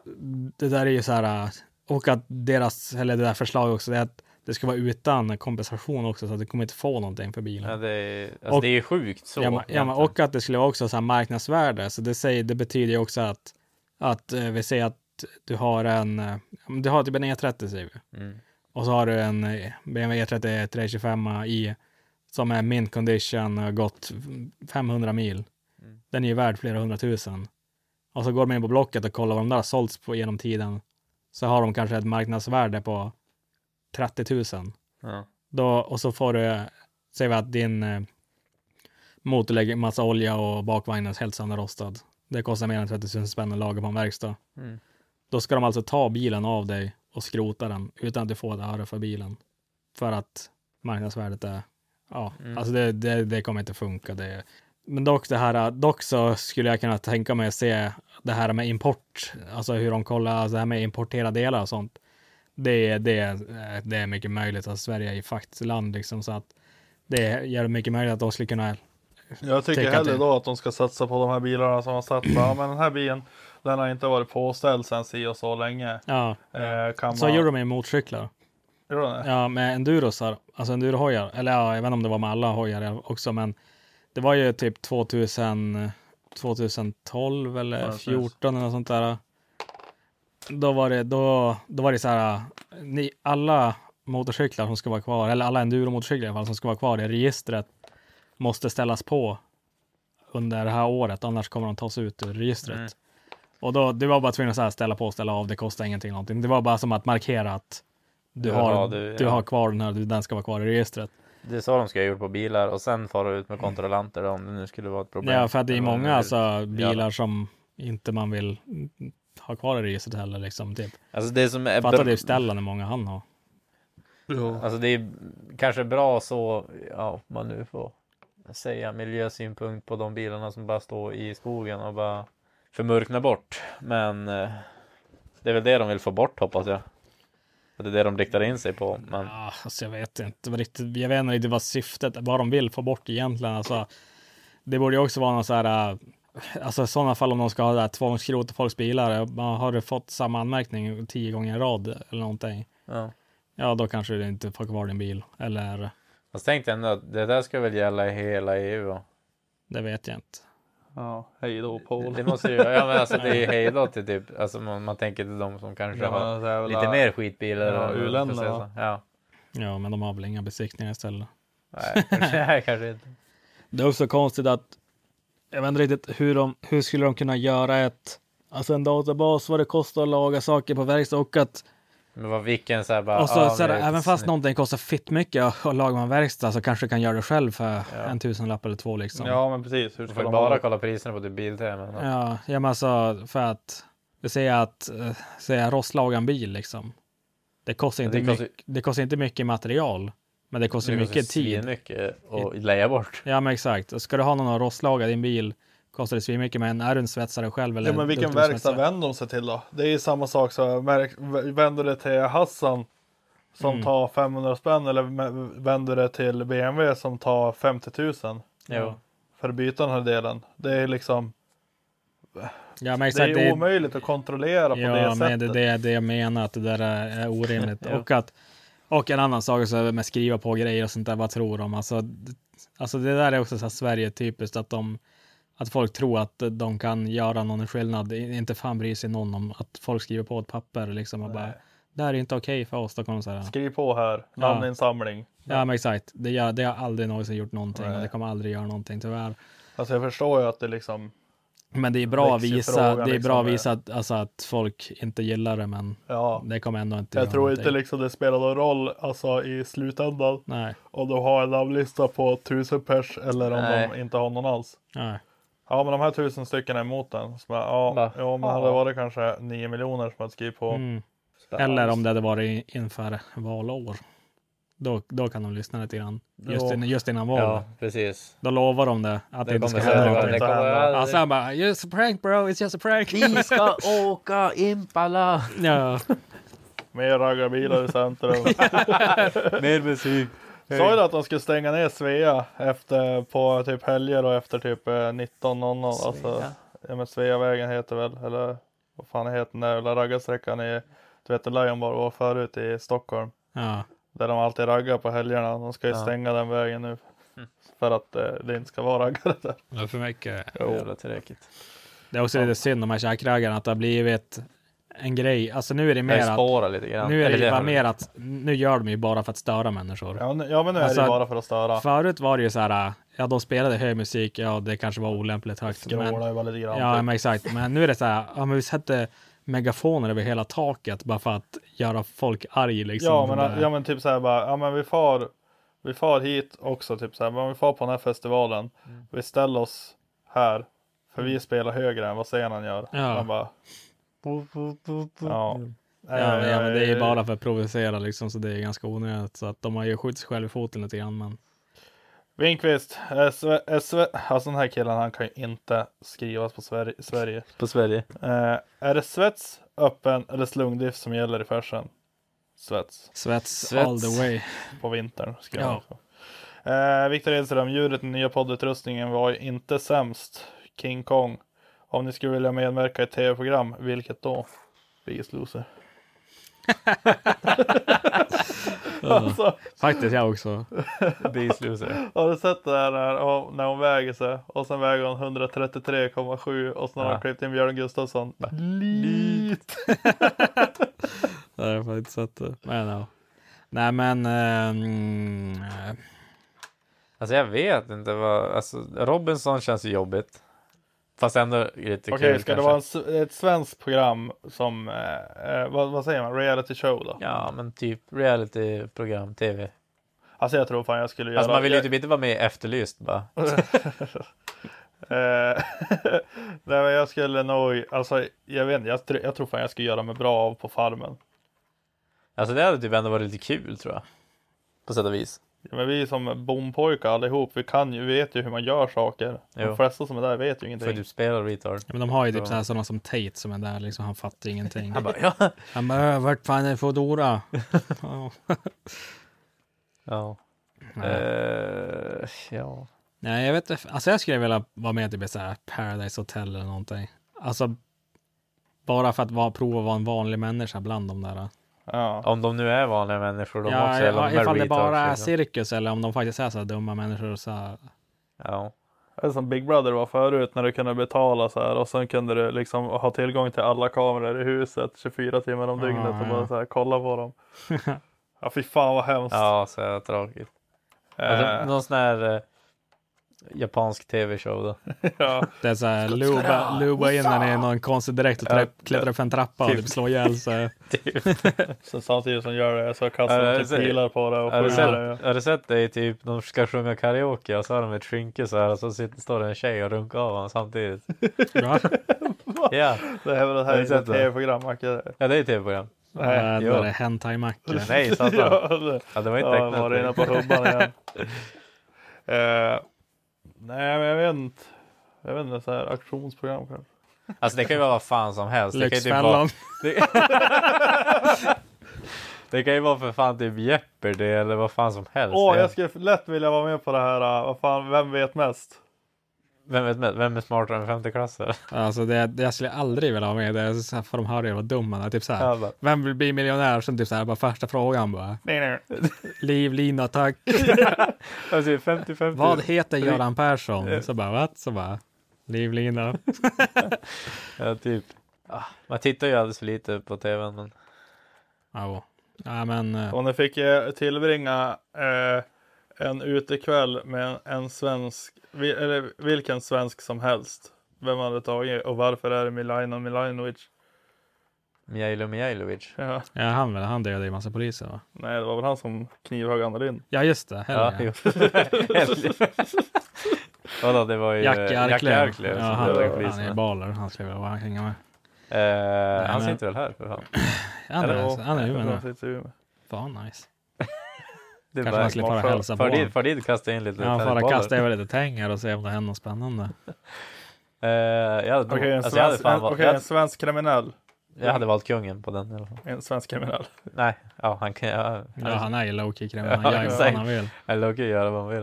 det där är ju så här, eh, och att deras, eller det där förslaget också, det är att det ska vara utan kompensation också, så att du kommer inte få någonting för bilen.
Ja, det, är, alltså, det är sjukt så.
Ja, men, ja, men, och att det skulle vara också så här marknadsvärde. Så det, säger, det betyder ju också att, att eh, vi säger att du har en, eh, du har typ en E30 säger vi.
Mm.
Och så har du en eh, BMW E30 325 i som är mint condition och har gått 500 mil.
Mm.
Den är ju värd flera hundratusen. Och så går de in på Blocket och kollar vad de där har sålts på genom tiden. Så har de kanske ett marknadsvärde på 30 000.
Ja.
Då, och så får du, säger vi att din eh, motor lägger massa olja och bakvagnen är helt sönderrostad. Det kostar mer än 30 000 spänn att laga på en verkstad.
Mm.
Då ska de alltså ta bilen av dig och skrota den utan att du får ett öre för bilen. För att marknadsvärdet är, ja,
Mm.
alltså det, det, det kommer inte funka. Det, Men dock det här, dock så skulle jag kunna tänka mig att se det här med import, alltså hur de kollar, alltså det här med importerade delar och sånt. Det, är- det, är- det är mycket möjligt att Sverige är ju faktiskt land liksom så att det är jävligt mycket möjligt att de skulle kunna.
Jag tycker
täcka
hellre
till.
då att de ska satsa på de här bilarna som har satt. Ja men den här bilen den har inte varit påställd sedan si och så länge.
Ja.
Eh, kan
Så
man...
gjorde de med motorcyklar.
Gjorde de det?
Ja, med endurosar, alltså endurohojar. Eller ja, jag vet inte om det var med alla hojar också, men det var ju typ 2000, 2012 eller
Ja, precis.
2014 eller något sånt där. Då var det, då, då var det så här, ni, alla motorcyklar som ska vara kvar, eller alla enduromotorcyklar i alla fall som ska vara kvar i registret måste ställas på under det här året, annars kommer de tas ut ur registret.
Mm.
Och då, du var bara tvungen att så här ställa på, ställa av, det kostar ingenting, någonting. Det var bara som att markera att du,
Ja,
har,
du-
du
ja.
har kvar den här, du- den ska vara kvar i registret.
Det är så de ska ha gjort på bilar och sen fara ut med kontrollanter om det nu skulle vara ett problem.
Ja, för att det är
Eller om
många
vill
alltså,
göra
bilar som inte man vill mm, ha kvar i registret heller. Liksom, typ.
Alltså, det som är
Fattar
bra-
du ställen hur många han har?
Alltså det är kanske bra så, ja, om man nu får säga miljösynpunkt på de bilarna som bara står i skogen och bara förmörknar bort. Men eh, det är väl det de vill få bort hoppas jag. Och det är det de riktar in sig på. Men
Ja, alltså jag vet inte vad riktigt, jag vet inte riktigt vad syftet, vad de vill få bort egentligen. Alltså, det borde ju också vara någon så här, äh, alltså i sådana fall om de ska ha det här tvångsskrot i folks bilar, man har du fått samma anmärkning tio gånger i rad eller någonting?
Ja.
Ja, då kanske du inte får kvar din bil. Eller,
fast tänk dig ändå att det där ska väl gälla i hela E EU. va?
det vet jag inte.
Ja, hej då Paul.
Det måste ju, ja men alltså det är ju hejdå till typ, alltså man, man tänker till de som kanske
Ja, men
har
det är väl-
lite mer skitbilar.
Ja,
eller vad man ska
u-länderna,
säga
va?
så. Ja.
Ja, men de har väl inga besiktningar istället.
Nej, kanske- nej, kanske inte.
Det är också konstigt att jag vet inte riktigt hur de, hur skulle de kunna göra ett, alltså en databas vad det kostar att laga saker på verkstad och att
Men vad vilken så här bara.
Och så,
ja,
så här,
men det är
även
ett
fast någonting kostar fitt mycket och lagar man verkstad så kanske du kan göra det själv för en tusenlapp eller två liksom.
Ja men precis. Hur
Du
ska
får ju
de
bara
ha-
kolla priserna på typ biltema.
Ja, ja men alltså för att du säger att, eh, säger rosslaga en bil liksom. Det kostar
Ja,
inte,
det kostar-
mycket, det kostar inte mycket material, men det kostar
Det kostar
mycket tid.
svinmycket och leja bort.
Ja men exakt. Och Ska du ha någon att rostlaga din bil kostar det svinmycket, men är du en svetsare själv eller
Ja men vilken
duktig
verkstad
svetsare?
vänder de sig till då? Det är ju samma sak så märk, vänder det till Hassan som
Mm.
tar 500 spänn eller mä- vänder det till BMW som tar 50 000.
Jo.
För att byta den här delen. Det är liksom
Ja, men
det är
exakt,
ju omöjligt att kontrollera på
ja,
det
men
sättet.
det är det, det jag menar, att det där är är orimligt.
Ja.
och, att, och en annan sak också är med skriva på grejer och sånt där, vad tror de? Alltså, d- alltså det där är också så här Sverige-typiskt, att, de, att folk tror att de kan göra någon skillnad. I- Inte fan bryr sig någon om att folk skriver på ett papper liksom och bara, det här är inte okej för oss. Då kommer de så här,
Skriv på här, namninsamling.
ja men exakt, det, gör, det har aldrig någonsin gjort någonting och det kommer aldrig göra någonting tyvärr.
Alltså jag förstår ju att det liksom
Men det är bra att
väcks ju
visa,
frågan
det är bra att, visa
liksom.
att, alltså, att folk inte gillar det, men
Ja.
det kommer ändå inte
Jag
göra
tror inte
någonting.
liksom det spelar någon roll alltså, i slutändan.
Nej.
Om de har en namnlista på 1000 pers eller om
Nej.
de inte har någon alls.
Nej.
Ja men de här tusen stycken är emot den. Så bara, ja,
Va?
ja men
Ja.
hade det varit kanske 9 miljoner som hade skrivit på.
Mm. Eller om det hade varit inför valår. Då, då kan de lyssna lite grann. Just,
Ja.
in, just innan
Ja,
valet.
precis.
Då lovar de det. Att det,
Det
inte ska
kommer
hända
hända,
någonting.
det kommer aldrig-
Alltså han bara, just a prank bro, it's just a prank.
Vi ska åka Impala!
Ja.
Mer raggarbilar i centrum.
Mer musik.
Sa ju det att de skulle stänga ner Svea efter, på typ helger och efter typ eh, 19.00. Alltså,
Svea.
ja, men Sveavägen heter väl, eller vad fan heter den där jävla raggarsträckan i, du vet där Lion Bar var förut i Stockholm.
Ja.
Där de alltid raggar på helgerna. De ska ju
Ja.
stänga den vägen nu. För att eh, det inte ska vara raggare där.
Det är för mycket.
Jävla tråkigt.
Det är också lite synd om de här käkrögarna att det har blivit en grej. Alltså nu är det
Det
mer
spårar lite grann.
Nu är det
Eller
ju
det
bara
har det.
mer att nu gör de ju bara för att störa människor.
Ja, nu- ja, men nu är det ju bara för att störa.
Förut var det ju så här, ja de spelade hög musik, ja det kanske var olämpligt högt.
Skrålade ju bara lite grann,
Ja
typ.
men exakt, men nu är det så här, ja men vi sätter megafoner över hela taket bara för att göra folk arg liksom.
ja, men,
Det där.
ja men typ så här bara, ja men vi far, vi far hit också typ så här, men vi far på den här festivalen.
Mm.
Vi ställer oss här, för vi spelar högre än vad scenen gör.
Ja.
Man bara, ja. Eh, Nej,
Ja, men, ja, men det är ju
nej,
bara för att provocera liksom, så det är ganska onödigt. Så att de har ju skjutit sig själv i foten lite grann. Men
Winkvist, SV, SV, alltså den här killen han kan ju inte skrivas på Sverige. Sverige.
På Sverige.
Eh, är det svets, öppen eller slungdrift som gäller i färsen? Svets.
Svets, all the way.
På vintern. Skulle
Ja.
jag eh, Viktor Edström, ljudet i den nya poddutrustningen var ju inte sämst. King Kong. Om ni skulle vilja medverka i ett tv-program, vilket då? Biggest Loser. Alltså.
Faktiskt jag också.
Har du sett det här när hon, när hon väger sig och sen väger hon 133,7 och sen har
Ja.
hon klippt in Björn Gustafsson. Bara,
Lite. Det har jag fan inte sett det. Men ja. Nej men. eh, mm, eh,
Alltså jag vet inte vad, alltså Robinson känns ju jobbigt. Fast ändå lite
Okej,
kul
ska det
kanske.
vara en, s- ett svenskt program som, eh, eh, vad, vad säger man, reality show då?
Ja men typ realityprogram, tv.
Alltså jag tror fan jag skulle göra...
Alltså man vill ju typ inte vara med i Efterlyst bara.
Eh, Nej men jag skulle nog, alltså jag vet inte, jag, tr- jag tror fan jag skulle göra mig bra av på Farmen.
Alltså det hade typ ändå varit lite kul tror jag. På sätt och vis.
Ja, men vi är som bompojkar allihop, vi kan ju, vi vet ju hur man gör saker.
Jo.
De flesta som är där vet ju
För
ingenting.
du spelar retard.
Men de har ju
Så-
typ så här sådana som Tate som är där liksom. Han fattar ingenting.
Han bara, ja.
Han bara, "Äh, vart fan är Foodora? Ja.
Ja.
Nej.
Eh, ja.
Nej, jag vet inte. Alltså jag skulle vilja vara med i typ så här Paradise Hotel eller någonting. Alltså bara för att vara, prova att vara en vanlig människa bland de där.
Om de nu är vanliga människor de
ja,
också. eller om
ja,
de är
ifall det
retards,
bara är
liksom.
cirkus eller om de faktiskt är så här dumma människor. Så här.
Ja.
Det är som Big Brother var förut när du kunde betala så här och sen kunde du liksom ha tillgång till alla kameror i huset 24 timmar om
Ah,
dygnet och bara
ja.
så här kolla på dem. ja fy fan vad hemskt.
Ja, så är det tråkigt. Alltså,
Eh.
någon sån här eh, japansk tv-show då.
ja.
Det är så här, luba, luba in den i någon konstig direkt och
Ja.
trä- klättra upp en trappa och
Typ.
typ slå ihjäl sig.
Så samtidigt som gör det så kastar
Ja,
de
det
typ
ser-
pilar på det och
Har du
skjuter
sett,
det.
har du sett det i typ, de ska sjunga karaoke och så har de ett skynke så här och så sitter, står det en tjej och runkar av honom samtidigt.
Va?
Ja.
Det här, det
Har
här
du
är ett
sett det?
tv-program Macke.
Ja, det är ett tv-program.
Nej.
Jävlar, det är hentai-macka.
Nej, satan.
Ja, det-
Ja, det var inte
ja,
äkta.
var inne på hubban igen. Eh, nej men jag vet inte. Jag vet inte, så här auktionsprogram kanske.
Alltså det kan ju vara vad fan som helst. Det kan ju typ
Lyxfällan.
vara... Det... det kan ju vara för fan typ Jeopardy eller vad fan som helst.
Åh,
Det-
jag skulle lätt vilja vara med på det här. äh, Vad fan, vem vet mest?
vem, vet, vem är smartare än femteklassare?
Alltså det, det jag skulle aldrig vilja ha med det. är Så här, för de hör ju vad dum man är. Typ så
Ja,
här,
bara-
vem vill bli miljonär? Sen typ så här, bara första frågan bara.
Nej, nej.
Liv, lina, tack.
Alltså 50-50.
Vad heter Göran
Eh.
Persson? Så bara, vad? Så bara, livlina.
Ja, typ. Ah, Man tittar ju alldeles för lite på tvn. Men...
Ja, ja men eh,
Och ni fick eh, tillbringa eh, en utekväll med en, en svensk, vi, eller vilken svensk som helst. Vem hade tagit och varför är det Milano Milanovic?
Mijailo Mijailovic.
Ja.
ja, han, väl, han dödade ju massa poliser va?
Nej, det var väl han som knivhögg Anna Lindh.
Ja, just det.
Ja,
Helge.
jo. Vadå, det var ju eh,
Jackie Arklöv.
Arklöv
Ja,
som
han,
dödade
han är
poliserna.
baller. Han skulle vilja vara- hänga med.
Eh, han
men-
sitter väl här för fan?
Han
Eller?
är, han är ju med nu.
nu.
Fan nice.
Det är
Kanske
bara-
man skulle fara och
far-
hälsa på
far dit-
honom.
Far dit och kasta in lite
Ja, fara
tennisbollar.
kasta över lite pengar och se om det händer något spännande.
Eh, jag hade,
Okej, en,
alltså, jag hade
svensk,
fan
en,
valt,
okej,
jag,
en svensk kriminell.
hade- jag hade valt kungen på den i alla fall.
En svensk kriminell.
Nej, ja han kan ja,
Ja, han är ju low-key
Alltså- Ja,
kriminell. Han gör ju vad
exakt.
han vill.
Han low-key göra vad han vill.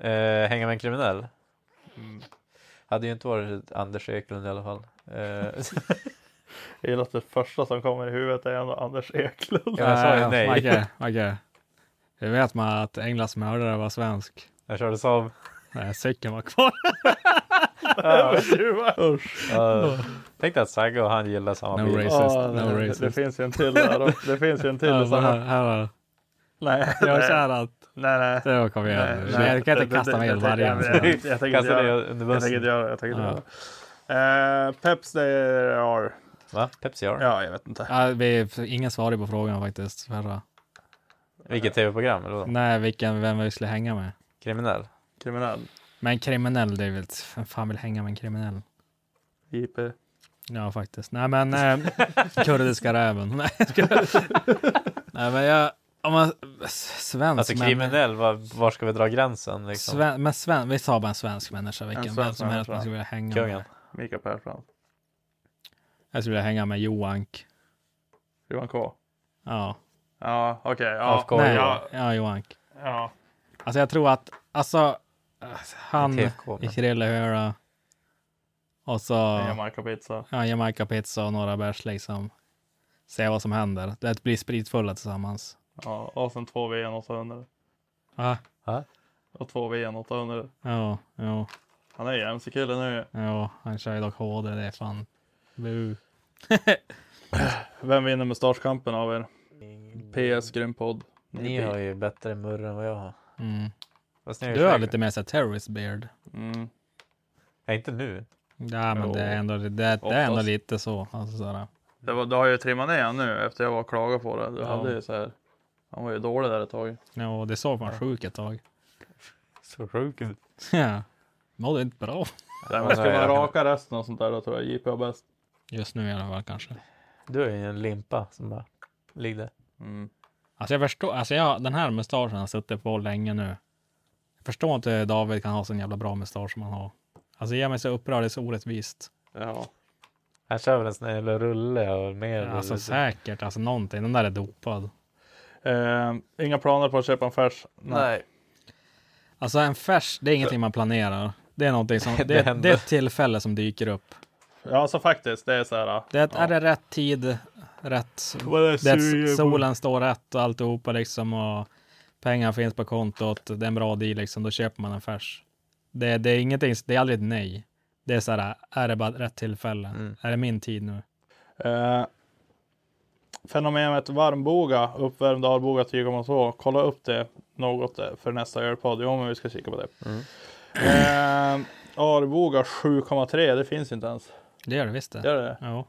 Eh, hänga med en kriminell?
Mm.
Hade ju inte varit Anders Eklund i alla fall. Eh,
Jag gillar att det första som kommer i huvudet är ändå Anders Eklund.
Ja, jag sa ju nej.
Okej, okej. Hur vet man att Englas mördare var svensk?
jag körde Saab.
Nej, cykeln var kvar.
Usch.
Uh, tänkte att Sagge och han gillar samma
No
bil.
racist.
Ja,
no
det-
racist.
Det finns ju en till där. och- Det finns ju en till.
Ja,
i
så
samma-
Alltså, här, här, här.
Nej,
Jag är
nej.
så här att-
Nej, nej.
Det var- kom igen.
Nej,
Det-
nej.
jag kan inte
Det-
kasta
det-
mig
det-
i vargen.
Jag, jag, jag, jag tänker inte
Kasta dig
göra
under
det.
bussen.
Jag tänker inte göra det. Jag tänker inte göra det. Eh, Peps, det är...
Va? Pepsi R?
Ja, jag vet inte.
Ja, vi, ingen svarade på frågan faktiskt. Förra.
Vilket tv-program? Eller vad?
Nej, vilken, vem vi skulle hänga med. Mm,
Kriminell?
Kriminell.
Men kriminell, det är väl, vem fan vill hänga med en kriminell?
JP.
Ja, faktiskt. Nej, men eh, kurdiska räven. Nej, jag skojar. Nej, men jag, Om man, svensk,
Alltså
men-
kriminell, var, var ska vi dra gränsen liksom?
Sven, men Sven, vi sa bara en svensk människa, vilken
En
vem
svensk
som helst
människa.
man skulle vilja hänga
Kungen.
med.
Mikael Persbrandt.
Jag skulle vilja hänga med Johank.
Johan K.
Ja.
Ja, okej. ja.
Nej,
ja.
ja. Johank.
Ja.
Alltså jag tror att, alltså, han
Inte TFK, men-
i Krillehöra och så
En Jamaica-pizza.
Ja, Jamaica pizza och några bärs liksom. Se vad som händer. Det blir spritfulla tillsammans.
Ja, och sen två VN 800.
Ah.
Ja,
Och två VN 800.
ja, ja,
Han är ju MC-kille nu.
ja. Han kör ju dock HD, det är fan. Bu.
Vem vinner mustaschkampen av er? PS grym podd.
Ni har ju bättre murr än vad jag har.
Mm.
Fast ni
Du har
snygga.
lite mer såhär terrorist beard.
Mm.
Nej, inte nu.
Ja, men det är
Jo.
ändå, det, det är ändå
Oftast.
lite så. Alltså, sådär.
Det var, du har ju trimmat ner han nu efter jag var och klagade på det. Du
Ja.
hade ju så här. Han var ju dålig där ett tag.
Ja, det såg man sjuk ett tag.
Så sjuk ut.
Ja, mådde inte bra.
Nej, men skulle man raka resten och sånt där då tror jag JP är bäst.
Just nu i alla fall kanske.
Du är ju en limpa som bara ligger.
Mm.
Alltså jag förstår, alltså jag, den här mustaschen har suttit på länge nu. Jag förstår inte hur David kan ha sån jävla bra mustasch som han har. Alltså jag gör mig så upprörd, det är så orättvist.
Ja.
Han kör väl en sån här jävla rulle och mer.
Alltså säkert, alltså någonting. Den där är dopad.
Eh, inga planer på att köpa en färs?
Alltså en färs, det är ingenting man planerar. Det är någonting som, det,
Det
det,
händer.
är ett tillfälle som dyker upp.
Ja, alltså faktiskt. Det är så här.
Det är, är det rätt tid, rätt,
Vad är
det är,
sugen på?
att solen står rätt och alltihopa liksom och pengar finns på kontot. Det är en bra deal liksom, då köper man en färs. Det, det är ingenting, det är aldrig ett nej. Det är så här, är det bara rätt tillfälle?
Mm.
Är det min tid nu?
Eh, fenomenet varmboga, uppvärmd Arboga 10,2. Kolla upp det något eh, för nästa ölpodd. Jo, men vi ska kika på det. Eh, Arboga 7,3. Det finns ju inte ens.
Det gör det visst det.
Gör det?
Ja.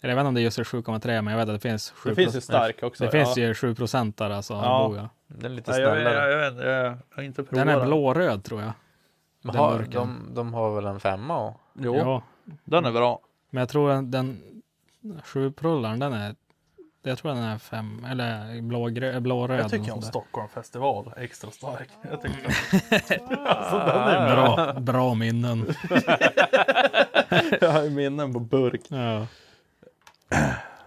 Eller jag vet inte om det är just 7,3 men jag vet att det finns 7
Det finns ju stark också,
Det
ja.
finns ju 7 procent där alltså. Arboga.
Den är lite
Nej, jag-
snällare.
Jag, jag, vet inte, jag har inte provat
Den är blåröd tror jag.
Men
Den
har,
burken.
de, de har väl en femma? och-
Jo, den är bra.
Men jag tror den, den 7-prullaren den är jag tror den är fem, eller blågrö, blåröd.
Jag tycker
eller
om
något sånt där.
Stockholm festival extra stark. Jag tycker alltså, den är
Bra, bra minnen.
jag har ju minnen på burk.
Ja.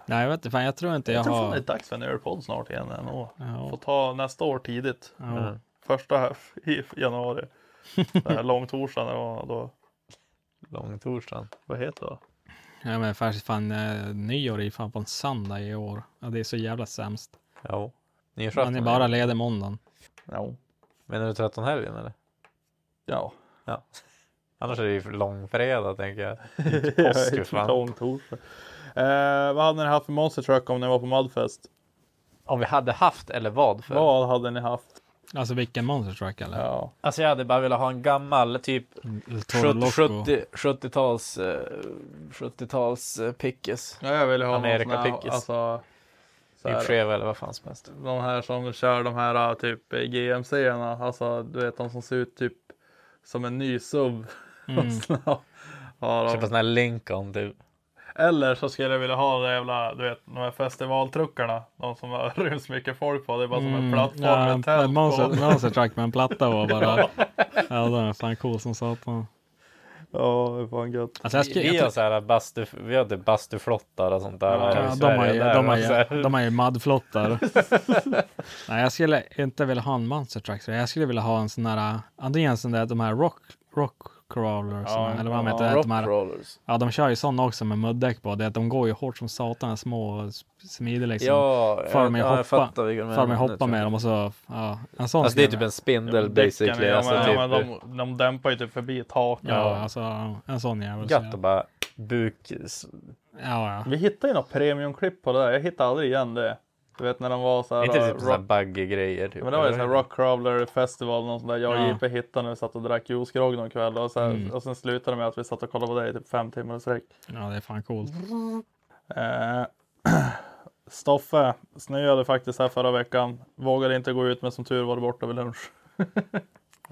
Nej, jag vet inte. Fan, jag tror inte jag,
Jag tror fan
har...
det är dags för en ölpodd snart igen. Ändå.
Ja.
Får ta nästa år tidigt.
Ja.
Eh, Första här i januari. Den här långtorsdagen eller vad då.
Långtorsdagen.
Vad heter det?
Ja, men faktiskt fan eh, nyår är ju fan på en söndag i år. Ja, det är så jävla sämst.
Ja. Nyårsafton.
Man är bara ledig måndagen.
Ja.
Menar du 13 helgen eller?
Ja.
ja. Annars är det ju för långfredag tänker jag.
Ja,
Påsk ju fan.
Långtorsdag. Eh, vad hade ni haft för monster truck om ni var på Mudfest?
Om vi hade haft eller vad? För?
Vad hade ni haft?
Alltså vilken monster truck eller?
Ja.
Alltså jag hade bara velat ha en gammal typ
Toro Loco.
70 70-tals 70 70 eh, pickis.
Ja, jag ville ha någon
Amerika
sån här,
pickis.
alltså, så här-
typ Cheva eller vad fan som helst.
De här som kör de här typ GMC-erna. Alltså du vet de som ser ut typ som en ny SUV.
Mm.
ja, de-
Köpa sån här Lincoln typ.
Eller så skulle jag vilja ha de jävla, du vet, de här festivaltruckarna. De som har ryms mycket folk på. Det är bara som en plattform med
Mm. ja,
tält
en
på.
monster, monster truck med en platta var bara. ja, den är fan cool som satan.
Ja, det är fan gött.
Alltså, jag
Vi-
skulle-
vi,
jag
har så här bastu, vi har typ bastuflottar och sånt där. här i
Ja, de,
Sverige.
har ju,
Där
de, har
så här-
ju, de har ju mudflottar. Nej, jag skulle inte vilja ha en monster truck. så Jag skulle vilja ha en sån här, antingen en sån där, de här rock, rock crawlers.
Ja,
eller vad de
ja,
heter.
rock
de här,
crawlers.
Ja, de kör ju sådana också med muddäck på. Det, är att de går ju hårt som satan, små och smidiga liksom.
Ja, jag-
Far mig
ja, jag
hoppa,
fattar vilka de
far mig
menar nu,
hoppa
tror
med
jag.
dem och så, ja. En sån
Alltså, det är
skulle
typ
jag-
en spindel
Däcken,
basically.
ja,
Alltså,
men,
typ,
ja, men de, de dämpar ju typ förbi taket.
Ja, alltså en sån jävel.
Gött att bara buk...
Ja, ja.
Vi hittade ju något premiumklipp på det där. Jag hittade aldrig igen det. Du vet när de var så här. eh,
Inte typ
rock-
såhär buggy grejer. Typ.
Men det var ju
eller?
sån här Rock Crawler festival, någon sån där. Jag och
Ja.
JP hittade när vi satt och drack juicegrogg någon kväll. Och, så här,
Mm.
och sen slutade det med att vi satt och kollade på det i typ fem timmar i sträck.
Ja, det är fan coolt.
Eh, Stoffe snöade faktiskt här förra veckan. Vågade inte gå ut men som tur var det borta vid lunch.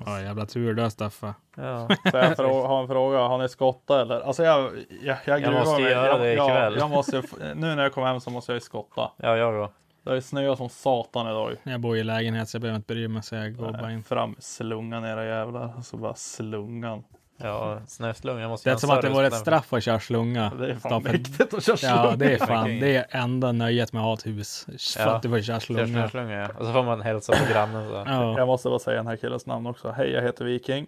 Ja, jävla tur du Steffe.
Ja.
Så jag frå- har en fråga. Har ni skottat eller? Alltså jag, jag, jag,
Jag
gruvar
måste
mig.
göra
jag,
det
jag,
ikväll.
Jag måste, ju f- nu när jag kommer hem så måste jag ju skotta.
Ja, jag då.
Det har ju snöat som satan idag.
Jag bor i lägenhet så jag behöver inte bry mig så jag går
Nej,
bara in.
Fram slungan era jävlar. Alltså bara slungan.
Ja, snöslungan måste
Det är som att det vore ett straff att köra slunga.
Det är fan
Staffel.
mäktigt att köra
Ja,
slunga.
det är fan.
Verkligen.
Det är enda nöjet med att ha ett hus. För att du får köra slunga.
ja. Och så får man hälsa på grannen. Så.
Ja.
Jag måste bara säga den här killens namn också. Hej, jag heter Viking.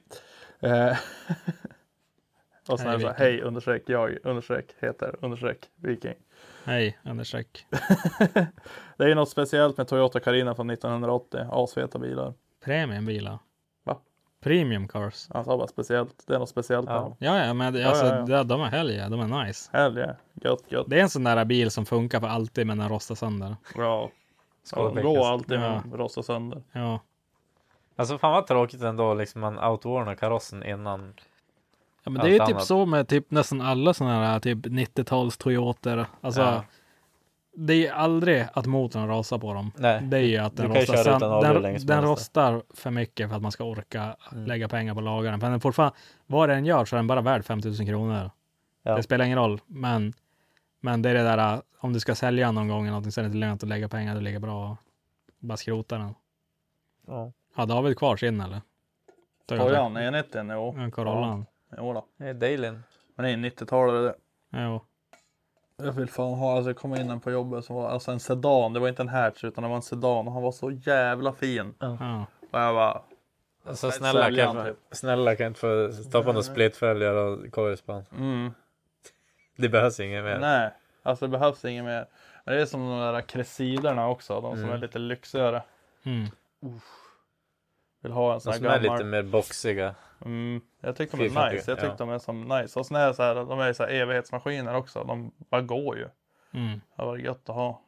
Eh, och sen
Hej,
är det så här,
Viking.
hej understreck jag understreck heter understreck Viking.
Hej, understreck.
Det är ju något speciellt med Toyota Carina från 1980. Asfeta bilar.
Premiumbilar. Va? Premium cars.
Han sa bara speciellt. Det är något speciellt med
Ja,
dem.
ja, men det-
Ja,
alltså,
ja, ja.
det- de är helga. De är nice.
Helga. Gött, gött.
Det är en sån där bil som funkar för alltid men den rostar sönder.
Ja.
Skål,
De
Vegas.
går alltid
Ja.
med rostar sönder.
Ja.
Alltså fan vad tråkigt ändå liksom man outwarnar karossen innan.
Ja, men det är ju
allt
typ
annat.
så med typ nästan alla sådana här typ 90-tals Toyotor. Alltså,
Ja.
det är ju aldrig att motorn rasar på dem.
Nej.
Det är ju att den
Du kan ju
rostar.
köra
Sen,
utan olja hur länge
den
som
den
helst.
rostar för mycket för att man ska orka
Mm.
lägga pengar på lagaren. För den är fortfarande, vad den gör så är den bara värd 5000 kronor.
Ja.
Det spelar ingen roll, men, men det är det där äh, om du ska sälja någon gång eller någonting så är det inte lönt att lägga pengar. Det ligger bra att bara skrota den.
Ja.
Har David kvar sin eller?
Toyan, är 90 jo.
Ja, Corollan.
Ja. Jo då.
Det är Dalin.
Men det är en 90-talare det.
Jo.
Jag vill fan ha, alltså jag kom in en på jobbet som var alltså en sedan. Det var inte en hatch utan det var en sedan och han var så jävla fin.
Ja.
Och jag bara.
Alltså
"Sälj
snälla
han,
kan,
typ."
snälla kan jag inte få stoppa några splitfälgar och korvspann.
Mm.
Det behövs inget mer.
Nej, alltså det behövs inget mer. Men det är som de där kresiderna också, de som
Mm.
är lite lyxigare.
Mm.
Vill ha en sån
De
här
som är
gammal.
lite mer boxiga.
Mm. Jag tyckte de är
Fyrkantiga,
nice. Jag tyckte
ja.
de är som nice. Och såna här, så här, de är så här evighetsmaskiner också. De bara går ju.
Mm.
Det var gött att ha.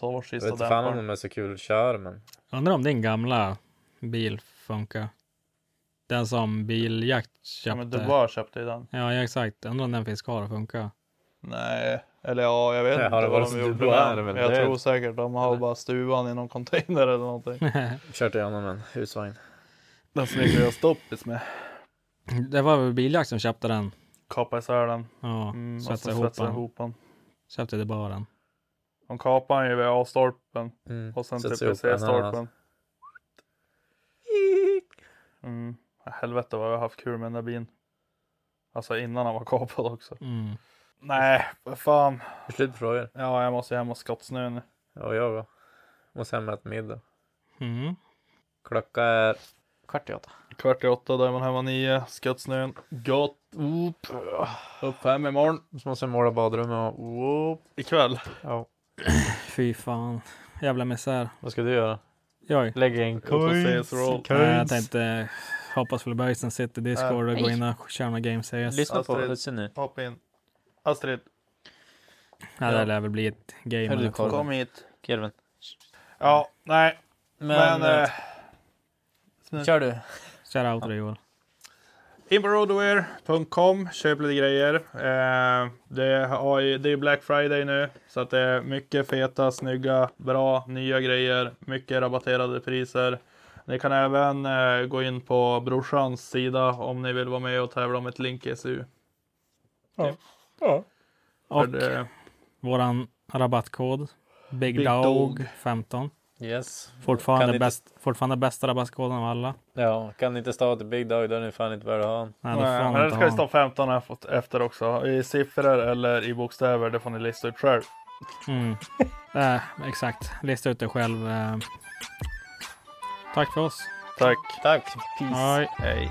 Ta vår
Jag
sista
vet inte fan om
dämpare.
de är så kul att köra men.
Undrar om din gamla bil funkar. Den som Biljakt
Ja,
köpte.
men du bara köpte ju den.
Ja, ja, exakt. Undrar om den finns kvar och funkar.
Nej, eller ja, jag vet
Ja,
inte
har det
vad
varit
de
så
gjorde
dubbla
med
är det
den.
väl
Jag
det?
tror säkert de har bara stuvan i någon container eller någonting.
Kört igenom en husvagn.
Den smeker jag stoppis med.
Det var väl Biljakt som köpte den.
Kapar isär den.
Ja,
Mm, och
svetsade
så
ihop
svetsar jag
den.
ihop den.
Köpte det bara den.
De kapar den ju vid A-stolpen
Mm.
och sen typ
Sätts
till
ihop en
PC-stolpen.
annan.
Mm. Helvete vad jag har haft kul med den där bilen. Alltså innan han var kapad också.
Mm.
Nej, vad fan.
Slut på frågor.
Ja, jag måste hem och skottsnö nu.
Ja, jag då. Måste hem och äta middag.
Mm.
Klockan är kvart i åtta.
Kvart i åtta, då är man hemma nio. Skottsnön. Gott. Upp. Upp fem imorgon.
Så måste jag måla badrummet och... Whoop.
Ikväll.
Ja.
Fy fan. Jävla misär.
Vad ska du göra?
Jag.
Lägga in
på
coins.
CS roll.
Nej, jag tänkte hoppas väl Böjsen sitter i Discord och
Äh, Nej.
går in och kör några game series.
Lyssna på
Alltså,
Astrid.
Hudson nu.
Hoppa in. Astrid,
Ja, det lär väl bli ett game.
Hör
eller
du
två.
Korven?
kom hit.
Kelvin.
Ja, nej. Men,
Men, eh,
eh, snö-
Kör du.
Kör outro Joel.
Inbroadwear.com, köp lite grejer. Eh, det, har ju, det är ju Black Friday nu, så att det är mycket feta, snygga, bra, nya grejer. Mycket rabatterade priser. Ni kan även eh, gå in på brorsans sida om ni vill vara med och tävla om ett Link SU.
Ja.
ja.
Och
det,
våran rabattkod Big,
Big
Dog,
Dog.
15.
Yes. Kan
Fortfarande,
inte-
bäst, fortfarande bästa rabattkoden av alla.
Ja, kan inte stå till eh, Big Dog då är ni fan inte värda att ha en.
Nej, det får
Nej,
man
men det
inte
ska ju
ha.
stå 15 här fått- efter också. I siffror eller i bokstäver, det får ni lista ut själv.
Mm. Eh, exakt, lista ut det själv. eh. Tack för oss.
Tack.
Tack. Peace.
Hej.
Hej.